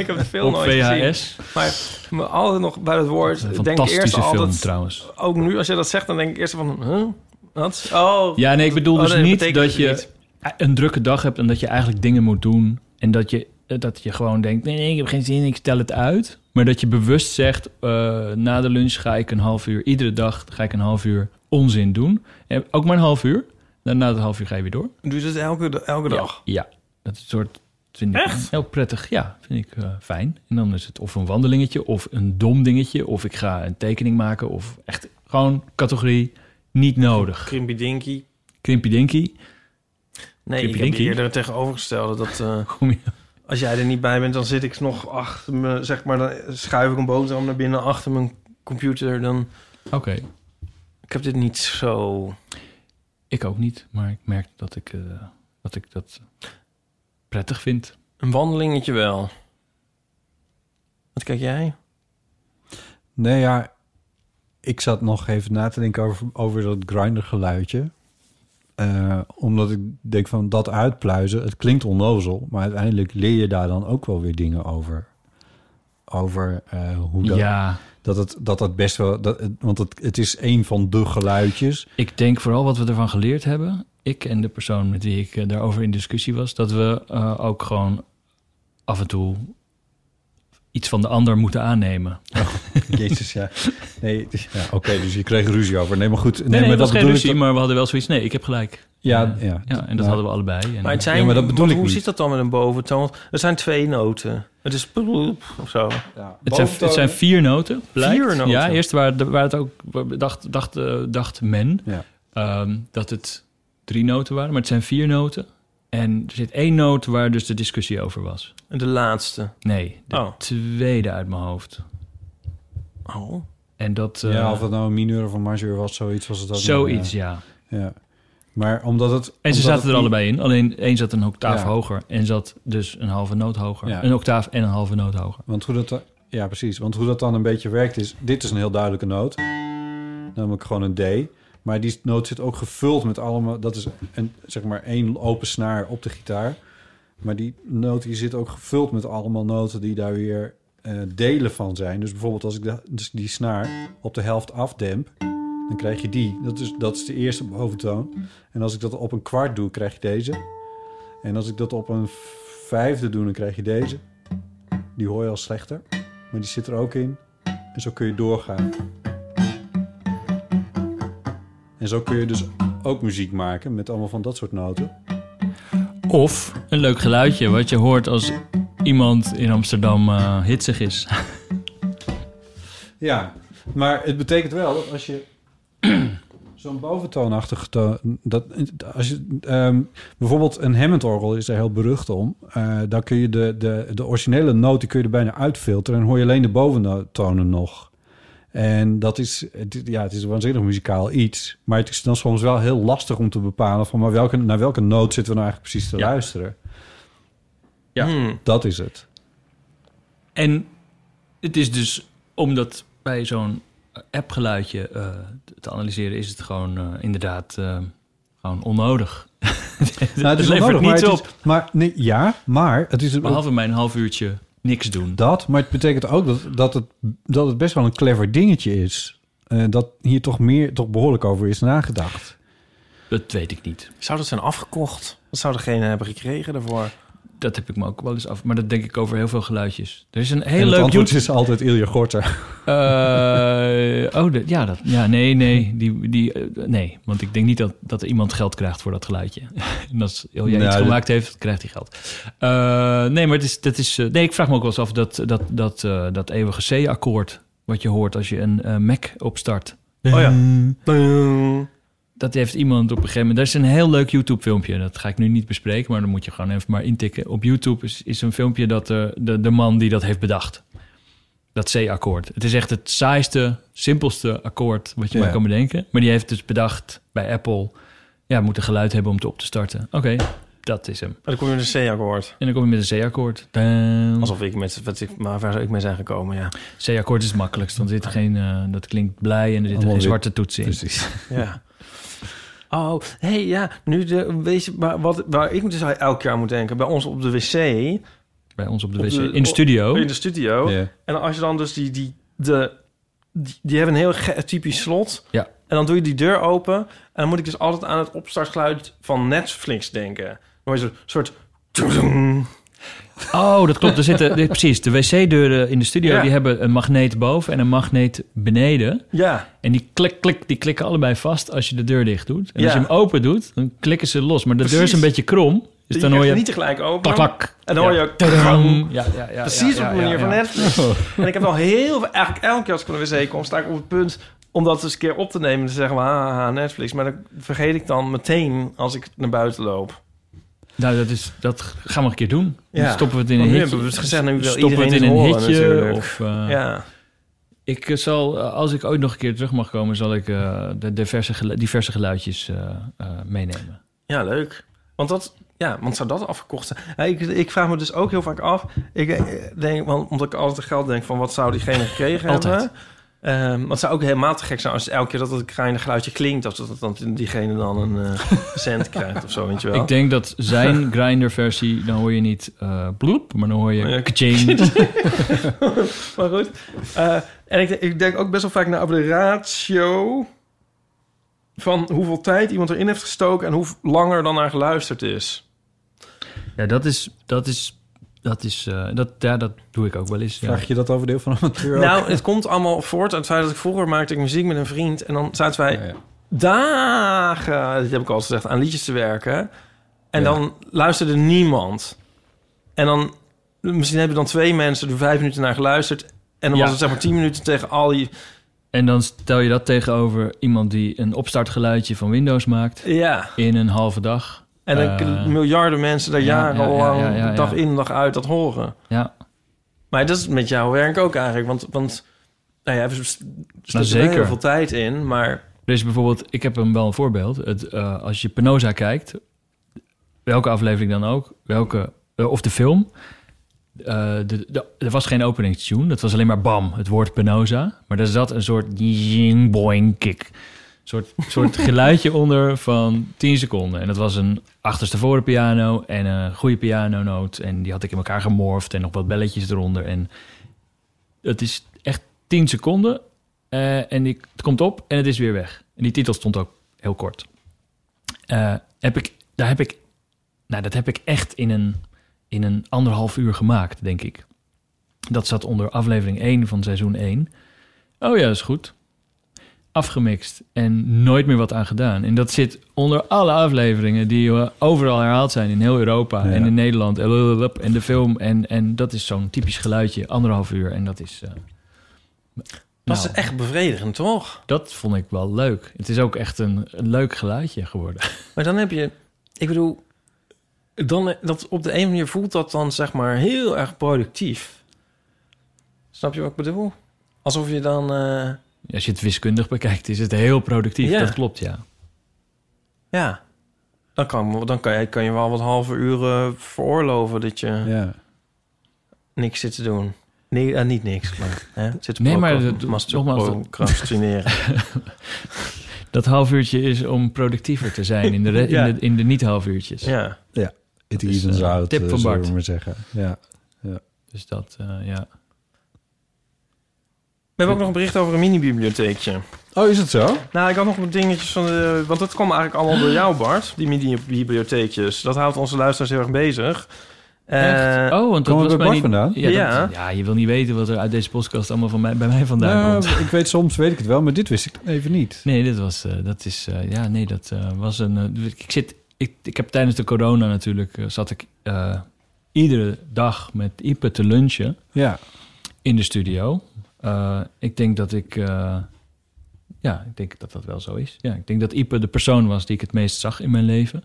Speaker 1: heb de film
Speaker 2: op
Speaker 1: nooit gezien.
Speaker 2: VHS.
Speaker 1: Maar, maar altijd nog bij dat woord.
Speaker 2: Een
Speaker 1: denk ik eerst
Speaker 2: fantastische film
Speaker 1: altijd,
Speaker 2: trouwens.
Speaker 1: Ook nu, als je dat zegt, dan denk ik eerst van... Huh? Wat? Oh.
Speaker 2: Ja, nee, ik bedoel
Speaker 1: Oh,
Speaker 2: dus
Speaker 1: nee, dat
Speaker 2: niet
Speaker 1: betekent
Speaker 2: dat
Speaker 1: het
Speaker 2: je
Speaker 1: niet.
Speaker 2: een drukke dag hebt en dat je eigenlijk dingen moet doen. En dat je, dat je gewoon denkt, nee, nee, ik heb geen zin, ik stel het uit. Maar dat je bewust zegt, eh, na de lunch ga ik een half uur, iedere dag ga ik een half uur onzin doen. En ook maar een half uur. Dan na het half uur ga je weer door.
Speaker 1: Doe je dat elke, elke dag?
Speaker 2: Ja, ja. dat is een soort... Vind ik Heel prettig, ja. Vind ik eh, fijn. En dan is het of een wandelingetje, of een dom dingetje... of ik ga een tekening maken, of echt gewoon categorie niet nodig.
Speaker 1: Krimpy Dinky.
Speaker 2: Krimpy Dinky,
Speaker 1: Nee,
Speaker 2: Krimpy
Speaker 1: ik heb
Speaker 2: Dinky?
Speaker 1: eerder het tegenovergestelde. Dat eh,
Speaker 2: kom je
Speaker 1: als jij er niet bij bent, dan zit ik nog achter me... Zeg maar, dan schuif ik een boterham naar binnen achter mijn computer. Dan,
Speaker 2: Oké,
Speaker 1: ik heb dit niet zo...
Speaker 2: ik ook niet, maar ik merk dat ik, eh, dat, ik dat prettig vind.
Speaker 1: Een wandelingetje wel. Wat kijk jij?
Speaker 3: Nee, ja. Ik zat nog even na te denken over, over dat grinder geluidje. Eh, omdat ik denk van dat uitpluizen, het klinkt onnozel, maar uiteindelijk leer je daar dan ook wel weer dingen over. Over eh, hoe dat,
Speaker 2: Ja,
Speaker 3: dat, het, dat dat best wel, dat, het- want het, het is één van de geluidjes.
Speaker 2: ik denk vooral wat we ervan geleerd hebben... ik en de persoon met wie ik eh, daarover in discussie was... dat we eh, ook gewoon af en toe iets van de ander moeten aannemen.
Speaker 3: Jezus, ja. Nee, ja, oké, dus je kreeg ruzie over. Nee, maar goed.
Speaker 2: Nee, nee,
Speaker 3: maar
Speaker 2: het was geen
Speaker 3: bedoel ik
Speaker 2: ruzie,
Speaker 3: dan-
Speaker 2: maar we hadden wel zoiets... nee, ik heb gelijk.
Speaker 3: Ja, ja,
Speaker 2: Ja, en dat hadden we allebei. En, eh,
Speaker 1: Maar, het zijn,
Speaker 3: Ja, maar dat
Speaker 1: want
Speaker 3: bedoel ik
Speaker 1: hoe
Speaker 3: niet.
Speaker 1: zit dat dan met een boventoon? Want Er zijn twee noten. Het is ploep of zo.
Speaker 2: Het zijn, het zijn vier noten. Blijkt.
Speaker 1: Vier noten?
Speaker 2: Ja, eerst waar, de- waar het ook waar- dacht, dacht, eh, dacht men
Speaker 3: Ja.
Speaker 2: ehm, dat het drie noten waren, maar het zijn vier noten. En er zit één noot waar dus de discussie over was.
Speaker 1: De laatste.
Speaker 2: Nee, de
Speaker 1: Oh.
Speaker 2: tweede uit mijn hoofd.
Speaker 1: Oh.
Speaker 2: En dat eh,
Speaker 3: Ja, of het nou een mineur of een majeur was, zoiets was het ook. nog,
Speaker 2: zoiets,
Speaker 3: ja.
Speaker 2: ja.
Speaker 3: Ja. Maar omdat het...
Speaker 2: En ze
Speaker 3: omdat
Speaker 2: zaten
Speaker 3: het
Speaker 2: er
Speaker 3: niet-
Speaker 2: allebei in. Alleen één zat een octaaf
Speaker 3: Ja.
Speaker 2: hoger en zat dus een halve noot hoger.
Speaker 3: Ja.
Speaker 2: Een octaaf en een halve noot hoger.
Speaker 3: Want hoe dat... Ja, precies. Want hoe dat dan een beetje werkt is... Dit is een heel duidelijke noot. Namelijk gewoon een D. Maar die noot zit ook gevuld met allemaal... Dat is een, zeg maar één open snaar op de gitaar. Maar die noot die zit ook gevuld met allemaal noten... die daar weer eh, delen van zijn. Dus bijvoorbeeld als ik de- dus die snaar op de helft afdemp... dan krijg je die. Dat is, dat is de eerste boventoon. En als ik dat op een kwart doe, krijg je deze. En als ik dat op een vijfde doe, dan krijg je deze. Die hoor je al slechter, maar die zit er ook in. En zo kun je doorgaan. En zo kun je dus ook muziek maken met allemaal van dat soort noten.
Speaker 2: Of een leuk geluidje wat je hoort als iemand in Amsterdam eh, hitsig is.
Speaker 3: Ja, maar het betekent wel dat als je zo'n boventoonachtige toon... Dat, als je, ehm, bijvoorbeeld een Hammond-orgel is er heel berucht om. Eh dan kun je de, de, de originele noten kun je er bijna uitfilteren... en hoor je alleen de boventonen nog. En dat is, het is- ja, het is een waanzinnig muzikaal iets. Maar het is dan soms wel heel lastig om te bepalen... van maar welke, naar welke noot zitten we nou eigenlijk precies te
Speaker 2: Ja.
Speaker 3: luisteren.
Speaker 2: Ja.
Speaker 1: Hmm.
Speaker 3: Dat is het.
Speaker 2: En het is dus omdat bij zo'n appgeluidje eh te analyseren, is het gewoon eh, inderdaad eh, gewoon onnodig.
Speaker 3: Nou, het is
Speaker 2: levert
Speaker 3: onnodig,
Speaker 2: niets
Speaker 3: maar het
Speaker 2: op.
Speaker 3: Is, maar, nee, ja, maar het is een,
Speaker 2: Behalve mijn half uurtje niks doen.
Speaker 3: dat. Maar het betekent ook dat, dat, het, dat het best wel een clever dingetje is. Eh, dat hier toch, meer, toch behoorlijk over is nagedacht.
Speaker 2: Dat weet ik niet.
Speaker 1: Zou dat zijn afgekocht? Wat zou degene hebben gekregen daarvoor?
Speaker 2: Dat heb ik me ook wel eens af. Maar dat denk ik over heel veel geluidjes. Er is een heel
Speaker 3: en het
Speaker 2: leuk
Speaker 3: antwoord
Speaker 2: YouTube...
Speaker 3: is altijd Ilja Gorter.
Speaker 2: Eh, oh, dat- ja, dat, ja, nee, nee. Die, die, eh, nee, want ik denk niet dat, dat iemand geld krijgt voor dat geluidje. en als Ilja
Speaker 3: Nou,
Speaker 2: iets
Speaker 3: dat-
Speaker 2: gemaakt heeft, krijgt hij geld. Eh, nee, maar het is, dat is, eh, nee, ik vraag me ook wel eens af dat, dat, dat, eh, dat eeuwige C-akkoord... wat je hoort als je een eh, Mac opstart.
Speaker 1: Oh ja.
Speaker 2: Dat heeft iemand op een gegeven moment... Er is een heel leuk YouTube-filmpje. Dat ga ik nu niet bespreken, maar dan moet je gewoon even maar intikken. Op YouTube is, is een filmpje dat eh, de, de man die dat heeft bedacht. Dat C-akkoord. Het is echt het saaiste, simpelste akkoord wat je
Speaker 3: Ja.
Speaker 2: maar kan bedenken. Maar die heeft dus bedacht bij Apple... Ja, moet een geluid hebben om het op te starten. Oké, dat is hem.
Speaker 1: Maar dan kom je met een C-akkoord.
Speaker 3: Hmm.
Speaker 2: En dan kom je met een C-akkoord. Dan-
Speaker 1: Alsof ik met... Wat ik, maar waar zou ik mee zijn gekomen, ja.
Speaker 2: C-akkoord is het makkelijkst, want er zit geen, eh, dat klinkt blij en er zitten
Speaker 3: Allemaal
Speaker 2: geen
Speaker 3: wit.
Speaker 2: zwarte toetsen in.
Speaker 3: Precies.
Speaker 1: Ja. Oh, hey, ja, nu de, weet je, maar wat, waar ik dus elk jaar aan moet denken, bij ons op de wc,
Speaker 2: Bij ons op de
Speaker 1: Op
Speaker 2: wc.
Speaker 1: de-
Speaker 2: in de studio.
Speaker 3: Oh.
Speaker 1: in de studio,
Speaker 3: Ja.
Speaker 1: en als je dan dus die, die, de, die, die hebben een heel ge- typisch slot,
Speaker 2: Ja.
Speaker 1: en dan doe je die deur open, en dan moet ik dus altijd aan het opstartgeluid van Netflix denken. Dan is een soort...
Speaker 2: Oh, dat klopt. Er zitten, nee, precies, de wc-deuren in de studio
Speaker 1: Ja.
Speaker 2: die hebben een magneet boven en een magneet beneden.
Speaker 1: Ja,
Speaker 2: En die, klik, klik, die klikken allebei vast als je de deur dicht doet. En als
Speaker 1: Ja.
Speaker 2: je hem open doet, dan klikken ze los. Maar de deur is
Speaker 1: Precies.
Speaker 2: een beetje krom. Dus
Speaker 1: dus
Speaker 2: dan hoor je...
Speaker 1: niet tegelijk open.
Speaker 2: klak, klak.
Speaker 1: En dan hoor je
Speaker 2: Ja.
Speaker 1: ook-
Speaker 2: Tadam. Ja, ja, ja,
Speaker 1: Precies op
Speaker 2: ja, ja,
Speaker 1: de manier
Speaker 2: ja.
Speaker 1: van Netflix. En ik heb al heel veel, eigenlijk elke keer als ik van de wc kom, sta ik op het punt om dat eens een keer op te nemen en te zeggen, haha, haha, ah, Netflix. Maar dat vergeet ik dan meteen als ik naar buiten loop.
Speaker 2: Nou, dat, is, dat gaan we een keer doen. Dan
Speaker 1: Ja.
Speaker 2: stoppen we het in een
Speaker 1: Want nu
Speaker 2: hitje.
Speaker 1: hebben we het gezegd, nu wil
Speaker 2: stoppen we het in
Speaker 1: iedereen
Speaker 2: een
Speaker 1: het horen
Speaker 2: hitje.
Speaker 1: natuurlijk.
Speaker 2: Of, eh,
Speaker 1: Ja,
Speaker 2: Ik eh, zal, eh, als ik ooit nog een keer terug mag komen, zal ik eh, de diverse, gelu- diverse geluidjes eh, eh, meenemen.
Speaker 1: ja leuk. Want dat... Ja, want zou dat afgekocht zijn? Ja, ik, ik vraag me dus ook heel vaak af. Ik eh, denk, want omdat ik altijd geld denk van wat zou diegene gekregen
Speaker 2: Altijd.
Speaker 1: hebben? Ehm, want het zou ook helemaal te gek zijn als elke keer dat het kleine geluidje klinkt, of dat, dat dan diegene dan een eh, cent krijgt of zo, weet je wel.
Speaker 2: Ik denk dat zijn grinder-versie, dan hoor je niet eh bloep, maar dan hoor
Speaker 3: Oh
Speaker 1: Ja.
Speaker 2: je kaching.
Speaker 1: Maar goed. Eh, en ik, ik denk ook best wel vaak naar over de ratio van hoeveel tijd iemand erin heeft gestoken en hoe langer dan naar geluisterd is.
Speaker 2: Ja, dat is, dat is, dat is, eh, dat, ja, dat doe ik ook wel eens. Ja.
Speaker 3: Vraag je dat over deel van amateur? ook?
Speaker 1: Nou, het komt allemaal voort uit het feit dat ik vroeger maakte ik muziek met een vriend en dan zaten wij
Speaker 3: Ja, ja.
Speaker 1: dagen, dit heb ik al eens gezegd, aan liedjes te werken. En dan luisterde niemand. En dan, misschien hebben dan twee mensen er vijf minuten naar geluisterd. En dan
Speaker 2: Ja.
Speaker 1: was het zeg maar tien minuten tegen al die...
Speaker 2: En dan stel je dat tegenover iemand die een opstartgeluidje van Windows maakt
Speaker 1: Ja.
Speaker 2: in een halve dag.
Speaker 1: En dan
Speaker 2: Eh,
Speaker 1: kunnen miljarden mensen daar
Speaker 2: ja,
Speaker 1: jarenlang,
Speaker 2: ja, ja, ja, ja.
Speaker 1: dag in, dag uit, dat horen.
Speaker 2: Ja,
Speaker 1: Maar dat is met jouw werk ook eigenlijk. Want, want nou ja, we s- stoppen er
Speaker 2: zeker.
Speaker 1: heel veel tijd in. Maar
Speaker 2: Er is Dus bijvoorbeeld, ik heb hem wel een voorbeeld. Het, eh, als je Penosa kijkt, welke aflevering dan ook, welke, eh, of de film. eh, de, de- er was geen openingstune, dat was alleen maar bam, het woord Penosa. Maar daar zat een soort jing boing kick. Een soort, soort geluidje onder van 10 seconden. En dat was een achterstevoren piano en een goede pianonoot. En die had ik in elkaar gemorfd en nog wat belletjes eronder. En het is echt 10 seconden eh, en ik, het komt op en het is weer weg. En die titel stond ook heel kort. Eh, heb ik, daar heb ik, nou, dat heb ik echt in een, in een anderhalf uur gemaakt, denk ik. Dat zat onder aflevering 1 van seizoen 1. Oh ja, dat is goed. afgemixt en nooit meer wat aan gedaan. En dat zit onder alle afleveringen die eh, overal herhaald zijn in heel Europa
Speaker 3: Ja.
Speaker 2: en in Nederland. En lululup, En de film. En, en dat is zo'n typisch geluidje, anderhalf uur. En dat is. eh,
Speaker 1: Dat
Speaker 2: nou,
Speaker 1: is echt bevredigend, toch?
Speaker 2: dat vond ik wel leuk. Het is ook echt een, een leuk geluidje geworden.
Speaker 1: Maar dan heb je, ik bedoel, dan, dat op de een manier voelt dat dan zeg maar heel erg productief. Snap je wat ik bedoel? Alsof je dan, eh,
Speaker 2: Als je het wiskundig bekijkt, is het heel productief.
Speaker 1: Ja.
Speaker 2: Dat klopt, ja.
Speaker 1: ja, dan kan, dan kan je, kan je wel wat halve uren veroorloven dat je
Speaker 3: Ja.
Speaker 1: niks zit te doen. Nee, eh, niet niks, maar hè, zit te
Speaker 2: Nee, maar
Speaker 1: pro-
Speaker 2: dat- nogmaals, dat-
Speaker 1: masturberen.
Speaker 2: Dat half uurtje is om productiever te zijn in de, re-
Speaker 1: Ja.
Speaker 2: in de, in de niet-half uurtjes.
Speaker 1: ja,
Speaker 3: It
Speaker 2: is,
Speaker 3: evens
Speaker 2: eh,
Speaker 3: out,
Speaker 2: tip
Speaker 3: eh,
Speaker 2: van
Speaker 3: zullen
Speaker 2: Bart.
Speaker 3: we maar zeggen. Ja.
Speaker 2: Dus dat, eh, ja.
Speaker 1: we hebben ook nog een bericht over een mini-bibliotheekje.
Speaker 3: Oh, is het zo?
Speaker 1: Nou, ik had nog wat dingetjes van de... Want dat kwam eigenlijk allemaal door jou, Bart. Die mini-bibliotheekjes. Dat houdt onze luisteraars heel erg bezig. Eh,
Speaker 2: Echt? Oh, want dat
Speaker 3: Komen
Speaker 2: was
Speaker 3: we bij
Speaker 2: mij
Speaker 3: Bart
Speaker 2: niet...
Speaker 3: vandaan?
Speaker 2: Ja,
Speaker 1: Ja.
Speaker 2: dat- ja, je wil niet weten wat er uit deze podcast allemaal van mij, bij mij vandaan
Speaker 3: Nou,
Speaker 2: komt.
Speaker 3: ik weet soms, weet ik het wel, maar dit wist ik dan even niet.
Speaker 2: Nee, dit was, eh, dat is, eh, ja, nee, dat eh, was een, eh, ik zit, ik, ik heb tijdens de corona natuurlijk, eh, zat ik eh, iedere dag met Ipe te lunchen.
Speaker 3: Ja.
Speaker 2: in de studio. Eh, ik denk dat ik. eh, ja, ik denk dat dat wel zo is. Ja, ik denk dat Ipe de persoon was die ik het meest zag in mijn leven.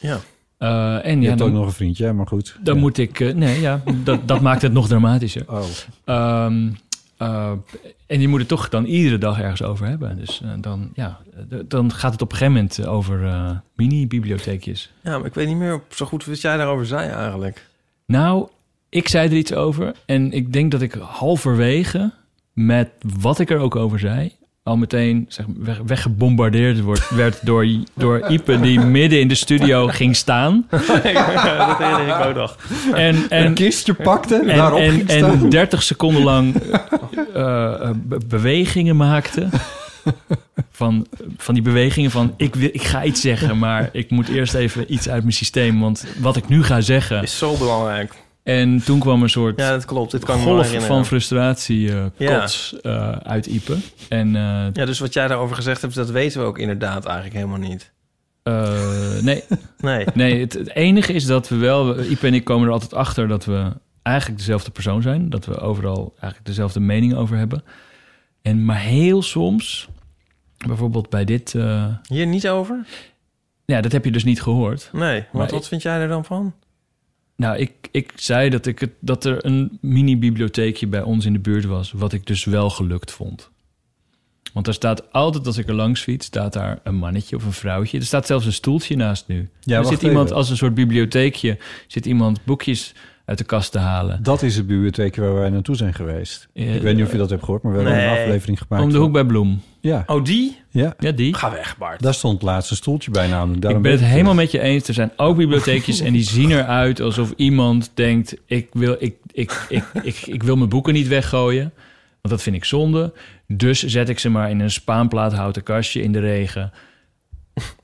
Speaker 1: Ja.
Speaker 2: Eh, en
Speaker 3: Je
Speaker 2: ja,
Speaker 3: hebt
Speaker 2: dan,
Speaker 3: ook nog een vriendje, maar goed.
Speaker 2: dan
Speaker 3: Ja.
Speaker 2: moet ik. eh, nee, ja, dat, dat maakt het nog dramatischer.
Speaker 3: Oh,
Speaker 2: Ehm, eh, en je moet het toch dan iedere dag ergens over hebben. Dus eh, dan, ja, eh, dan gaat het op een gegeven moment over eh, mini-bibliotheekjes.
Speaker 1: ja, maar ik weet niet meer zo goed wat jij daarover zei eigenlijk.
Speaker 2: Nou, ik zei er iets over. En ik denk dat ik halverwege, met wat ik er ook over zei, al meteen zeg, maar, weg, weggebombardeerd wordt, werd door, door Ipe, die midden in de studio ging staan.
Speaker 1: dat herinner ik ook nog.
Speaker 2: En, en,
Speaker 3: een kistje pakte, en,
Speaker 2: en,
Speaker 3: daarop
Speaker 2: en,
Speaker 3: ging staan.
Speaker 2: en 30 seconden lang eh, eh, be- bewegingen maakte. Van, van die bewegingen van ik, wil, ik ga iets zeggen, maar ik moet eerst even iets uit mijn systeem. Want wat ik nu ga zeggen.
Speaker 1: Is zo belangrijk.
Speaker 2: En toen kwam een soort
Speaker 1: Ja, dat klopt. Dit kan ik me wel
Speaker 2: golf van
Speaker 1: herinneren.
Speaker 2: frustratie eh
Speaker 1: Ja.
Speaker 2: kots eh, uit Ipe. En eh,
Speaker 1: Ja, dus wat jij daarover gezegd hebt, dat weten we ook inderdaad eigenlijk helemaal niet.
Speaker 2: eh, nee,
Speaker 1: Nee.
Speaker 2: nee het, het enige is dat we wel... Ipe en ik komen er altijd achter dat we eigenlijk dezelfde persoon zijn. Dat we overal eigenlijk dezelfde mening over hebben. En maar heel soms, bijvoorbeeld bij dit... eh,
Speaker 1: Hier niet over?
Speaker 2: ja, dat heb je dus niet gehoord.
Speaker 1: Nee.
Speaker 2: Maar
Speaker 1: Wat,
Speaker 2: ik-
Speaker 1: wat vind jij er dan van?
Speaker 2: Nou, ik, ik zei dat, ik het, dat er een mini-bibliotheekje bij ons in de buurt was, wat ik dus wel gelukt vond. Want daar staat altijd, als ik er langs fiets, staat daar een mannetje of een vrouwtje. Er staat zelfs een stoeltje naast nu. er
Speaker 3: wacht
Speaker 2: zit iemand
Speaker 3: even.
Speaker 2: als een soort bibliotheekje, zit iemand boekjes uit de kast te halen.
Speaker 3: Dat is de bibliotheekje waar wij naartoe zijn geweest.
Speaker 2: Ja,
Speaker 3: ik weet niet of je dat hebt gehoord, maar we hebben
Speaker 1: Nee.
Speaker 3: een aflevering gemaakt.
Speaker 2: Om de
Speaker 3: van-
Speaker 2: hoek bij Bloem.
Speaker 3: Ja,
Speaker 1: Oh, die?
Speaker 3: ja.
Speaker 2: Ja, die.
Speaker 1: Ga weg, Bart.
Speaker 3: Daar stond laatst een stoeltje bij namelijk. Daarom
Speaker 2: Ik ben het
Speaker 3: weet ik
Speaker 2: helemaal met je eens. Er zijn ook bibliotheekjes en die zien eruit alsof iemand denkt... Ik wil, ik, ik, ik, ik, ik wil mijn boeken niet weggooien, want dat vind ik zonde. Dus zet ik ze maar in een spaanplaathouten kastje in de regen.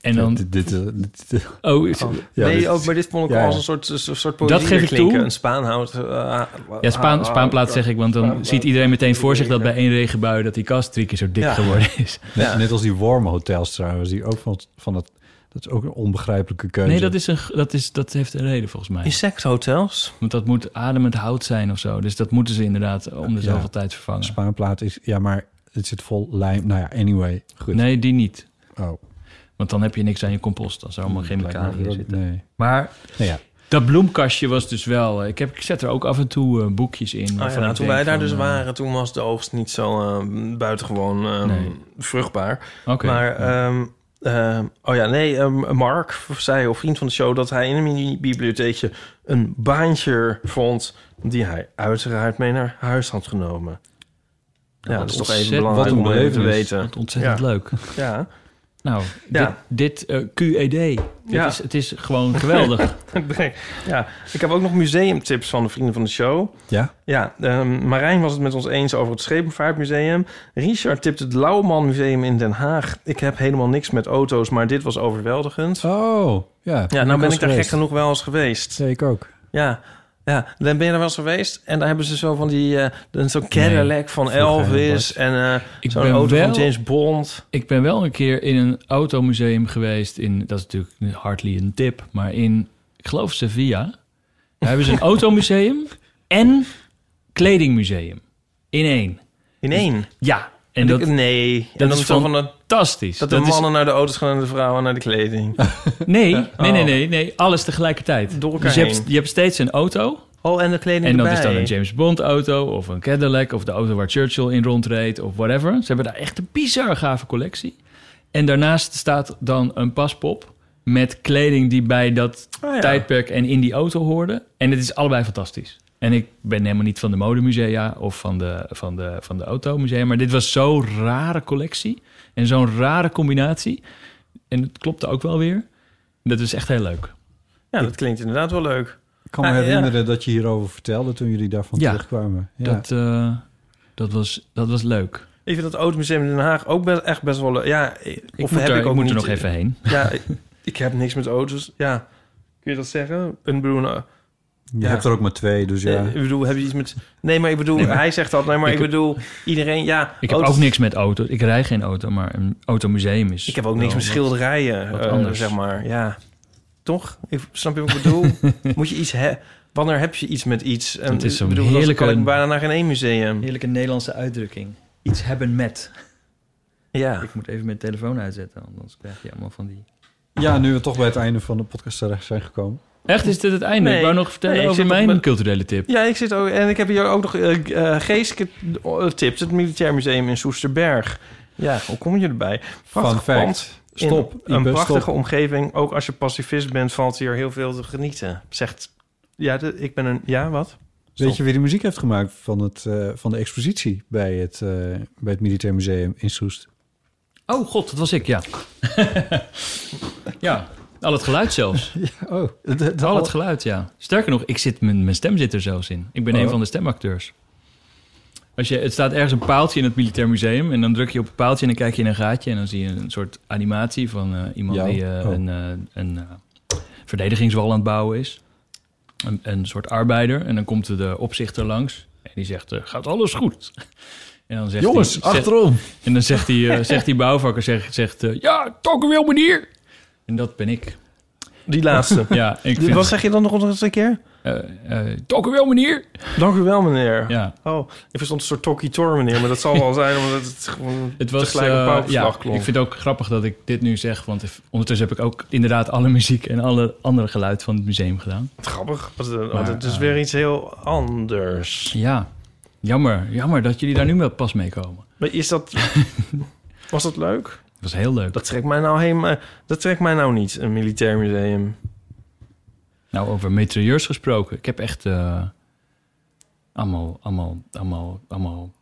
Speaker 2: En
Speaker 3: het.
Speaker 2: dan...
Speaker 3: Dit, dit, eh, dit- dit-
Speaker 2: Oh, is-
Speaker 3: ja,
Speaker 1: nee,
Speaker 3: dit-
Speaker 1: ook bij dit vond ik
Speaker 3: ja,
Speaker 1: als
Speaker 3: ja.
Speaker 1: een soort, een soort poëzie
Speaker 2: geef ik
Speaker 1: klinken.
Speaker 2: toe.
Speaker 1: Een spaanhout. eh,
Speaker 2: ja, Spaan, oh, spaanplaat zeg ik, want dan ziet iedereen meteen voor zich... dat bij één regenbui dat die kast drie keer zo dik
Speaker 1: Ja.
Speaker 2: geworden is.
Speaker 3: net,
Speaker 1: Ja.
Speaker 3: net als die wormhotels trouwens, die ook van, van dat... Dat is ook een onbegrijpelijke keuze.
Speaker 2: Nee, dat, is een, dat, is, dat heeft een reden volgens mij.
Speaker 1: Insecthotels?
Speaker 2: Want dat moet ademend hout zijn of zo. Dus dat moeten ze inderdaad om de
Speaker 3: Ja.
Speaker 2: zoveel tijd vervangen.
Speaker 3: Spaanplaat is... Ja, maar het zit vol lijm. Nou ja, anyway. Goed.
Speaker 2: Nee, die niet.
Speaker 3: Oh.
Speaker 2: Want dan heb je niks aan je compost als er allemaal chemicaliën in zitten.
Speaker 3: Nee.
Speaker 2: Maar
Speaker 3: Nou ja.
Speaker 2: dat bloemkastje was dus wel... eh, Ik, heb, ik zet er ook af en toe eh, boekjes in.
Speaker 1: Ah, ja,
Speaker 2: waarvan
Speaker 1: nou,
Speaker 2: ik
Speaker 1: toen
Speaker 2: denk
Speaker 1: wij daar
Speaker 2: van,
Speaker 1: dus
Speaker 2: eh,
Speaker 1: waren, toen was de oogst niet zo eh, buitengewoon eh,
Speaker 2: Nee.
Speaker 1: vruchtbaar.
Speaker 2: Oké.
Speaker 1: maar, ehm, ehm, oh ja, nee, ehm, Mark zei, of vriend van de show, dat hij in een mini-bibliotheekje een baantje vond die hij uiteraard mee naar huis had genomen. Ja,
Speaker 2: Nou,
Speaker 1: dat
Speaker 2: wat
Speaker 1: is toch even
Speaker 2: ontzettend-
Speaker 1: belangrijk
Speaker 3: wat een
Speaker 1: om even te
Speaker 3: belevenis.
Speaker 1: weten.
Speaker 2: Wat ontzettend
Speaker 1: Ja.
Speaker 2: leuk.
Speaker 1: Ja,
Speaker 2: Nou,
Speaker 1: Ja.
Speaker 2: dit, dit eh, QED. Dit
Speaker 1: Ja.
Speaker 2: is, het is gewoon geweldig.
Speaker 1: Nee. ja, ik heb ook nog museumtips van de vrienden van de show.
Speaker 3: Ja?
Speaker 1: Ja, ehm, Marijn was het met ons eens over het Schepenvaartmuseum. Richard tipte het Lauwman Museum in Den Haag. Ik heb helemaal niks met auto's, maar dit was overweldigend.
Speaker 3: Oh, ja.
Speaker 1: ja, nou ben
Speaker 3: was
Speaker 1: ik daar gek
Speaker 3: geweest.
Speaker 1: genoeg wel eens geweest.
Speaker 3: Ja, ik ook.
Speaker 1: Ja, Ja, dan ben je er wel eens geweest en daar hebben ze zo van die eh, dan zo'n Cadillac van Elvis en eh,
Speaker 2: Ik
Speaker 1: zo'n
Speaker 2: ben
Speaker 1: auto
Speaker 2: wel-
Speaker 1: van James Bond.
Speaker 2: Ik ben wel een keer in een automuseum geweest. In, dat is natuurlijk hardly een tip, maar in, ik geloof Sevilla. Daar hebben ze een automuseum en kledingmuseum. In één.
Speaker 1: In één?
Speaker 2: ja. En
Speaker 1: En
Speaker 2: dat,
Speaker 1: ik- nee. En
Speaker 2: dat
Speaker 1: dan
Speaker 2: is
Speaker 1: zo van een-
Speaker 2: fantastisch.
Speaker 1: Dat de
Speaker 2: is-
Speaker 1: mannen naar de auto's gaan en de vrouwen naar de kleding.
Speaker 2: Nee,
Speaker 1: Oh.
Speaker 2: nee, nee, nee, nee. Alles tegelijkertijd. Door
Speaker 1: elkaar
Speaker 2: dus je hebt,
Speaker 1: heen.
Speaker 2: je hebt steeds een auto.
Speaker 1: Oh, en de kleding
Speaker 2: En dat
Speaker 1: erbij.
Speaker 2: is dan een James Bond auto of een Cadillac... of de auto waar Churchill in rondreed of whatever. Ze hebben daar echt een bizar gave collectie. En daarnaast staat dan een paspop... met kleding die bij dat
Speaker 1: Oh ja.
Speaker 2: tijdperk en in die auto hoorde. En het is allebei fantastisch. En ik ben helemaal niet van de modemusea of van de, van de, van de automusea... maar dit was zo'n rare collectie en zo'n rare combinatie. En het klopte ook wel weer. Dat is echt heel leuk.
Speaker 1: Ja, dat klinkt inderdaad wel leuk.
Speaker 3: Ik kan me
Speaker 1: Ah,
Speaker 3: herinneren dat je hierover vertelde toen jullie daarvan
Speaker 2: Ja.
Speaker 3: terugkwamen. Ja.
Speaker 2: Dat, eh, dat, was, dat was leuk.
Speaker 1: Ik vind dat Automuseum in Den Haag ook best, echt best wel leuk. Ja, eh, of
Speaker 2: moet
Speaker 1: heb ik
Speaker 2: er-
Speaker 1: ook
Speaker 2: ik eh, moet er
Speaker 1: niet-
Speaker 2: nog even heen.
Speaker 1: Ja, ik- ik heb niks met auto's. Ja, kun je dat zeggen? Een Bruno.
Speaker 3: Je hebt er ook maar twee, dus ja.
Speaker 1: eh, Ik bedoel, heb je iets met... Nee, maar ik bedoel,
Speaker 2: Nee, maar-
Speaker 1: hij zegt dat. Nee, maar ik,
Speaker 2: Ik heb-
Speaker 1: bedoel, iedereen... Ja,
Speaker 2: Ik heb
Speaker 1: auto's-
Speaker 2: ook niks met auto's. Ik rij geen auto, maar een automuseum is...
Speaker 1: Ik heb ook niks met schilderijen,
Speaker 2: Wat
Speaker 1: eh,
Speaker 2: anders.
Speaker 1: zeg maar. Ja, toch? Ik, snap je wat ik bedoel? Moet je iets... He, wanneer heb je iets met iets? En,
Speaker 2: Dat is zo'n
Speaker 1: ik bedoel, dan
Speaker 2: heerlijke-
Speaker 1: kan ik bijna naar geen één museum.
Speaker 2: Heerlijke Nederlandse uitdrukking. Iets hebben met.
Speaker 1: Ja.
Speaker 2: Ik moet even mijn telefoon uitzetten, anders krijg je allemaal van die...
Speaker 3: ja, nu we toch bij het einde van de podcast terecht zijn gekomen.
Speaker 2: Echt, is dit het einde?
Speaker 1: Nee.
Speaker 2: Ik wou nog vertellen
Speaker 1: Nee, ik
Speaker 2: over
Speaker 1: zit op
Speaker 2: mijn
Speaker 1: mijn-
Speaker 2: culturele tip.
Speaker 1: Ja, ik zit ook... En ik heb hier ook nog eh eh, geestelijke eh, tips. Het Militair Museum in Soesterberg. Ja, hoe kom je erbij? Prachtig
Speaker 3: fact.
Speaker 1: pand. In
Speaker 3: Stop,
Speaker 1: Een
Speaker 3: Ipe,
Speaker 1: prachtige
Speaker 3: stop.
Speaker 1: omgeving. Ook als je pacifist bent, valt hier heel veel te genieten. Zegt... Ja, de- ik ben een... Ja, wat?
Speaker 3: Weet je wie de muziek heeft gemaakt van, het, eh, van de expositie bij het, eh, bij het Militair Museum in Soest?
Speaker 2: Oh god, dat was ik, ja. ja, al het geluid zelfs.
Speaker 3: oh.
Speaker 2: al het geluid, ja. Sterker nog, ik zit, mijn, mijn stem zit er zelfs in. Ik ben
Speaker 3: Oh.
Speaker 2: een van de stemacteurs. Als je, het staat ergens een paaltje in het Militair Museum... en dan druk je op het paaltje en dan kijk je in een gaatje... en dan zie je een soort animatie van eh, iemand
Speaker 3: Jou?
Speaker 2: die eh,
Speaker 3: Oh.
Speaker 2: een, eh, een eh, verdedigingswal aan het bouwen is. Een, een soort arbeider. En dan komt de opzichter langs en die zegt... eh, gaat alles goed? En dan zegt
Speaker 3: Jongens,
Speaker 2: hij-
Speaker 3: achterom.
Speaker 2: En dan zegt die, eh, zegt die bouwvakker, zegt, zegt eh, ja, toch een wil meneer. En dat ben ik.
Speaker 1: Die laatste.
Speaker 2: Ja, ik vind...
Speaker 1: Wat zeg je dan nog eens een keer?
Speaker 2: eh, eh, toch een wil meneer.
Speaker 1: Dank u wel, meneer.
Speaker 2: Ja.
Speaker 1: Oh, ik verstond een soort Tokkie Tor, meneer. Maar dat zal wel zijn, omdat het gewoon
Speaker 2: Het was,
Speaker 1: tegelijk een
Speaker 2: eh,
Speaker 1: pauwverslag
Speaker 2: ja,
Speaker 1: klonk.
Speaker 2: ik vind het ook grappig dat ik dit nu zeg, want if- ondertussen heb ik ook inderdaad alle muziek en alle andere geluid van het museum gedaan.
Speaker 1: het grappig. want, eh, want
Speaker 2: Maar,
Speaker 1: het is
Speaker 2: eh,
Speaker 1: weer iets heel anders.
Speaker 2: Ja, jammer, jammer dat jullie daar nu wel pas mee komen.
Speaker 1: Maar is dat... was dat leuk?
Speaker 2: Dat was heel leuk.
Speaker 1: Dat trekt mij nou helemaal... Dat trekt mij nou niet, een militair museum.
Speaker 2: Nou, over metrailleurs gesproken. Ik heb echt eh, allemaal, allemaal, allemaal, allemaal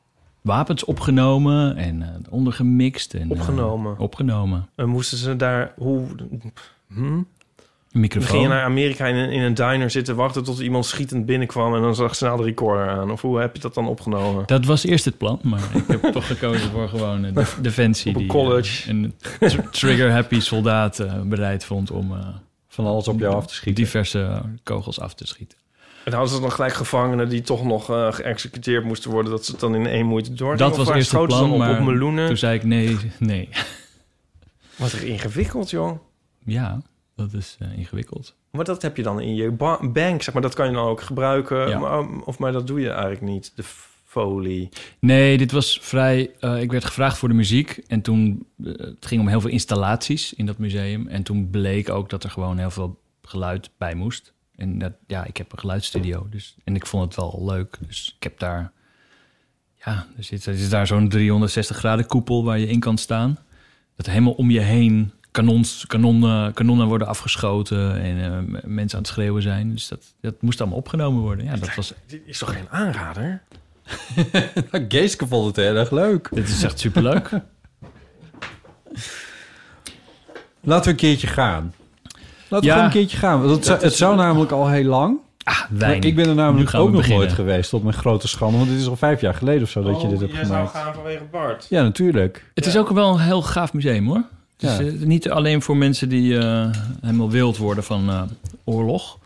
Speaker 2: wapens opgenomen en eh, ondergemixt. En, eh,
Speaker 1: Opgenomen.
Speaker 2: opgenomen.
Speaker 1: En Eh, moesten ze daar... Hoe... Hm?
Speaker 2: Een
Speaker 1: Dan
Speaker 2: microfoon.
Speaker 1: ging je naar Amerika in een, in een diner zitten wachten... tot iemand schietend binnenkwam en dan zag snel de recorder aan. Of hoe heb je dat dan opgenomen?
Speaker 2: Dat was eerst het plan, maar ik heb toch gekozen voor gewoon eh, de, Defensie.
Speaker 1: Op een
Speaker 2: die,
Speaker 1: college.
Speaker 2: eh, een tr- trigger-happy soldaat eh, bereid vond om eh,
Speaker 3: Van alles op jou af te schieten.
Speaker 2: diverse kogels af te schieten.
Speaker 1: En hadden ze dan gelijk gevangenen die toch nog eh, geëxecuteerd moesten worden... dat ze het dan in één moeite doorgingen?
Speaker 2: Dat
Speaker 1: Of
Speaker 2: was
Speaker 1: waar
Speaker 2: eerst het
Speaker 1: schoten ze
Speaker 2: plan,
Speaker 1: dan op,
Speaker 2: maar dus-
Speaker 1: op meloenen?
Speaker 2: toen zei ik nee, nee.
Speaker 1: Wat er ingewikkeld, joh.
Speaker 2: Ja, dat is eh, ingewikkeld.
Speaker 1: Maar dat heb je dan in je ba- bank, zeg maar. Dat kan je dan ook gebruiken.
Speaker 2: Ja.
Speaker 1: Maar, um, of maar dat doe je eigenlijk niet, de f- folie.
Speaker 2: Nee, dit was vrij... eh, ik werd gevraagd voor de muziek en toen... eh, het ging om heel veel installaties in dat museum. En toen bleek ook dat er gewoon heel veel geluid bij moest. En dat, ja, ik heb een geluidsstudio. Dus, en ik vond het wel leuk. Dus ik heb daar... Ja, er zit, er zit daar zo'n 360 graden koepel waar je in kan staan. Dat helemaal om je heen kanons, kanonnen, kanonnen worden afgeschoten... en eh, mensen aan het schreeuwen zijn. Dus dat, dat moest allemaal opgenomen worden. Ja, dat was
Speaker 1: Dit is toch geen aanrader?
Speaker 3: Geeske vond het heel erg leuk.
Speaker 2: Dit is echt superleuk.
Speaker 3: Laten we een keertje gaan. Laten we
Speaker 2: Ja.
Speaker 3: gewoon een keertje gaan. want Het, zou- het zou namelijk al heel lang.
Speaker 2: Wijn.
Speaker 3: Ik ben er
Speaker 2: Nu
Speaker 3: namelijk
Speaker 2: gaan we
Speaker 3: ook nog
Speaker 2: beginnen.
Speaker 3: nooit geweest, tot mijn grote schande. Want dit is al vijf jaar geleden of zo dat
Speaker 1: Oh,
Speaker 3: je dit hebt gemaakt.
Speaker 1: vanwege Bart.
Speaker 3: Ja, natuurlijk.
Speaker 2: Het is ook wel een heel gaaf museum hoor. Het is
Speaker 3: Ja.
Speaker 2: eh, niet alleen voor mensen die eh, helemaal wild worden van eh, oorlog.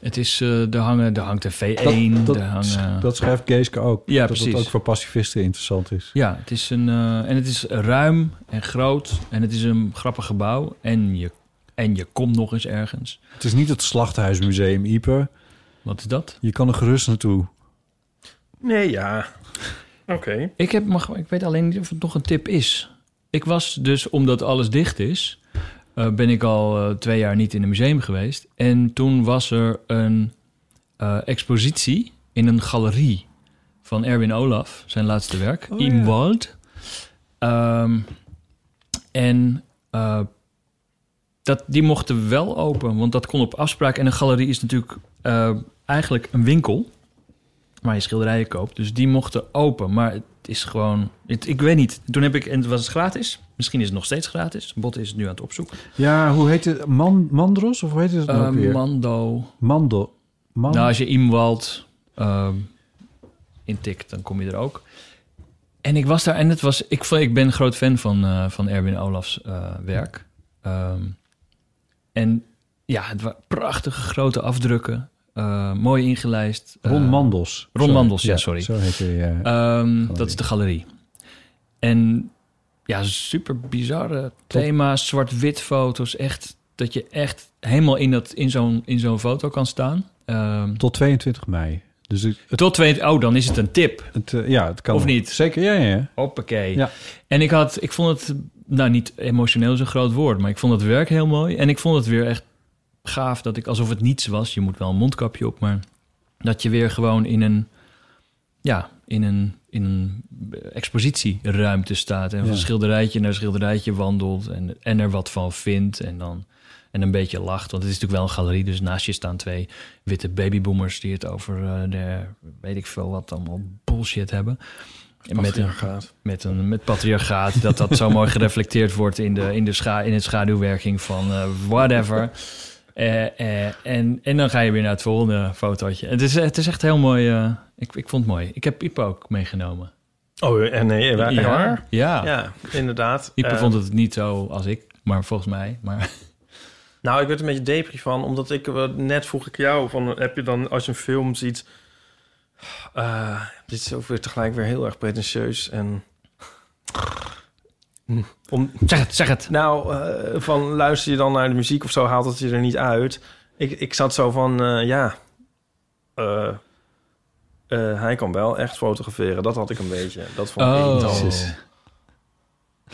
Speaker 2: Het is, eh er, hangen, er hangt een V1,
Speaker 3: dat,
Speaker 2: er hangen...
Speaker 3: dat schrijft Geeske ook.
Speaker 2: Ja,
Speaker 3: dat
Speaker 2: precies.
Speaker 3: het ook voor pacifisten interessant is.
Speaker 2: Ja, het is een, eh, en het is ruim en groot en het is een grappig gebouw en je, en je komt nog eens ergens.
Speaker 3: Het is niet het Slachthuismuseum, Ieper.
Speaker 2: Wat is dat?
Speaker 3: Je kan er gerust naartoe.
Speaker 1: Nee, ja. Oké.
Speaker 2: Ik, heb, maar, ik weet alleen niet of het nog een tip is. Ik was dus, omdat alles dicht is, eh, ben ik al eh, twee jaar niet in een museum geweest. En toen was er een eh, expositie in een galerie van Erwin Olaf, zijn laatste werk,
Speaker 9: Oh,
Speaker 2: in
Speaker 9: ja.
Speaker 2: Wald. Ehm, en eh, dat, die mochten wel open, want dat kon op afspraak. En een galerie is natuurlijk eh, eigenlijk een winkel waar je schilderijen koopt. Dus die mochten open. Maar het is gewoon... Het, ik weet niet. Toen heb ik... En was het gratis? Misschien is het nog steeds gratis. Bot is het nu aan het opzoeken.
Speaker 3: Ja, hoe heet het? Man, Mandros? Of hoe heet het nou
Speaker 2: Eh,
Speaker 3: weer?
Speaker 2: Mando.
Speaker 3: Mando. Man-
Speaker 2: Nou, als je Imwald ehm, intikt, dan kom je er ook. En ik was daar en het was... Ik, vond- ik ben groot fan van, eh, van Erwin Olafs eh, werk. Ehm, en ja, het waren prachtige grote afdrukken. eh, mooi ingelijst.
Speaker 3: Ron
Speaker 2: Eh,
Speaker 3: Mandels.
Speaker 2: Ron
Speaker 3: Sorry.
Speaker 2: Mandels, ja,
Speaker 3: Ja,
Speaker 2: sorry.
Speaker 3: zo heet hij, eh,
Speaker 2: Ehm, dat is de galerie. En ja, super bizarre thema's, zwart-wit foto's. Echt dat je echt helemaal in, dat- in zo'n in zo'n foto kan staan. Ehm,
Speaker 3: Tot 22 mei. Dus het,
Speaker 2: tot twee, oh, dan is het een tip.
Speaker 3: het, eh, ja, het kan.
Speaker 2: Of niet?
Speaker 3: Zeker, ja, ja.
Speaker 2: Hoppakee. En ik had, ik vond het, nou niet emotioneel is een groot woord, maar ik vond het werk heel mooi. En ik vond het weer echt gaaf dat ik, alsof het niets was, je moet wel een mondkapje op, maar dat je weer gewoon in een, ja, in een, in een expositieruimte staat. En
Speaker 9: Ja.
Speaker 2: van schilderijtje naar schilderijtje wandelt en, en er wat van vindt en dan... En een beetje lacht, want het is natuurlijk wel een galerie. Dus naast je staan twee witte babyboomers die het over eh, de, weet ik veel wat, allemaal bullshit hebben. En met een-
Speaker 1: Patriarchaat.
Speaker 2: Met, een, met patriarchaat, dat dat zo mooi gereflecteerd wordt in de, in de, scha in het schaduwwerking van eh, whatever. Eh, eh, en, en dan ga je weer naar het volgende fotootje. Het is, het is echt heel mooi. eh, ik, ik vond het mooi. Ik heb Ipe ook meegenomen.
Speaker 1: Oh, en nee, waar? echt
Speaker 2: Ja.
Speaker 1: waar?
Speaker 2: Ja.
Speaker 1: Ja, inderdaad.
Speaker 2: Ipe
Speaker 1: Eh,
Speaker 2: vond het niet zo als ik, maar volgens mij. Maar
Speaker 1: Nou, ik werd een beetje depri van, omdat ik eh, net vroeg ik jou van, heb je dan als je een film ziet, eh, dit is ook weer tegelijk weer heel erg pretentieus en. Hm, Om,
Speaker 2: zeg het, zeg het.
Speaker 1: Nou, eh, van luister je dan naar de muziek of zo, haalt het je er niet uit. Ik, ik zat zo van, eh, ja, eh, eh, hij kan wel echt fotograferen. Dat had ik een beetje. Dat vond ik
Speaker 2: Oh.
Speaker 1: irritant.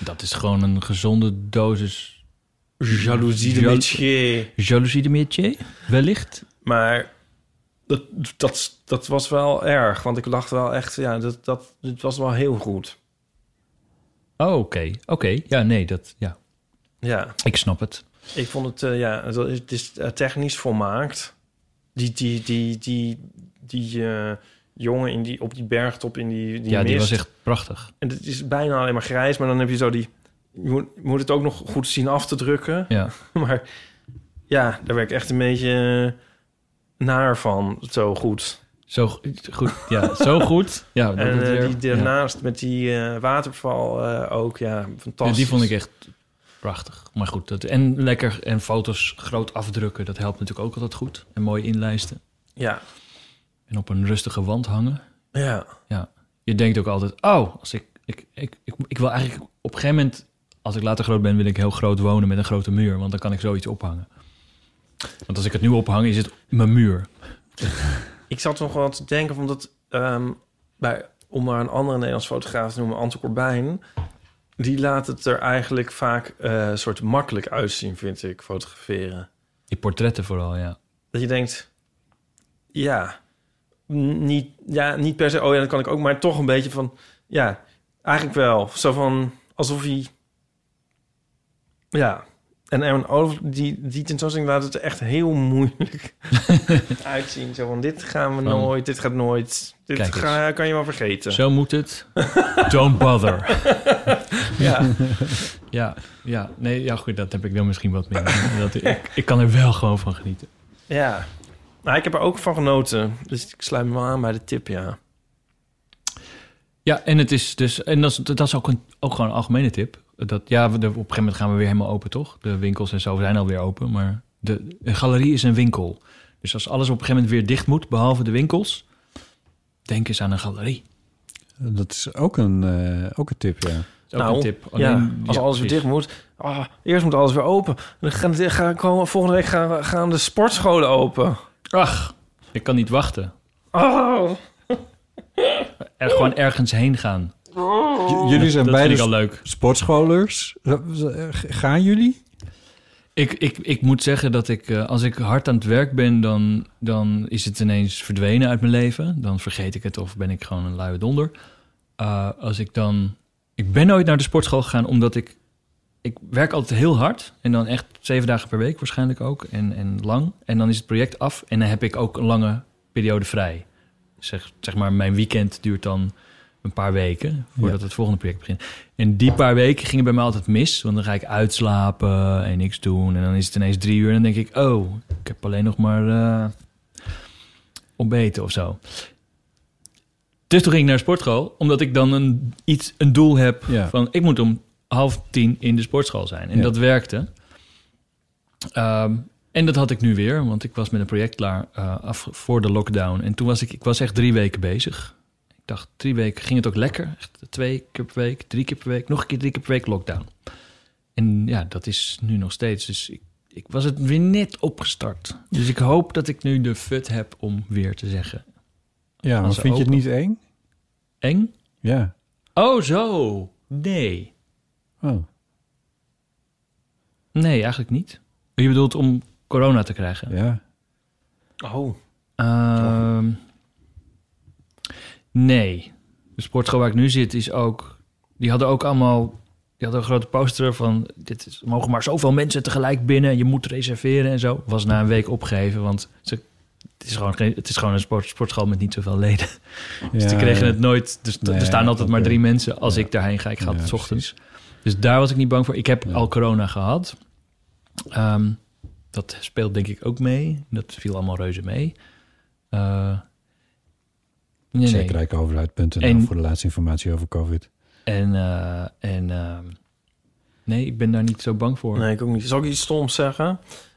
Speaker 2: dat is gewoon een gezonde dosis.
Speaker 1: Jaloezie de
Speaker 2: Jal-
Speaker 1: métier.
Speaker 2: Jaloezie de métier? Wellicht.
Speaker 1: Maar dat, dat, dat was wel erg. Want ik dacht wel echt, ja, dat, dat, dit was wel heel goed.
Speaker 2: Oh, oké. Oké. Ja, nee, dat. Ja.
Speaker 1: Ja.
Speaker 2: Ik snap het.
Speaker 1: Ik vond het, eh, ja, het is, het is eh, technisch volmaakt. Die, die, die, die, die eh, jongen in die, op die bergtop in die, die
Speaker 2: ja, die
Speaker 1: mist.
Speaker 2: was echt prachtig.
Speaker 1: En het is bijna alleen maar grijs, maar dan heb je zo die... Je moet, je moet het ook nog goed zien af te drukken.
Speaker 2: Ja.
Speaker 1: Maar ja, daar werd ik echt een beetje eh, naar van, zo goed.
Speaker 2: Zo go- goed, ja, zo goed. Ja, dat
Speaker 1: en
Speaker 2: het
Speaker 1: eh,
Speaker 2: weer-
Speaker 1: die daarnaast met die eh, waterval eh, ook, ja,
Speaker 2: Ja,
Speaker 1: fantastisch.
Speaker 2: die vond ik echt prachtig. Maar goed, dat, en lekker. En foto's groot afdrukken, dat helpt natuurlijk ook altijd goed. En mooi inlijsten.
Speaker 1: Ja.
Speaker 2: En op een rustige wand hangen.
Speaker 1: Ja.
Speaker 2: ja. Je denkt ook altijd, oh, als ik, ik, ik, ik, ik wil eigenlijk op een gegeven moment... Als ik later groot ben, wil ik heel groot wonen met een grote muur. Want dan kan ik zoiets ophangen. Want als ik het nu ophang, is het mijn muur.
Speaker 1: Ik zat nog wel te denken, omdat ehm, bij, om maar een andere Nederlands fotograaf te noemen, Anton Corbijn, die laat het er eigenlijk vaak eh soort makkelijk uitzien, vind ik, fotograferen.
Speaker 2: Die portretten vooral, ja.
Speaker 1: Dat je denkt, ja, n- niet, ja, niet per se, oh ja, dat kan ik ook, maar toch een beetje van, ja, eigenlijk wel. Zo van, alsof hij, ja. En Erwin Olaf, die, die tentoonstelling laat het er echt heel moeilijk uitzien. Zo van, dit gaan we
Speaker 2: Van-
Speaker 1: nooit, dit gaat nooit. Dit
Speaker 2: Kijk eens.
Speaker 1: ga, kan je wel vergeten.
Speaker 2: Zo moet het. Don't bother.
Speaker 1: Ja.
Speaker 2: ja, ja, nee, ja, goed, dat heb ik dan misschien wat meer. Dat, ik, ik kan er wel gewoon van genieten.
Speaker 1: Ja. Nou, ik heb er ook van genoten. Dus ik sluit me wel aan bij de tip, ja.
Speaker 2: Ja, en het is dus, en dat is, dat is ook, een, ook gewoon een algemene tip. Dat, ja, we, de- op een gegeven moment gaan we weer helemaal open, toch? De winkels en zo zijn alweer open, maar de, een galerie is een winkel. Dus als alles op een gegeven moment weer dicht moet, behalve de winkels, denk eens aan een galerie.
Speaker 3: Dat is ook een, eh, ook een tip, ja.
Speaker 2: ook een tip.
Speaker 3: Alleen-
Speaker 2: ja,
Speaker 3: ja,
Speaker 1: Nou, Als alles weer
Speaker 2: precies.
Speaker 1: dicht moet. Ah, eerst moet alles weer open. Dan gaan, gaan, komen- volgende week gaan, gaan de sportscholen open.
Speaker 2: Ach, ik kan niet wachten.
Speaker 1: Oh.
Speaker 2: Er gewoon ergens heen gaan.
Speaker 3: J- jullie zijn
Speaker 2: Dat
Speaker 3: beide
Speaker 2: vind ik al leuk.
Speaker 3: sportscholers. eh, Gaan jullie?
Speaker 2: Ik, ik, ik moet zeggen dat ik, eh, als ik hard aan het werk ben, dan, dan is het ineens verdwenen uit mijn leven. Dan vergeet ik het of ben ik gewoon een luie donder. Eh, als ik dan. Ik ben nooit naar de sportschool gegaan omdat ik. Ik werk altijd heel hard en dan echt zeven dagen per week waarschijnlijk ook en, en lang. En dan is het project af en dan heb ik ook een lange periode vrij. Zeg, zeg maar, mijn weekend duurt dan een paar weken voordat het volgende project begint. En die paar weken gingen bij mij altijd mis. Want dan ga ik uitslapen en niks doen. En dan is het ineens drie uur. En dan denk ik, oh, ik heb alleen nog maar eh, ontbeten of zo. Dus toen ging ik naar de sportschool. Omdat ik dan een, iets, een doel heb
Speaker 3: Ja.
Speaker 2: van... ik moet om half tien in de sportschool zijn. En
Speaker 3: Ja.
Speaker 2: dat werkte. Ehm, en dat had ik nu weer. Want ik was met een project klaar eh, af, voor de lockdown. En toen was ik, ik was echt drie weken bezig. Ik dacht, drie weken ging het ook lekker. Echt twee keer per week, drie keer per week, nog een keer drie keer per week lockdown. En ja, dat is nu nog steeds. Dus ik, ik was het weer net opgestart. Dus ik hoop dat ik nu de fut heb om weer te zeggen.
Speaker 3: Ja, maar
Speaker 2: Als ze
Speaker 3: vind je het
Speaker 2: open-
Speaker 3: niet eng?
Speaker 2: Eng?
Speaker 3: Ja.
Speaker 2: Oh, zo. Nee.
Speaker 3: Oh.
Speaker 2: Nee, eigenlijk niet. Je bedoelt om corona te krijgen?
Speaker 3: Ja.
Speaker 1: Oh.
Speaker 2: Ehm, nee. De sportschool waar ik nu zit is ook... Die hadden ook allemaal... Die hadden een grote poster van... Dit is, er mogen maar zoveel mensen tegelijk binnen. Je moet reserveren en zo. Was na een week opgegeven, want ze, het, is gewoon, geen- het is gewoon een sport, sportschool met niet zoveel leden. dus die
Speaker 3: Ja.
Speaker 2: kregen het nooit. Dus t-
Speaker 3: Nee,
Speaker 2: er staan altijd maar
Speaker 3: oké.
Speaker 2: drie mensen als ik daarheen ga. Ik ga
Speaker 3: Ja,
Speaker 2: altijd 's ochtends. Dus daar was ik niet bang voor. Ik heb al corona gehad. Ehm, dat speelt denk ik ook mee. Dat viel allemaal reuze mee. Eh, nee, nee.
Speaker 3: Zekerrijkoverheid.nl
Speaker 2: En-
Speaker 3: voor de laatste informatie over COVID.
Speaker 2: En, eh, en ehm, nee, ik ben daar niet zo bang voor.
Speaker 1: Nee, ik ook niet. Zal ik iets stoms zeggen?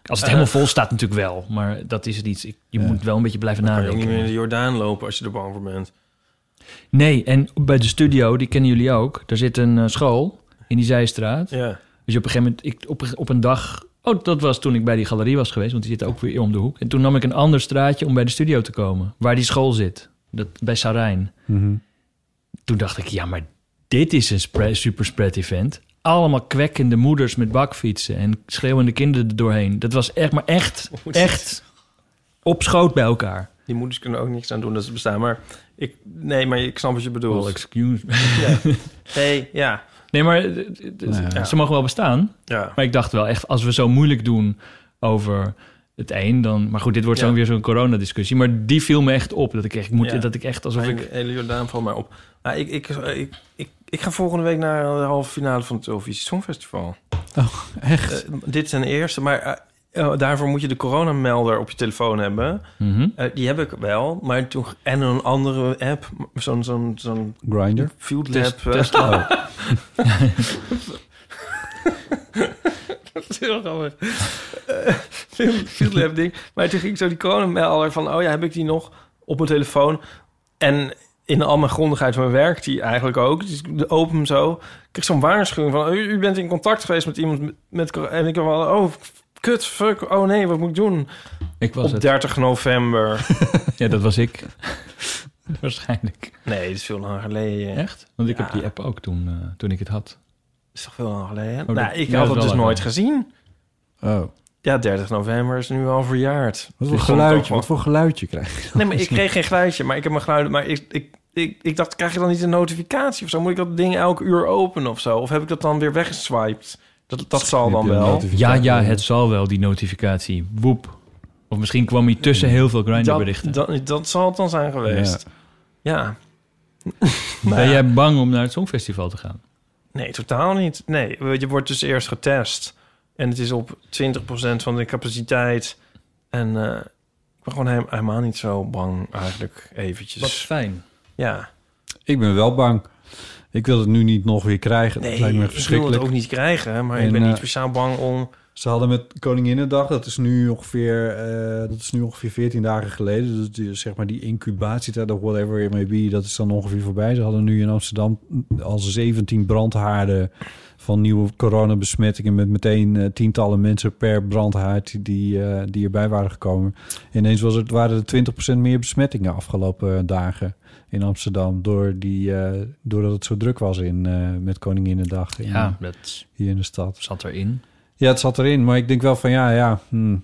Speaker 2: Als het
Speaker 1: Eh,
Speaker 2: helemaal vol staat natuurlijk wel. Maar dat is het iets. Ik, je
Speaker 3: Ja.
Speaker 2: moet wel een beetje blijven
Speaker 1: Dan kan je ook niet meer in de
Speaker 2: nadenken.
Speaker 1: Jordaan lopen als je er bang voor bent.
Speaker 2: Nee, en bij de studio, die kennen jullie ook. Daar zit een eh, school in die zijstraat.
Speaker 1: Ja.
Speaker 2: Dus op een gegeven moment, ik, op, op een dag... Oh, dat was toen ik bij die galerie was geweest, want die zit ook weer om de hoek. En toen nam ik een ander straatje om bij de studio te komen, waar die school zit. Dat, bij Sarijn.
Speaker 1: Mhm.
Speaker 2: Toen dacht ik, ja, maar dit is een spread, super spread event. Allemaal kwekkende moeders met bakfietsen en schreeuwende kinderen er doorheen. Dat was echt, maar echt, echt op schoot bij elkaar.
Speaker 1: Die moeders kunnen ook niks aan doen dat ze bestaan. Maar ik, nee, maar ik snap wat je bedoelt.
Speaker 2: Well, excuse me.
Speaker 1: Ja. Nee, ja.
Speaker 2: Nee, maar eh, eh, eh,
Speaker 1: Ja.
Speaker 2: ze mogen wel bestaan.
Speaker 1: Ja.
Speaker 2: Maar ik dacht wel echt, als we zo moeilijk doen over het een, dan... Maar goed, dit wordt
Speaker 1: Ja.
Speaker 2: zo weer zo'n coronadiscussie. Maar die viel me echt op. Dat ik echt, moet,
Speaker 1: Ja.
Speaker 2: dat ik echt alsof
Speaker 1: Mijn
Speaker 2: ik...
Speaker 1: hele Jordaan valt mij op. Maar Ah, ik, ik, ik, ik, ik ga volgende week naar de halve finale van het Eurovisie Songfestival.
Speaker 3: Oh, echt?
Speaker 1: Eh, dit is een eerste, maar eh, eh, daarvoor moet je de coronamelder op je telefoon hebben.
Speaker 2: Mhm.
Speaker 1: Eh, die heb ik wel, maar toen, en een andere app, zo'n zo'n zo'n
Speaker 3: Grinder?
Speaker 1: Field Lab.
Speaker 2: Test-
Speaker 1: eh.
Speaker 2: test- oh.
Speaker 1: Dat is heel grappig. Eh, Field- Field Lab ding. Maar toen ging ik zo die coronamelder van, oh ja, heb ik die nog op mijn telefoon? En in al mijn grondigheid van mijn werk die eigenlijk ook. Dus ik open hem zo. Ik kreeg zo'n waarschuwing van, "Oh, u, u bent in contact geweest met iemand met, met corona. En ik heb al, oh, kut, fuck, oh nee, wat moet ik doen?
Speaker 2: Ik was
Speaker 1: op
Speaker 2: het.
Speaker 1: 30 november.
Speaker 2: Ja, dat was ik. Waarschijnlijk.
Speaker 1: nee, dat is veel lang geleden.
Speaker 2: Echt? Want ik
Speaker 1: Ja.
Speaker 2: heb die app ook toen, eh, toen ik het had.
Speaker 1: Dat is toch veel lang geleden?
Speaker 2: dat-
Speaker 1: nou, ik
Speaker 2: ja,
Speaker 1: had het
Speaker 2: dat is wel
Speaker 1: dus
Speaker 2: lang
Speaker 1: nooit
Speaker 2: geleden.
Speaker 1: gezien.
Speaker 3: Oh.
Speaker 1: Ja, 30 november is nu al verjaard.
Speaker 3: Wat
Speaker 1: Dus
Speaker 3: voor
Speaker 1: ik vond het ook
Speaker 3: geluidje,
Speaker 1: wel-
Speaker 3: wat voor geluidje krijg je?
Speaker 1: Nee, maar ik kreeg geen geluidje. Maar ik heb mijn geluiden... Maar ik, ik, ik, ik dacht, krijg je dan niet een notificatie of zo? Moet ik dat ding elk uur openen of zo? Of heb ik dat dan weer weggeswiped? Dat, dat zal dan
Speaker 3: Heb je een
Speaker 1: wel.
Speaker 3: notificatie?
Speaker 2: Ja, ja, het zal wel, die notificatie. Woep. Of misschien kwam hij tussen heel veel Grindr-berichten.
Speaker 1: Dat, dat, dat zal het dan zijn geweest. Ja.
Speaker 2: Ben jij bang om naar het Songfestival te gaan?
Speaker 1: Nee, totaal niet. Nee, je wordt dus eerst getest. En het is op 20% van de capaciteit. En eh, ik ben gewoon he- helemaal niet zo bang eigenlijk eventjes.
Speaker 2: Wat fijn.
Speaker 1: Ja.
Speaker 3: Ik ben wel bang. Ik wil het nu niet nog weer krijgen. dat
Speaker 1: Nee,
Speaker 3: lijkt me
Speaker 1: ik wil
Speaker 3: verschrikkelijk.
Speaker 1: het ook niet krijgen. Maar
Speaker 3: En,
Speaker 1: ik ben
Speaker 3: eh,
Speaker 1: niet speciaal bang om
Speaker 3: Ze hadden met Koninginnedag, dat is nu ongeveer, eh, dat is nu ongeveer 14 dagen geleden. Dus die, zeg maar die incubatietijd, of whatever it may be, dat is dan ongeveer voorbij. Ze hadden nu in Amsterdam al 17 brandhaarden van nieuwe coronabesmettingen. Met meteen eh, tientallen mensen per brandhaard die- die, eh, die erbij waren gekomen. Ineens was het, waren er 20% meer besmettingen afgelopen eh, dagen in Amsterdam. Door die, eh, doordat het zo druk was in, eh, met Koninginnedag. in-
Speaker 2: Ja, dat
Speaker 3: hier in de stad.
Speaker 2: zat erin.
Speaker 3: Ja, het zat erin, maar ik denk wel van ja, ja, hmm,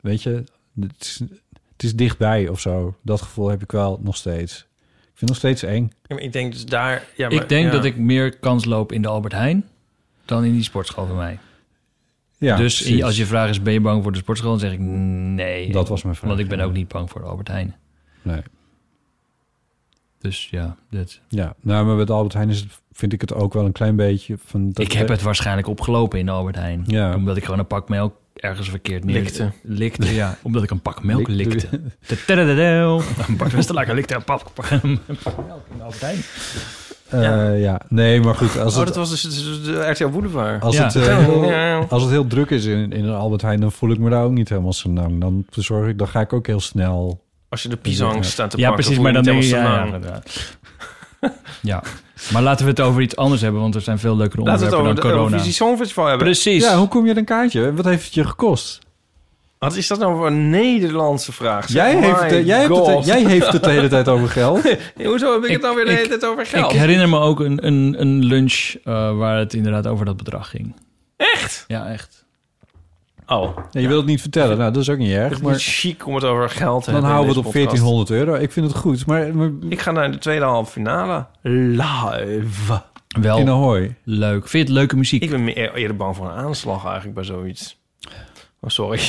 Speaker 3: weet je, het is, het is dichtbij of zo. Dat gevoel heb ik wel nog steeds. Ik vind het nog steeds eng.
Speaker 1: Ja, maar ik denk dus daar... Ja, maar-
Speaker 2: ik denk
Speaker 1: ja.
Speaker 2: dat ik meer kans loop in de Albert Heijn dan in die sportschool van mij.
Speaker 3: Ja,
Speaker 2: dus in-
Speaker 3: precies.
Speaker 2: als je vraag is, ben je bang voor de sportschool? Dan zeg ik nee.
Speaker 3: Dat was mijn vraag,
Speaker 2: Want ik ben
Speaker 3: ja.
Speaker 2: ook niet bang voor de Albert Heijn.
Speaker 3: Nee.
Speaker 2: Dus ja, dit.
Speaker 3: Ja, nou, maar met Albert Heijn is het, vind ik het ook wel een klein beetje van. dat-
Speaker 2: ik heb het waarschijnlijk opgelopen in de Albert Heijn.
Speaker 3: Ja.
Speaker 2: Omdat ik gewoon een pak melk ergens verkeerd neer...
Speaker 1: Likte.
Speaker 2: Likte, ja. Omdat ik een pak melk
Speaker 3: Likte.
Speaker 2: likte. Tadadadadel. Bart Westerlaken likte een pak, een pak melk in de Albert Heijn.
Speaker 3: Eh, ja. nee, maar goed. Als
Speaker 1: Oh,
Speaker 3: het,
Speaker 1: dat was dus de, de RTL Boulevard.
Speaker 3: als,
Speaker 2: Ja.
Speaker 3: het, eh,
Speaker 1: Oh, Ja.
Speaker 3: als het heel druk is in, in een Albert Heijn, dan voel ik me daar ook niet helemaal zo lang. Dan verzorg ik, dan ga ik ook heel snel.
Speaker 1: Als je de pisang staat te
Speaker 2: Ja,
Speaker 1: pakken...
Speaker 2: precies,
Speaker 1: voel
Speaker 2: maar
Speaker 1: je
Speaker 2: dan
Speaker 1: niet
Speaker 2: denk je...
Speaker 1: helemaal
Speaker 2: Ja, ja,
Speaker 1: zo lang.
Speaker 2: inderdaad. ja, maar laten we het over iets anders hebben... want er zijn veel leukere
Speaker 1: Laten we het
Speaker 2: onderwerpen
Speaker 1: over
Speaker 2: dan
Speaker 1: het
Speaker 2: corona.
Speaker 1: Eurovisie Songfestival hebben.
Speaker 2: Precies.
Speaker 3: Ja, hoe kom je aan een kaartje? Wat heeft het je gekost?
Speaker 1: Wat is dat nou voor een Nederlandse vraag? Zeg,
Speaker 3: Jij heeft,
Speaker 1: Oh my
Speaker 3: het,
Speaker 2: eh,
Speaker 3: jij, hebt het,
Speaker 1: God.
Speaker 3: jij heeft het de hele tijd over geld.
Speaker 1: Hey, Hoezo heb ik,
Speaker 2: Ik-
Speaker 1: het dan weer de hele
Speaker 2: ik-
Speaker 1: tijd over geld?
Speaker 2: Ik herinner me ook een, een, een lunch eh, waar het inderdaad over dat bedrag ging.
Speaker 1: Echt?
Speaker 2: Ja, echt.
Speaker 1: Oh,
Speaker 3: Nee, je wilt het niet vertellen. Nou, dat is ook niet
Speaker 1: het
Speaker 3: erg.
Speaker 1: is
Speaker 3: Maar
Speaker 1: niet chic om het over geld te
Speaker 3: dan
Speaker 1: hebben. in
Speaker 3: houden we het
Speaker 1: deze
Speaker 3: op
Speaker 1: podcast.
Speaker 3: 1400 euro. Ik vind het goed. Maar, maar
Speaker 1: Ik ga naar de tweede halve finale. Live.
Speaker 2: Wel
Speaker 3: in Ahoy.
Speaker 2: leuk. Vind je het leuke muziek?
Speaker 1: Ik ben meer, eerder bang voor een aanslag eigenlijk bij zoiets. Oh, sorry.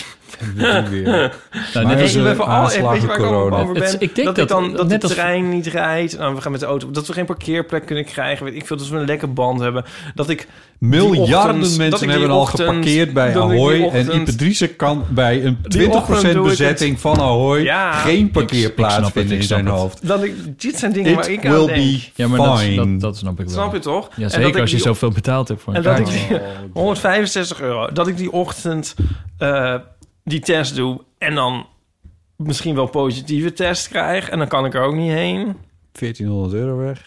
Speaker 3: Weer.
Speaker 2: Nou,
Speaker 3: Maar-
Speaker 2: net
Speaker 1: Hey,
Speaker 2: als-
Speaker 3: is een
Speaker 1: we hebben al, weet je waar ik
Speaker 3: aanslagen
Speaker 1: ook
Speaker 3: corona.
Speaker 1: over ben?
Speaker 2: Het- ik denk
Speaker 1: dat, ik
Speaker 2: dat-
Speaker 1: dan, dat
Speaker 2: net
Speaker 1: de
Speaker 2: als-
Speaker 1: trein niet rijdt. Nou, we gaan met de auto. Dat we geen parkeerplek kunnen krijgen. Weet ik veel, dat we een lekker band hebben. Dat ik
Speaker 3: Miljarden
Speaker 1: ochtend- dat ik
Speaker 3: mensen
Speaker 1: die
Speaker 3: hebben al
Speaker 1: ochtend-
Speaker 3: geparkeerd bij
Speaker 1: dat ik die
Speaker 3: Ahoy.
Speaker 1: ochtend-
Speaker 3: en Ipadrice kan bij een 20%
Speaker 1: ochtend doe ik
Speaker 3: bezetting van Ahoy
Speaker 1: Ja.
Speaker 3: geen
Speaker 2: Ik
Speaker 3: parkeerplaats
Speaker 2: snap het,
Speaker 3: vinden
Speaker 2: ik
Speaker 3: in
Speaker 2: snap
Speaker 3: zijn
Speaker 2: het.
Speaker 3: hoofd.
Speaker 1: Dat ik, dit zijn dingen
Speaker 3: It
Speaker 1: waar ik aan
Speaker 3: will
Speaker 1: denk.
Speaker 3: be
Speaker 2: ja, maar dat,
Speaker 3: fine.
Speaker 2: dat, dat snap ik wel.
Speaker 1: Snap je toch?
Speaker 2: Ja,
Speaker 1: En
Speaker 2: zeker
Speaker 1: dat ik
Speaker 2: als je
Speaker 1: die-
Speaker 2: zoveel betaald hebt voor een
Speaker 1: En dat ik
Speaker 2: kaartje.
Speaker 1: die 165 euro, dat ik die ochtend eh, die test doe en dan misschien wel positieve test krijg en dan kan ik er ook niet heen.
Speaker 3: 1400 euro weg.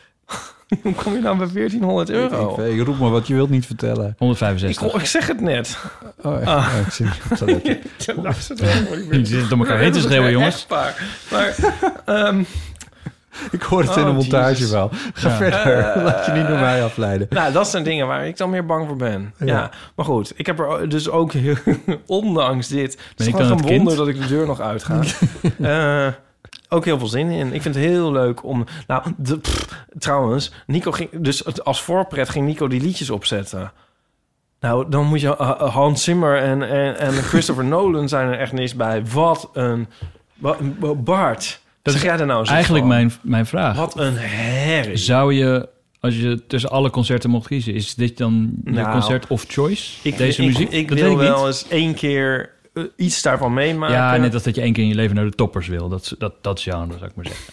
Speaker 1: Hoe kom je dan bij 1400
Speaker 3: Ik,
Speaker 1: euro?
Speaker 3: weet- ik roep maar wat je wilt niet vertellen.
Speaker 2: 165.
Speaker 1: Ik, ik zeg het net.
Speaker 3: Oh, echt?
Speaker 1: Ah.
Speaker 3: Ja, ik zie- ik zal het-
Speaker 2: Jullie zitten door elkaar heen te schreeuwen, jongens.
Speaker 1: Echt waar. Maar, ehm,
Speaker 3: Ik hoor het in de
Speaker 1: Oh,
Speaker 3: montage
Speaker 1: Jesus.
Speaker 3: wel. Ga verder.
Speaker 1: Eh.
Speaker 3: Laat je niet door mij afleiden.
Speaker 1: nou, dat zijn dingen waar ik dan meer bang voor ben. Ja. Maar goed, ik heb er dus ook, heel- ondanks dit... het
Speaker 2: Ben
Speaker 1: is
Speaker 2: ik
Speaker 1: gewoon
Speaker 2: dan
Speaker 1: een
Speaker 2: het
Speaker 1: wonder
Speaker 2: kind?
Speaker 1: dat ik de deur nog uitga. Eh, ook heel veel zin in. Ik vind het heel leuk om... Nou, de, pff, trouwens, Nico ging... Dus het- als voorpret ging Nico die liedjes opzetten. Nou, dan moet je... eh, eh, Hans Zimmer en, en, en Christopher Nolan zijn er echt niks bij. Wat een... Wat, een- Bart,
Speaker 2: Dat
Speaker 1: zeg
Speaker 2: is
Speaker 1: jij daar nou zo
Speaker 2: Eigenlijk
Speaker 1: van?
Speaker 2: mijn, mijn vraag.
Speaker 1: Wat een herrie.
Speaker 2: Zou je, als je tussen alle concerten mocht kiezen... is dit dan je
Speaker 1: Nou,
Speaker 2: concert of choice?
Speaker 1: Ik,
Speaker 2: Deze
Speaker 1: ik-
Speaker 2: muziek?
Speaker 1: Ik,
Speaker 2: dat
Speaker 1: wil
Speaker 2: weet ik
Speaker 1: wel
Speaker 2: niet.
Speaker 1: eens één keer eh, iets daarvan meemaken.
Speaker 2: Ja, net als dat je één keer in je leven naar de toppers wil. Dat, dat, dat genre, zou ik maar zeggen.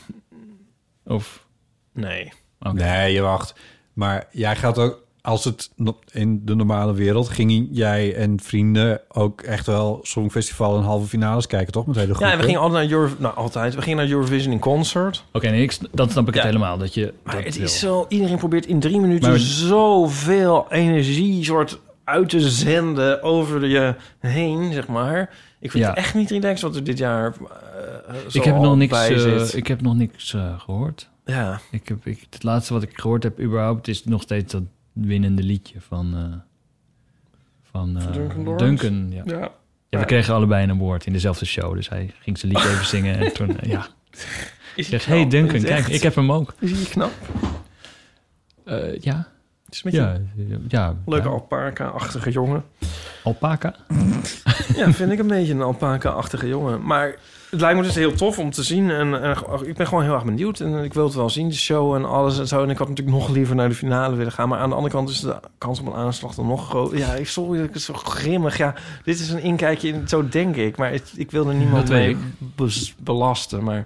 Speaker 2: Of...
Speaker 1: Nee.
Speaker 2: oké.
Speaker 3: Nee, je wacht. Maar jij gaat ook... Als het no- in de normale wereld gingen jij en vrienden ook echt wel Songfestival en halve finales kijken, toch? Met hele groepen.
Speaker 1: Ja, en we gingen altijd naar Euro, nou, altijd. We gingen naar Eurovision in concert.
Speaker 2: Oké, nee, ik s- dan snap ik het
Speaker 1: Ja.
Speaker 2: helemaal. Dat je
Speaker 1: Maar
Speaker 2: dat
Speaker 1: het
Speaker 2: wil.
Speaker 1: is zo... Iedereen probeert in drie minuten
Speaker 2: Maar-
Speaker 1: zoveel energie soort uit te zenden over je heen, zeg maar. Ik vind
Speaker 2: Ja.
Speaker 1: het echt niet relaxed wat er dit jaar eh, zo
Speaker 2: ik heb nog
Speaker 1: al
Speaker 2: niks,
Speaker 1: bij
Speaker 2: eh,
Speaker 1: zit.
Speaker 2: ik heb nog niks eh, gehoord.
Speaker 1: ja.
Speaker 2: Ik heb, ik, het laatste wat ik gehoord heb überhaupt is nog steeds dat winnende liedje van, eh, van, eh,
Speaker 1: Van Duncan Lawrence?
Speaker 2: Duncan. Ja.
Speaker 1: ja.
Speaker 2: Ja, we kregen allebei een woord in dezelfde show. Dus hij ging zijn liedje even zingen. En toen, eh, ja.
Speaker 1: Is
Speaker 2: Ik
Speaker 1: hij
Speaker 2: zeg, hey
Speaker 1: knap? Oh,
Speaker 2: Duncan,
Speaker 1: Is hij
Speaker 2: kijk,
Speaker 1: echt-
Speaker 2: ik heb hem ook.
Speaker 1: Is hij knap?
Speaker 2: Eh, ja,
Speaker 1: Het is een beetje
Speaker 2: ja, ja.
Speaker 1: een eh, leuke
Speaker 2: ja.
Speaker 1: alpaca-achtige jongen.
Speaker 2: alpaca.
Speaker 1: Ja, vind ik een beetje een alpaca-achtige jongen. Maar het lijkt me dus heel tof om te zien. En, en ik ben gewoon heel erg benieuwd. En ik wil het wel zien, de show en alles en zo. En ik had natuurlijk nog liever naar de finale willen gaan. Maar aan de andere kant is de kans op een aanslag dan nog groter. Ja, ik sorry dat ik het zo grimmig... Ja, dit is een inkijkje in... Zo denk ik. Maar het- ik wil er niemand
Speaker 2: Dat weet
Speaker 1: mee bes- belasten. Maar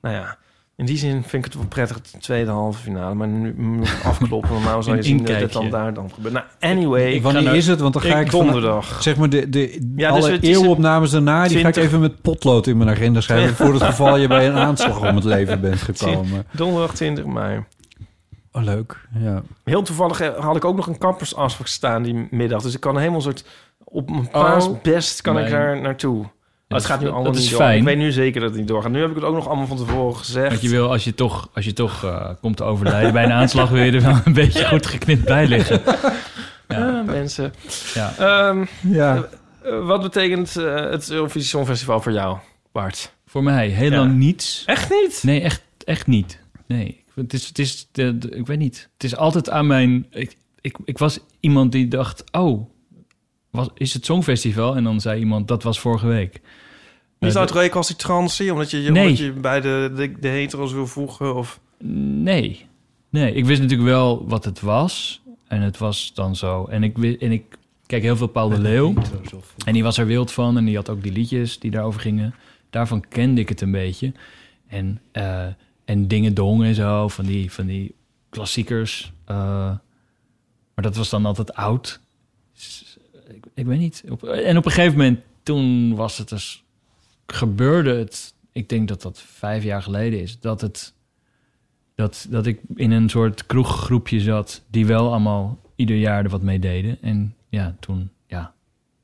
Speaker 1: nou ja... In die zin vind ik het wel prettig, de tweede halve finale. Maar nu moet ik afkloppen, want nou zou je
Speaker 3: Een
Speaker 1: zien dat het
Speaker 3: inkijkje.
Speaker 1: dan daar dan gebeurt. Nou, anyway. ik ga
Speaker 3: Wanneer
Speaker 1: naar-
Speaker 3: is het? Want dan ga ik, vanaf-
Speaker 1: donderdag.
Speaker 3: zeg maar de, de
Speaker 1: Ja, dus
Speaker 3: alle
Speaker 1: het is een
Speaker 3: eeuwopnames daarna, die ga ik
Speaker 1: 20
Speaker 3: even met potlood in mijn agenda schrijven voor het geval je bij een aanslag om het leven bent gekomen.
Speaker 1: Donderdag 20 mei.
Speaker 3: Oh, leuk. Ja.
Speaker 1: Heel toevallig eh, had ik ook nog een kappersafspraak staan die middag. Dus ik kan helemaal soort... Op mijn paasbest kan ik
Speaker 2: mijn-
Speaker 1: daar naartoe. Maar het
Speaker 2: is-
Speaker 1: gaat nu
Speaker 2: Oh, dat
Speaker 1: allemaal
Speaker 2: is
Speaker 1: niet door.
Speaker 2: fijn.
Speaker 1: Ik weet nu zeker dat het niet doorgaat. Nu heb ik het ook nog allemaal van tevoren gezegd.
Speaker 2: Want je wil, als je toch, als je toch eh, komt te overlijden bij een aanslag, wil je er wel een beetje goed geknipt bij liggen.
Speaker 1: Ja. eh, mensen.
Speaker 2: Ja.
Speaker 1: Ehm,
Speaker 3: Ja.
Speaker 1: eh, eh, wat betekent eh, het Eurovisie Songfestival voor jou, Bart?
Speaker 2: Voor mij heel
Speaker 1: Ja.
Speaker 2: lang niets.
Speaker 1: Echt niet?
Speaker 2: Nee, echt, echt niet. Nee, Ik vind- het is, het is, de- de- ik weet niet. Het is altijd aan mijn... Ik, ik, ik was iemand die dacht, oh, was, is het Songfestival? En dan zei iemand, dat was vorige week.
Speaker 1: Niet
Speaker 2: Eh,
Speaker 1: uit recalcitrantie, omdat je je,
Speaker 2: Nee.
Speaker 1: omdat je bij de, de, de hetero's wil voegen? Of...
Speaker 2: Nee. Nee, ik wist natuurlijk wel wat het was. En het was dan zo. En ik, wi- en ik kijk heel veel Paul de Leeuw. En die was er wild van. En die had ook die liedjes die daarover gingen. Daarvan kende ik het een beetje. En, eh, en Dingen Dong en zo. Van die, van die klassiekers. Eh, maar dat was dan altijd oud. S- Ik, ik weet niet. Op- en op een gegeven moment, toen was het dus... Gebeurde het... Ik denk dat dat vijf jaar geleden is. Dat het dat, dat ik in een soort kroeggroepje zat... die wel allemaal ieder jaar er wat mee deden. En ja, toen, ja,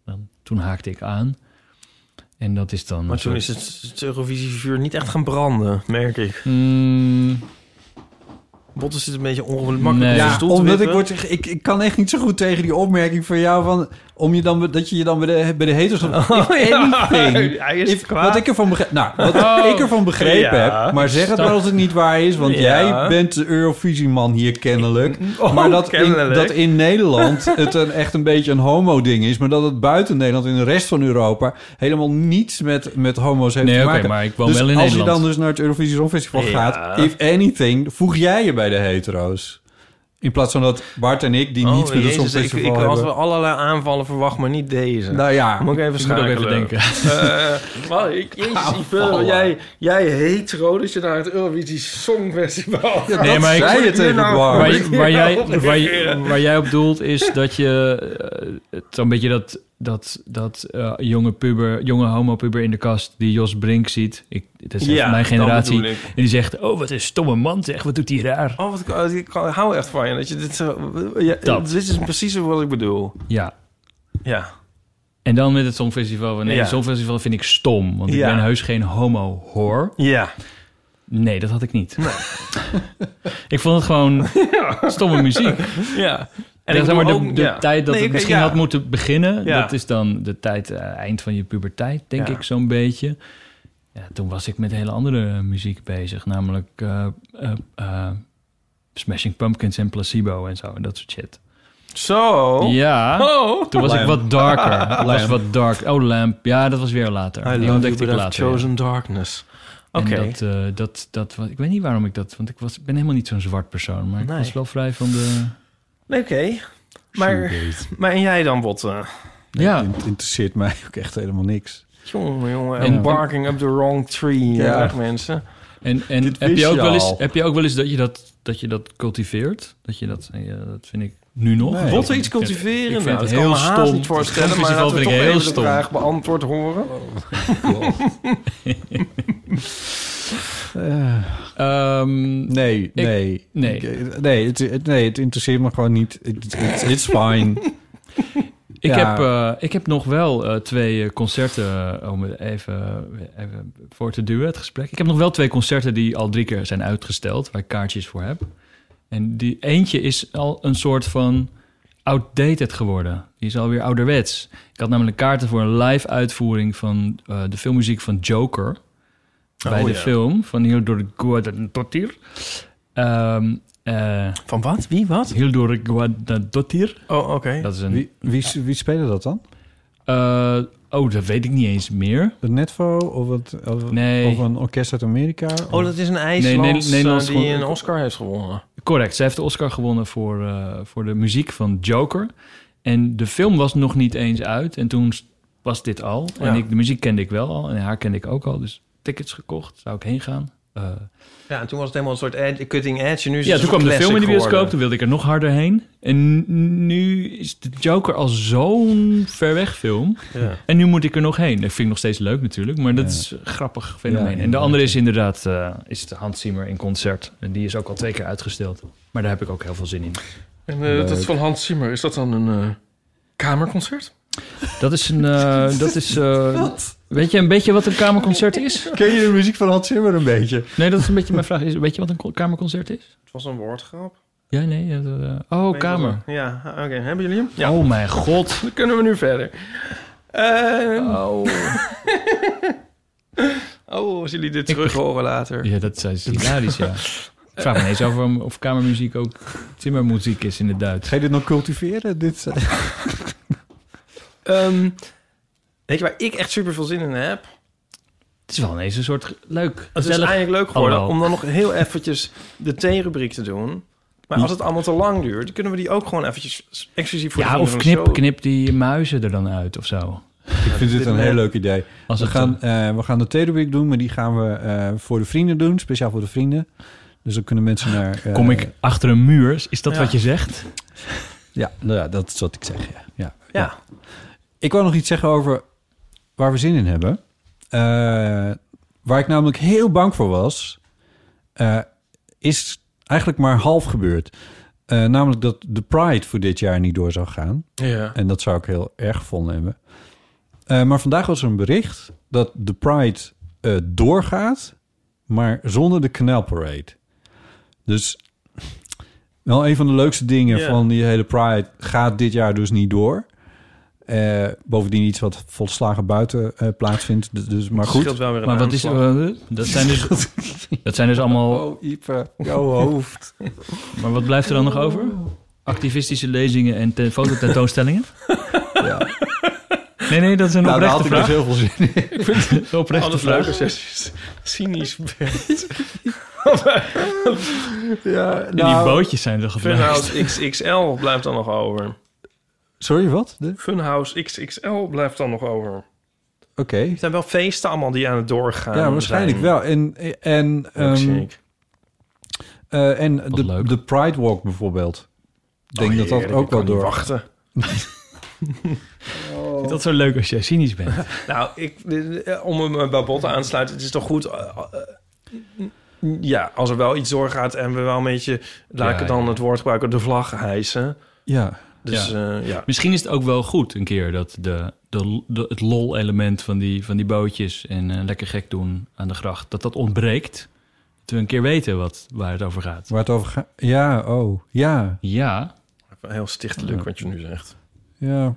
Speaker 2: dan, toen haakte ik aan. En dat is dan...
Speaker 1: Maar
Speaker 2: een
Speaker 1: toen
Speaker 2: soort-
Speaker 1: is het, het Eurovisievuur niet echt gaan branden, merk ik.
Speaker 2: Mm,
Speaker 1: Botten zit een beetje ongemakkelijk op zijn
Speaker 3: Ja,
Speaker 1: stoel te
Speaker 3: omdat ik,
Speaker 1: wippen.
Speaker 3: word, ik, ik kan echt niet zo goed tegen die opmerking van jou... Van, om je dan, dat je je dan bij de, bij de haters... Oh,
Speaker 1: ja. Hij is kwaad.
Speaker 3: Wat ik ervan begrepen, nou, wat
Speaker 1: Oh.
Speaker 3: ik ervan begrepen
Speaker 1: Ja.
Speaker 3: heb... maar zeg het
Speaker 1: Stop.
Speaker 3: maar als het niet waar is... want
Speaker 1: Ja.
Speaker 3: jij bent de Eurovisieman hier kennelijk.
Speaker 1: Oh,
Speaker 3: maar dat,
Speaker 1: kennelijk.
Speaker 3: In, dat in Nederland het een, echt een beetje een homo-ding is... maar dat het buiten Nederland, in de rest van Europa... helemaal niets met, met homo's heeft
Speaker 2: Nee,
Speaker 3: te
Speaker 2: oké,
Speaker 3: maken.
Speaker 2: maar ik woon
Speaker 3: dus
Speaker 2: wel in
Speaker 3: als je
Speaker 2: Nederland.
Speaker 3: dan dus naar het Eurovisie Songfestival
Speaker 2: Ja.
Speaker 3: gaat... if anything, voeg jij je bij de hetero's. In plaats van dat Bart en ik, die
Speaker 1: Oh,
Speaker 3: niets met het
Speaker 1: jezus, ik, ik
Speaker 3: Songfestival
Speaker 1: had
Speaker 3: hebben...
Speaker 1: wel Oh allerlei aanvallen verwacht, maar niet deze.
Speaker 3: Nou ja,
Speaker 1: Moet ik even
Speaker 3: ik moet ook
Speaker 1: schakelen.
Speaker 3: even denken.
Speaker 1: Eh, wat, ik, jezus, Ipe,
Speaker 3: Aanvallen.
Speaker 1: jij, jij hetero dat je naar het Eurovisie Songfestival gaat.
Speaker 2: Nee, maar ik-
Speaker 1: Wat
Speaker 2: zei
Speaker 1: moet
Speaker 3: je
Speaker 1: hier
Speaker 3: tegen
Speaker 1: nou-
Speaker 3: Bart?
Speaker 1: moet
Speaker 2: waar,
Speaker 1: ik hier nou
Speaker 2: waar jij,
Speaker 1: op
Speaker 2: waar,
Speaker 1: reageren?
Speaker 2: je- waar jij op doelt is dat je eh, het zo'n beetje dat, dat, dat eh, jonge puber, jonge homopuber in de kast die Jos Brink ziet. Ik, dat is echt
Speaker 1: Ja,
Speaker 2: mijn
Speaker 1: dat
Speaker 2: generatie.
Speaker 1: bedoel
Speaker 2: En
Speaker 1: ik.
Speaker 2: die zegt, oh wat een stomme man zeg, wat doet hij raar.
Speaker 1: Oh, wat, ik- ik hou echt van je. Dat je dit, zo- ja,
Speaker 2: Dat.
Speaker 1: dit is precies wat ik bedoel.
Speaker 2: Ja.
Speaker 1: Ja.
Speaker 2: En dan met het Songfestival. Nee,
Speaker 1: Ja.
Speaker 2: het Songfestival vind ik stom. Want
Speaker 1: Ja.
Speaker 2: ik ben heus geen homo hoor.
Speaker 1: Ja.
Speaker 2: Nee, dat had ik niet. ik vond het gewoon stomme muziek.
Speaker 1: Ja.
Speaker 2: En
Speaker 1: ik
Speaker 2: zeg maar, de,
Speaker 1: bedoel ook-
Speaker 2: de
Speaker 1: ja.
Speaker 2: tijd dat
Speaker 1: Nee,
Speaker 2: het
Speaker 1: ik-
Speaker 2: misschien
Speaker 1: ja.
Speaker 2: had moeten beginnen...
Speaker 1: Ja.
Speaker 2: dat is dan de tijd eh, eind van je puberteit, denk
Speaker 1: Ja.
Speaker 2: ik zo'n beetje. Ja, toen was ik met hele andere eh, muziek bezig. Namelijk eh, eh, eh, Smashing Pumpkins en Placebo en zo. En dat soort shit.
Speaker 1: Zo.
Speaker 2: Ja,
Speaker 1: Oh.
Speaker 2: toen was ik
Speaker 3: Lamp.
Speaker 2: wat darker. Ik was
Speaker 3: Lamp.
Speaker 2: wat dark. Oh, Lamp. Ja, dat was weer later.
Speaker 1: I
Speaker 2: Die
Speaker 1: love you,
Speaker 2: ontdekte
Speaker 1: but
Speaker 2: ik
Speaker 1: I've
Speaker 2: later. ja.
Speaker 1: chosen darkness.
Speaker 2: En
Speaker 1: Oké.
Speaker 2: dat, eh, dat, dat, was- ik weet niet waarom ik dat... Want ik, was, ik ben helemaal niet zo'n zwart persoon. Maar
Speaker 1: Nee.
Speaker 2: ik was wel vrij van de...
Speaker 1: Nee, Oké. Maar, maar en jij dan, Botte?
Speaker 2: Ja,
Speaker 3: Het interesseert mij ook echt helemaal niks.
Speaker 1: Jongen, jongen.
Speaker 2: En-
Speaker 1: Embarking up the wrong tree.
Speaker 3: Ja.
Speaker 1: Ja. mensen.
Speaker 2: En, en heb,
Speaker 3: wist
Speaker 2: je ook
Speaker 3: je
Speaker 2: wel eens,
Speaker 3: al.
Speaker 2: heb je ook wel eens dat je dat, dat, je dat cultiveert? Dat je dat, ja, dat vind ik nu nog.
Speaker 3: Nee.
Speaker 2: Ik
Speaker 1: Botte iets
Speaker 2: vind- ik vind-
Speaker 1: cultiveren?
Speaker 2: Ik vind
Speaker 1: nou,
Speaker 2: het
Speaker 1: dat kan
Speaker 2: heel
Speaker 1: me haast
Speaker 2: stom.
Speaker 1: niet voorstellen,
Speaker 2: Het
Speaker 1: maar
Speaker 2: Songfestival
Speaker 1: laten we toch
Speaker 2: vind ik heel
Speaker 1: even de vraag
Speaker 2: stom.
Speaker 1: beantwoord horen.
Speaker 2: Ehm,
Speaker 3: Nee, nee.
Speaker 2: nee.
Speaker 3: Ik- eh, nee, het, het- nee, het interesseert me gewoon niet. Het it, it's fine.
Speaker 2: ik,
Speaker 3: Ja.
Speaker 2: heb, eh, ik heb nog wel eh, twee eh, concerten, eh, om het even, even voor te duwen, het gesprek. Ik heb nog wel twee concerten die al drie keer zijn uitgesteld, waar ik kaartjes voor heb. En die eentje is al een soort van outdated geworden. Die is alweer ouderwets. Ik had namelijk kaarten voor een live uitvoering van eh, de filmmuziek van Joker. bij de film van Hildur Guadadottir. Ehm eh
Speaker 1: Van wat? Wie wat?
Speaker 2: Hildur Guadadottir.
Speaker 1: Oh, oké.
Speaker 2: Dat is een...
Speaker 3: Wie, wie, wie spelen dat dan?
Speaker 2: eh, oh, dat weet ik niet eens meer.
Speaker 3: Het Netvo of, het, of,
Speaker 2: Nee.
Speaker 3: of een orkest uit Amerika?
Speaker 1: Oh, dat is een IJslands
Speaker 2: Nee, Nederlands
Speaker 1: eh, die
Speaker 2: gewoon-
Speaker 1: een Oscar heeft gewonnen.
Speaker 2: Correct, zij heeft de Oscar gewonnen voor, eh, voor de muziek van Joker. En de film was nog niet eens uit. En toen was dit al. En
Speaker 1: Ja.
Speaker 2: ik, de muziek kende ik wel al. En haar kende ik ook al. Dus tickets gekocht. Zou ik heen gaan? eh,
Speaker 1: Ja, en toen was het helemaal een soort edge, cutting edge. En nu is
Speaker 2: ja,
Speaker 1: het
Speaker 2: toen
Speaker 1: een
Speaker 2: kwam de
Speaker 1: soort
Speaker 2: film in de
Speaker 1: classic geworden.
Speaker 2: bioscoop, toen wilde ik er nog harder heen. En nu is de Joker al zo'n ver weg film.
Speaker 1: Ja.
Speaker 2: En nu moet ik er nog heen. Dat vind ik nog steeds leuk natuurlijk, maar dat is een grappig fenomeen. en de
Speaker 10: inderdaad.
Speaker 2: andere is inderdaad eh, is de Hans Zimmer in concert. En die is ook al twee keer uitgesteld. Maar daar heb ik ook heel veel zin in.
Speaker 1: En eh, dat
Speaker 2: Leuk.
Speaker 1: van Hans Zimmer, is dat dan een eh, kamerconcert?
Speaker 2: Dat is een... eh, dat is, eh, Weet je een beetje wat een kamerconcert is?
Speaker 11: Ken je de muziek van Hans Zimmer een beetje?
Speaker 2: Nee, dat is een beetje mijn vraag. Is, weet je wat een ko- kamerconcert is?
Speaker 1: Het was een woordgrap.
Speaker 2: Ja, nee. eh, eh, oh,
Speaker 1: Weet je wat
Speaker 2: kamer.
Speaker 1: er- Ja, oké. Hebben jullie hem?
Speaker 2: Oh mijn god.
Speaker 1: Dan kunnen we nu verder. Ehm.
Speaker 2: Oh.
Speaker 1: oh, als jullie dit terug horen later.
Speaker 2: Ja, dat is hilarisch, ja. Ik vraag me ineens af waarom- of kamermuziek ook timmermuziek is in het Duits.
Speaker 3: Ga je dit nog cultiveren? Dit,
Speaker 1: Ehm, weet je waar ik echt super veel zin in heb?
Speaker 2: Het is wel ineens een soort ge- leuk,
Speaker 1: Het is
Speaker 2: gezellig-
Speaker 1: eigenlijk leuk geworden
Speaker 2: Allemaal.
Speaker 1: om dan nog heel eventjes de theerubriek te doen. Maar als het allemaal te lang duurt, dan kunnen we die ook gewoon eventjes exclusief voor
Speaker 2: Ja,
Speaker 1: de
Speaker 2: of knip, knip die muizen er dan uit of zo.
Speaker 3: Ik vind dit een heel leuk idee.
Speaker 2: Als
Speaker 3: we,
Speaker 2: het,
Speaker 3: gaan, eh, we gaan de theerubriek doen, maar die gaan we eh, voor de vrienden doen. Speciaal voor de vrienden. Dus dan kunnen mensen naar... eh,
Speaker 2: Kom ik achter een muur? Is dat
Speaker 1: Ja.
Speaker 2: wat je zegt?
Speaker 3: Ja, nou ja, dat is wat ik zeg. Ja. Ja.
Speaker 1: Ja.
Speaker 3: Ik wou nog iets zeggen over waar we zin in hebben. Eh, waar ik namelijk heel bang voor was, eh, is eigenlijk maar half gebeurd. Eh, namelijk dat de Pride voor dit jaar niet door zou gaan.
Speaker 1: Ja.
Speaker 3: En dat zou ik heel erg gevonden hebben. Eh, maar vandaag was er een bericht dat de Pride eh, doorgaat, maar zonder de Canal Parade. Dus wel een van de leukste dingen
Speaker 1: Ja.
Speaker 3: van die hele Pride gaat dit jaar dus niet door. Eh, bovendien iets wat volslagen buiten eh, plaatsvindt. Dus- Dus, maar goed.
Speaker 1: scheelt wel weer een
Speaker 2: Maar wat is eh, dat? Zijn dus, dat zijn dus allemaal.
Speaker 3: Oh, Ipe, jouw hoofd.
Speaker 2: Maar wat blijft er dan nog over? Activistische lezingen en te- fototentoonstellingen?
Speaker 3: Ja.
Speaker 2: Nee, nee, dat is een
Speaker 3: Nou, daar had
Speaker 2: oprechte
Speaker 3: ik
Speaker 2: vraag.
Speaker 3: dus heel veel zin in.
Speaker 2: Een oprechte
Speaker 1: Alles
Speaker 2: vraag.
Speaker 1: Oh, leuk als je cynisch bent.
Speaker 3: Ja,
Speaker 2: En
Speaker 1: nou-
Speaker 2: die bootjes zijn er gebruikt.
Speaker 1: Funhouse XXL blijft dan nog over.
Speaker 3: Sorry, wat? De- Oké.
Speaker 1: Funhouse XXL blijft dan nog over. Het zijn wel feesten allemaal die aan het doorgaan
Speaker 3: Ja, waarschijnlijk wel. En, en, ehm,
Speaker 1: Milkshake.
Speaker 3: eh, en de,
Speaker 2: leuk.
Speaker 3: de Pride Walk bijvoorbeeld. Ik denk dat dat
Speaker 1: Oh, Heerlijk,
Speaker 3: ook
Speaker 1: ik kan
Speaker 3: wel
Speaker 1: niet
Speaker 3: door...
Speaker 1: wachten.
Speaker 2: Ik vind dat zo leuk als jij cynisch bent.
Speaker 1: Nou, ik, dit- eh, om hem eh, bij Botte aan te sluiten, het is toch goed. eh, eh, n- ja, als er wel iets doorgaat en we wel een beetje, laat ik
Speaker 2: Ja,
Speaker 1: het dan
Speaker 2: ja.
Speaker 1: het woord gebruiken, de vlag hijsen.
Speaker 3: Ja,
Speaker 1: Dus ja, ja.
Speaker 2: Misschien is het ook wel goed een keer dat de, de, de- het lol-element van die, van die bootjes en eh, lekker gek doen aan de gracht, dat dat ontbreekt. Dat we een keer weten wat, waar het over gaat.
Speaker 3: waar het over gaat. Ja, oh, ja,
Speaker 2: Ja,
Speaker 1: heel stichtelijk wat je nu zegt.
Speaker 3: ja.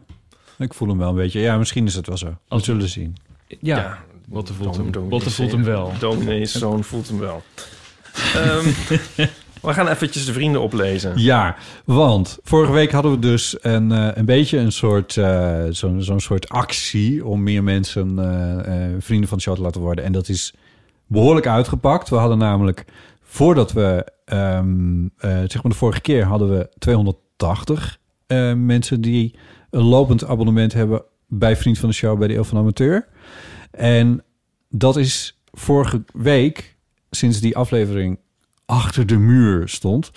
Speaker 3: Ik voel hem wel een beetje. Ja, misschien is het wel zo. We zullen zien.
Speaker 2: ja.
Speaker 1: Ja,
Speaker 2: Botte voelt
Speaker 1: Dom-
Speaker 2: hem,
Speaker 1: dominee
Speaker 2: Botte voelt hem wel.
Speaker 1: Dominee's zoon voelt hem wel. Ehm, we gaan eventjes de vrienden oplezen.
Speaker 3: Ja, want vorige week hadden we dus een, eh, een beetje een soort, eh, zo'n, zo'n soort actie om meer mensen eh, eh, vrienden van de show te laten worden. En dat is behoorlijk uitgepakt. We hadden namelijk, voordat we, ehm, eh, zeg maar de vorige keer, hadden we 280 eh, mensen die een lopend abonnement hebben bij Vriend van de Show, bij de Eeuw van de Amateur. En dat is vorige week, sinds die aflevering achter de muur stond,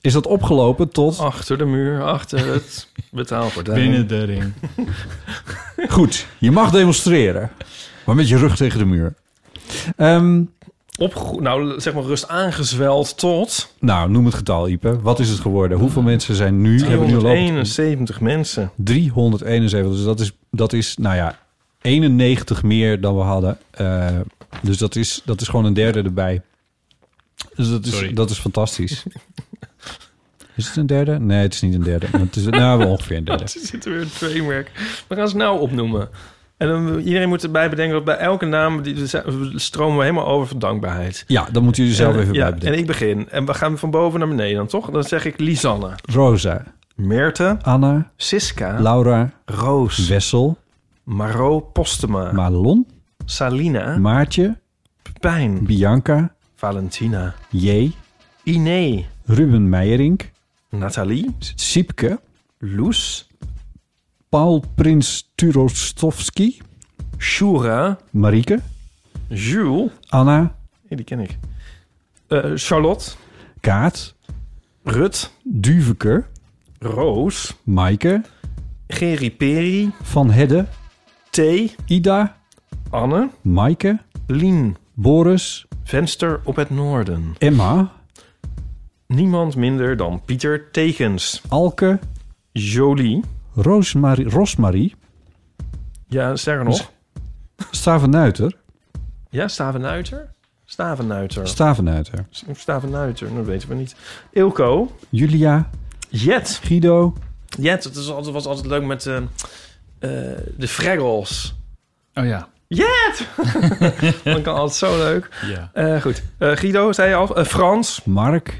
Speaker 3: is dat opgelopen tot...
Speaker 1: Achter de muur, achter het betaalgordijn.
Speaker 2: Binnen de ring.
Speaker 3: Goed, je mag demonstreren, maar met je rug tegen de muur. Ehm,
Speaker 1: Opgego- nou, zeg maar rust aangezweld tot
Speaker 3: nou, noem het getal, Ipe. Wat is het geworden? Hoeveel mensen zijn nu... hebben nu een lopend-
Speaker 1: 371 mensen.
Speaker 3: 371. Dus dat is, dat is, nou ja, 91 meer dan we hadden. Eh, dus dat is, dat is gewoon een derde erbij. Dus dat is,
Speaker 2: Sorry.
Speaker 3: dat is fantastisch. Is het een derde? Nee, het is niet een derde. Maar Het is nou, wel ongeveer een derde.
Speaker 1: Er zit weer een framework. We gaan ze nou opnoemen. En dan, iedereen moet erbij bedenken dat bij elke naam die, stromen we helemaal over van dankbaarheid.
Speaker 3: Ja, dan moeten jullie zelf even
Speaker 1: Eh, ja,
Speaker 3: bij bedenken.
Speaker 1: En ik begin. En we gaan van boven naar beneden dan, toch? Dan zeg ik Lisanne.
Speaker 3: Rosa,
Speaker 1: Meerte.
Speaker 3: Anna,
Speaker 1: Siska.
Speaker 3: Laura,
Speaker 1: Roos.
Speaker 3: Wessel,
Speaker 1: Maro Postema.
Speaker 3: Madelon,
Speaker 1: Salina.
Speaker 3: Maartje,
Speaker 1: Pepijn.
Speaker 3: Bianca,
Speaker 1: Valentina.
Speaker 3: J,
Speaker 1: Iné.
Speaker 3: Ruben Meijerink,
Speaker 1: Nathalie.
Speaker 3: Siepke,
Speaker 1: Loes.
Speaker 3: Paul Prins Turostovski,
Speaker 1: Shura.
Speaker 3: Marieke,
Speaker 1: Jules.
Speaker 3: Anna,
Speaker 1: die ken ik. Eh, Charlotte.
Speaker 3: Kaat.
Speaker 1: Rut.
Speaker 3: Duveker.
Speaker 1: Roos.
Speaker 3: Maaike.
Speaker 1: Gerry Peri.
Speaker 3: Van Hedde.
Speaker 1: T.
Speaker 3: Ida.
Speaker 1: Anne.
Speaker 3: Maaike.
Speaker 1: Lien.
Speaker 3: Boris.
Speaker 1: Venster op het noorden.
Speaker 3: Emma.
Speaker 1: Niemand minder dan Pieter Tekens.
Speaker 3: Alke.
Speaker 1: Jolie.
Speaker 3: Roosmarie. Rosmarie.
Speaker 1: Ja, sterker nog.
Speaker 3: Stavenuiter.
Speaker 1: Ja, Stavenuiter? Stavenuiter.
Speaker 3: Stavenuiter.
Speaker 1: Stavenuiter, dat weten we niet. Ilko.
Speaker 3: Julia.
Speaker 1: Jet.
Speaker 3: Guido.
Speaker 1: Jet, het is altijd, was altijd leuk met eh, eh, de Fraggles.
Speaker 2: Oh ja.
Speaker 1: Jet! dat kan altijd zo leuk.
Speaker 2: Ja. Oh
Speaker 1: Eh, goed. Eh, Guido, zei je al. Eh, Frans.
Speaker 3: Mark.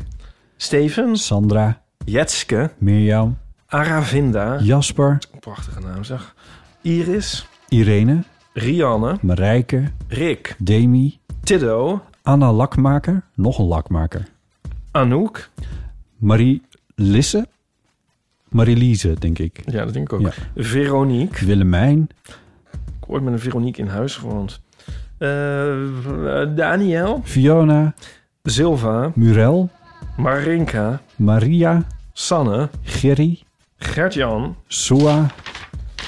Speaker 1: Steven.
Speaker 3: Sandra.
Speaker 1: Jetske.
Speaker 3: Mirjam.
Speaker 1: Aravinda.
Speaker 3: Jasper.
Speaker 1: Prachtige naam zeg. Iris.
Speaker 3: Irene.
Speaker 1: Rianne.
Speaker 3: Marijke.
Speaker 1: Rick.
Speaker 3: Demi.
Speaker 1: Tiddo.
Speaker 3: Anna Lakmaker. Nog een lakmaker.
Speaker 1: Anouk.
Speaker 3: Marie Lisse. Marie-Lise, denk ik.
Speaker 1: Ja, dat denk ik ook.
Speaker 3: Ja.
Speaker 1: Veronique.
Speaker 3: Willemijn.
Speaker 1: Ik heb ooit met een Veronique in huis gewoond. Eh, eh, Daniel.
Speaker 3: Fiona.
Speaker 1: Silva.
Speaker 3: Murel.
Speaker 1: Marinka.
Speaker 3: Maria.
Speaker 1: Sanne.
Speaker 3: Gerry.
Speaker 1: Gert-Jan.
Speaker 3: Soa.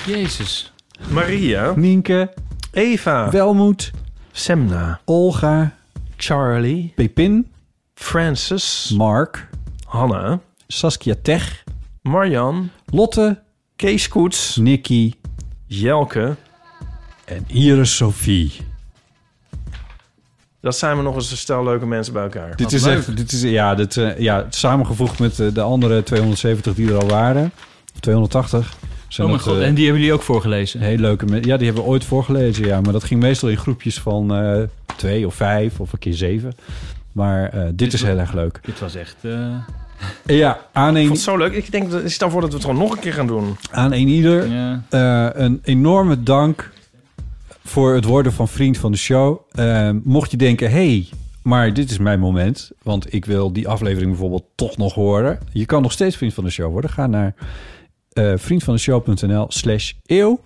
Speaker 2: Jezus.
Speaker 1: Maria.
Speaker 3: Nienke.
Speaker 1: Eva.
Speaker 3: Ah. Welmoed.
Speaker 1: Semna.
Speaker 3: Olga.
Speaker 1: Charlie.
Speaker 3: Pepin.
Speaker 1: Francis.
Speaker 3: Mark.
Speaker 1: Hanna.
Speaker 3: Saskia Tech.
Speaker 1: Marjan.
Speaker 3: Lotte.
Speaker 1: Kees Koets.
Speaker 3: Nicky.
Speaker 1: Jelke.
Speaker 3: En Iris Sophie.
Speaker 1: Dat zijn we nog eens een stel leuke mensen bij elkaar.
Speaker 3: Dit is echt, dit is, ja, dit, eh, ja, samengevoegd met eh, de andere 270 die er al waren. Of 280. Zijn
Speaker 2: Oh mijn
Speaker 3: dat,
Speaker 2: god.
Speaker 3: eh,
Speaker 2: En die hebben jullie ook voorgelezen.
Speaker 3: Heel leuke me- Ja, die hebben we ooit voorgelezen. Ja, maar dat ging meestal in groepjes van eh, twee of vijf of een keer zeven. Maar eh, dit is heel erg leuk.
Speaker 2: Dit was echt... eh,
Speaker 3: Ja,
Speaker 1: Ik
Speaker 3: aan een,
Speaker 1: vond het zo leuk. Ik denk, dat- ik stel voor dat we het gewoon nog een keer gaan doen.
Speaker 3: aan een ieder
Speaker 2: ja.
Speaker 3: eh, een enorme dank voor het worden van vriend van de show. Eh, mocht je denken, hey, maar dit is mijn moment, want ik wil die aflevering bijvoorbeeld toch nog horen. Je kan nog steeds vriend van de show worden. Ga naar eh vriendvandeshow.nl slash eeuw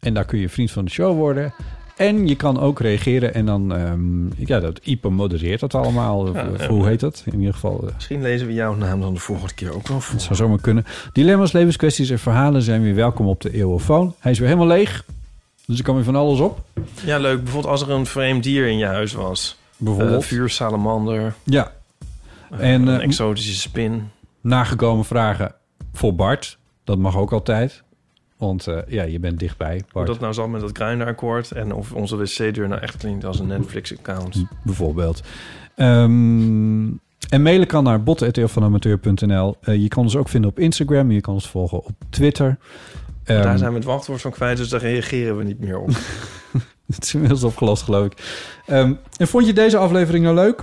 Speaker 3: en daar kun je vriend van de show worden. En je kan ook reageren en dan, ehm, ja, dat Ipe modereert dat allemaal. Of,
Speaker 1: Ja,
Speaker 3: of
Speaker 1: ja.
Speaker 3: hoe heet dat? In ieder geval, eh,
Speaker 1: Misschien lezen we jouw naam dan de volgende keer ook wel voor.
Speaker 3: het zou zomaar kunnen. Dilemma's, levenskwesties en verhalen zijn weer welkom op de Eeuwofoon. Hij is weer helemaal leeg, dus er kan weer van alles op.
Speaker 1: Ja, leuk. Bijvoorbeeld als er een vreemd dier in je huis was.
Speaker 3: Bijvoorbeeld.
Speaker 1: Een vuursalamander.
Speaker 3: Ja. En
Speaker 1: En, Eh, een
Speaker 3: eh,
Speaker 1: exotische spin.
Speaker 3: nagekomen vragen voor Bart. Dat mag ook altijd. Want eh, ja, je bent dichtbij,
Speaker 1: Hoe
Speaker 3: Bart.
Speaker 1: dat nou zat met dat Grindr-akkoord. En of onze wc-deur nou echt klinkt als een Netflix-account.
Speaker 3: Bijvoorbeeld. Ehm, en mailen kan naar bot.eeuwvanamateur.nl. Eh, je kan ons ook vinden op Instagram. Je kan ons volgen op Twitter. Ehm,
Speaker 1: Daar zijn we het wachtwoord van kwijt, dus daar reageren we niet meer op.
Speaker 3: Het is inmiddels opgelost, geloof ik. Ehm, en vond je deze aflevering nou leuk?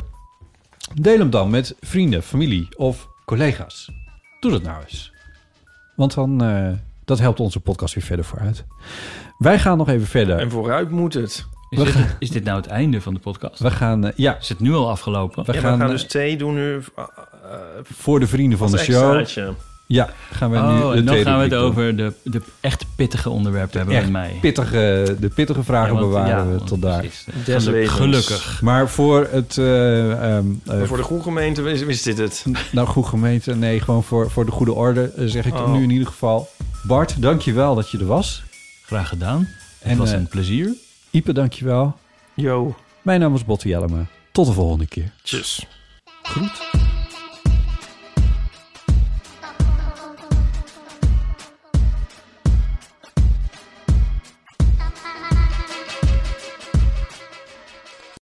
Speaker 3: Deel hem dan met vrienden, familie of collega's. Doe dat nou eens. Want dan, eh, dat helpt onze podcast weer verder vooruit. Wij gaan nog even
Speaker 1: en
Speaker 3: verder.
Speaker 1: vooruit moet het.
Speaker 2: Is, dit, het- is dit nou het einde van de podcast?
Speaker 3: We gaan, eh, ja,
Speaker 2: Is het nu al afgelopen?
Speaker 3: we
Speaker 1: Ja,
Speaker 3: gaan,
Speaker 1: we gaan
Speaker 3: eh,
Speaker 1: dus thee doen nu. eh, eh,
Speaker 3: voor de vrienden van de
Speaker 1: als
Speaker 3: show.
Speaker 1: extraatje.
Speaker 3: Ja, gaan we nu
Speaker 2: Oh,
Speaker 3: de
Speaker 2: en dan gaan we
Speaker 3: theerubriek
Speaker 2: het
Speaker 3: doen.
Speaker 2: over de, de echt pittige onderwerpen hebben
Speaker 3: Echt
Speaker 2: met mij.
Speaker 3: pittige, de pittige vragen bewaren we tot daar.
Speaker 1: Des levens.
Speaker 2: Gelukkig.
Speaker 3: Maar voor het... eh, ehm, eh,
Speaker 1: Maar voor de goede gemeente is, is dit het.
Speaker 3: Nou, goed gemeente. Nee, gewoon voor, voor de goede orde eh, zeg ik
Speaker 1: Oh.
Speaker 3: nu in ieder geval. Bart, dankjewel dat je er was.
Speaker 2: Graag gedaan. Het
Speaker 3: En,
Speaker 2: was
Speaker 3: eh,
Speaker 2: een plezier.
Speaker 3: Ipe, dankjewel.
Speaker 1: Yo.
Speaker 3: Mijn naam is Botte Jellema. Tot de volgende keer.
Speaker 1: Tjus.
Speaker 3: Groet.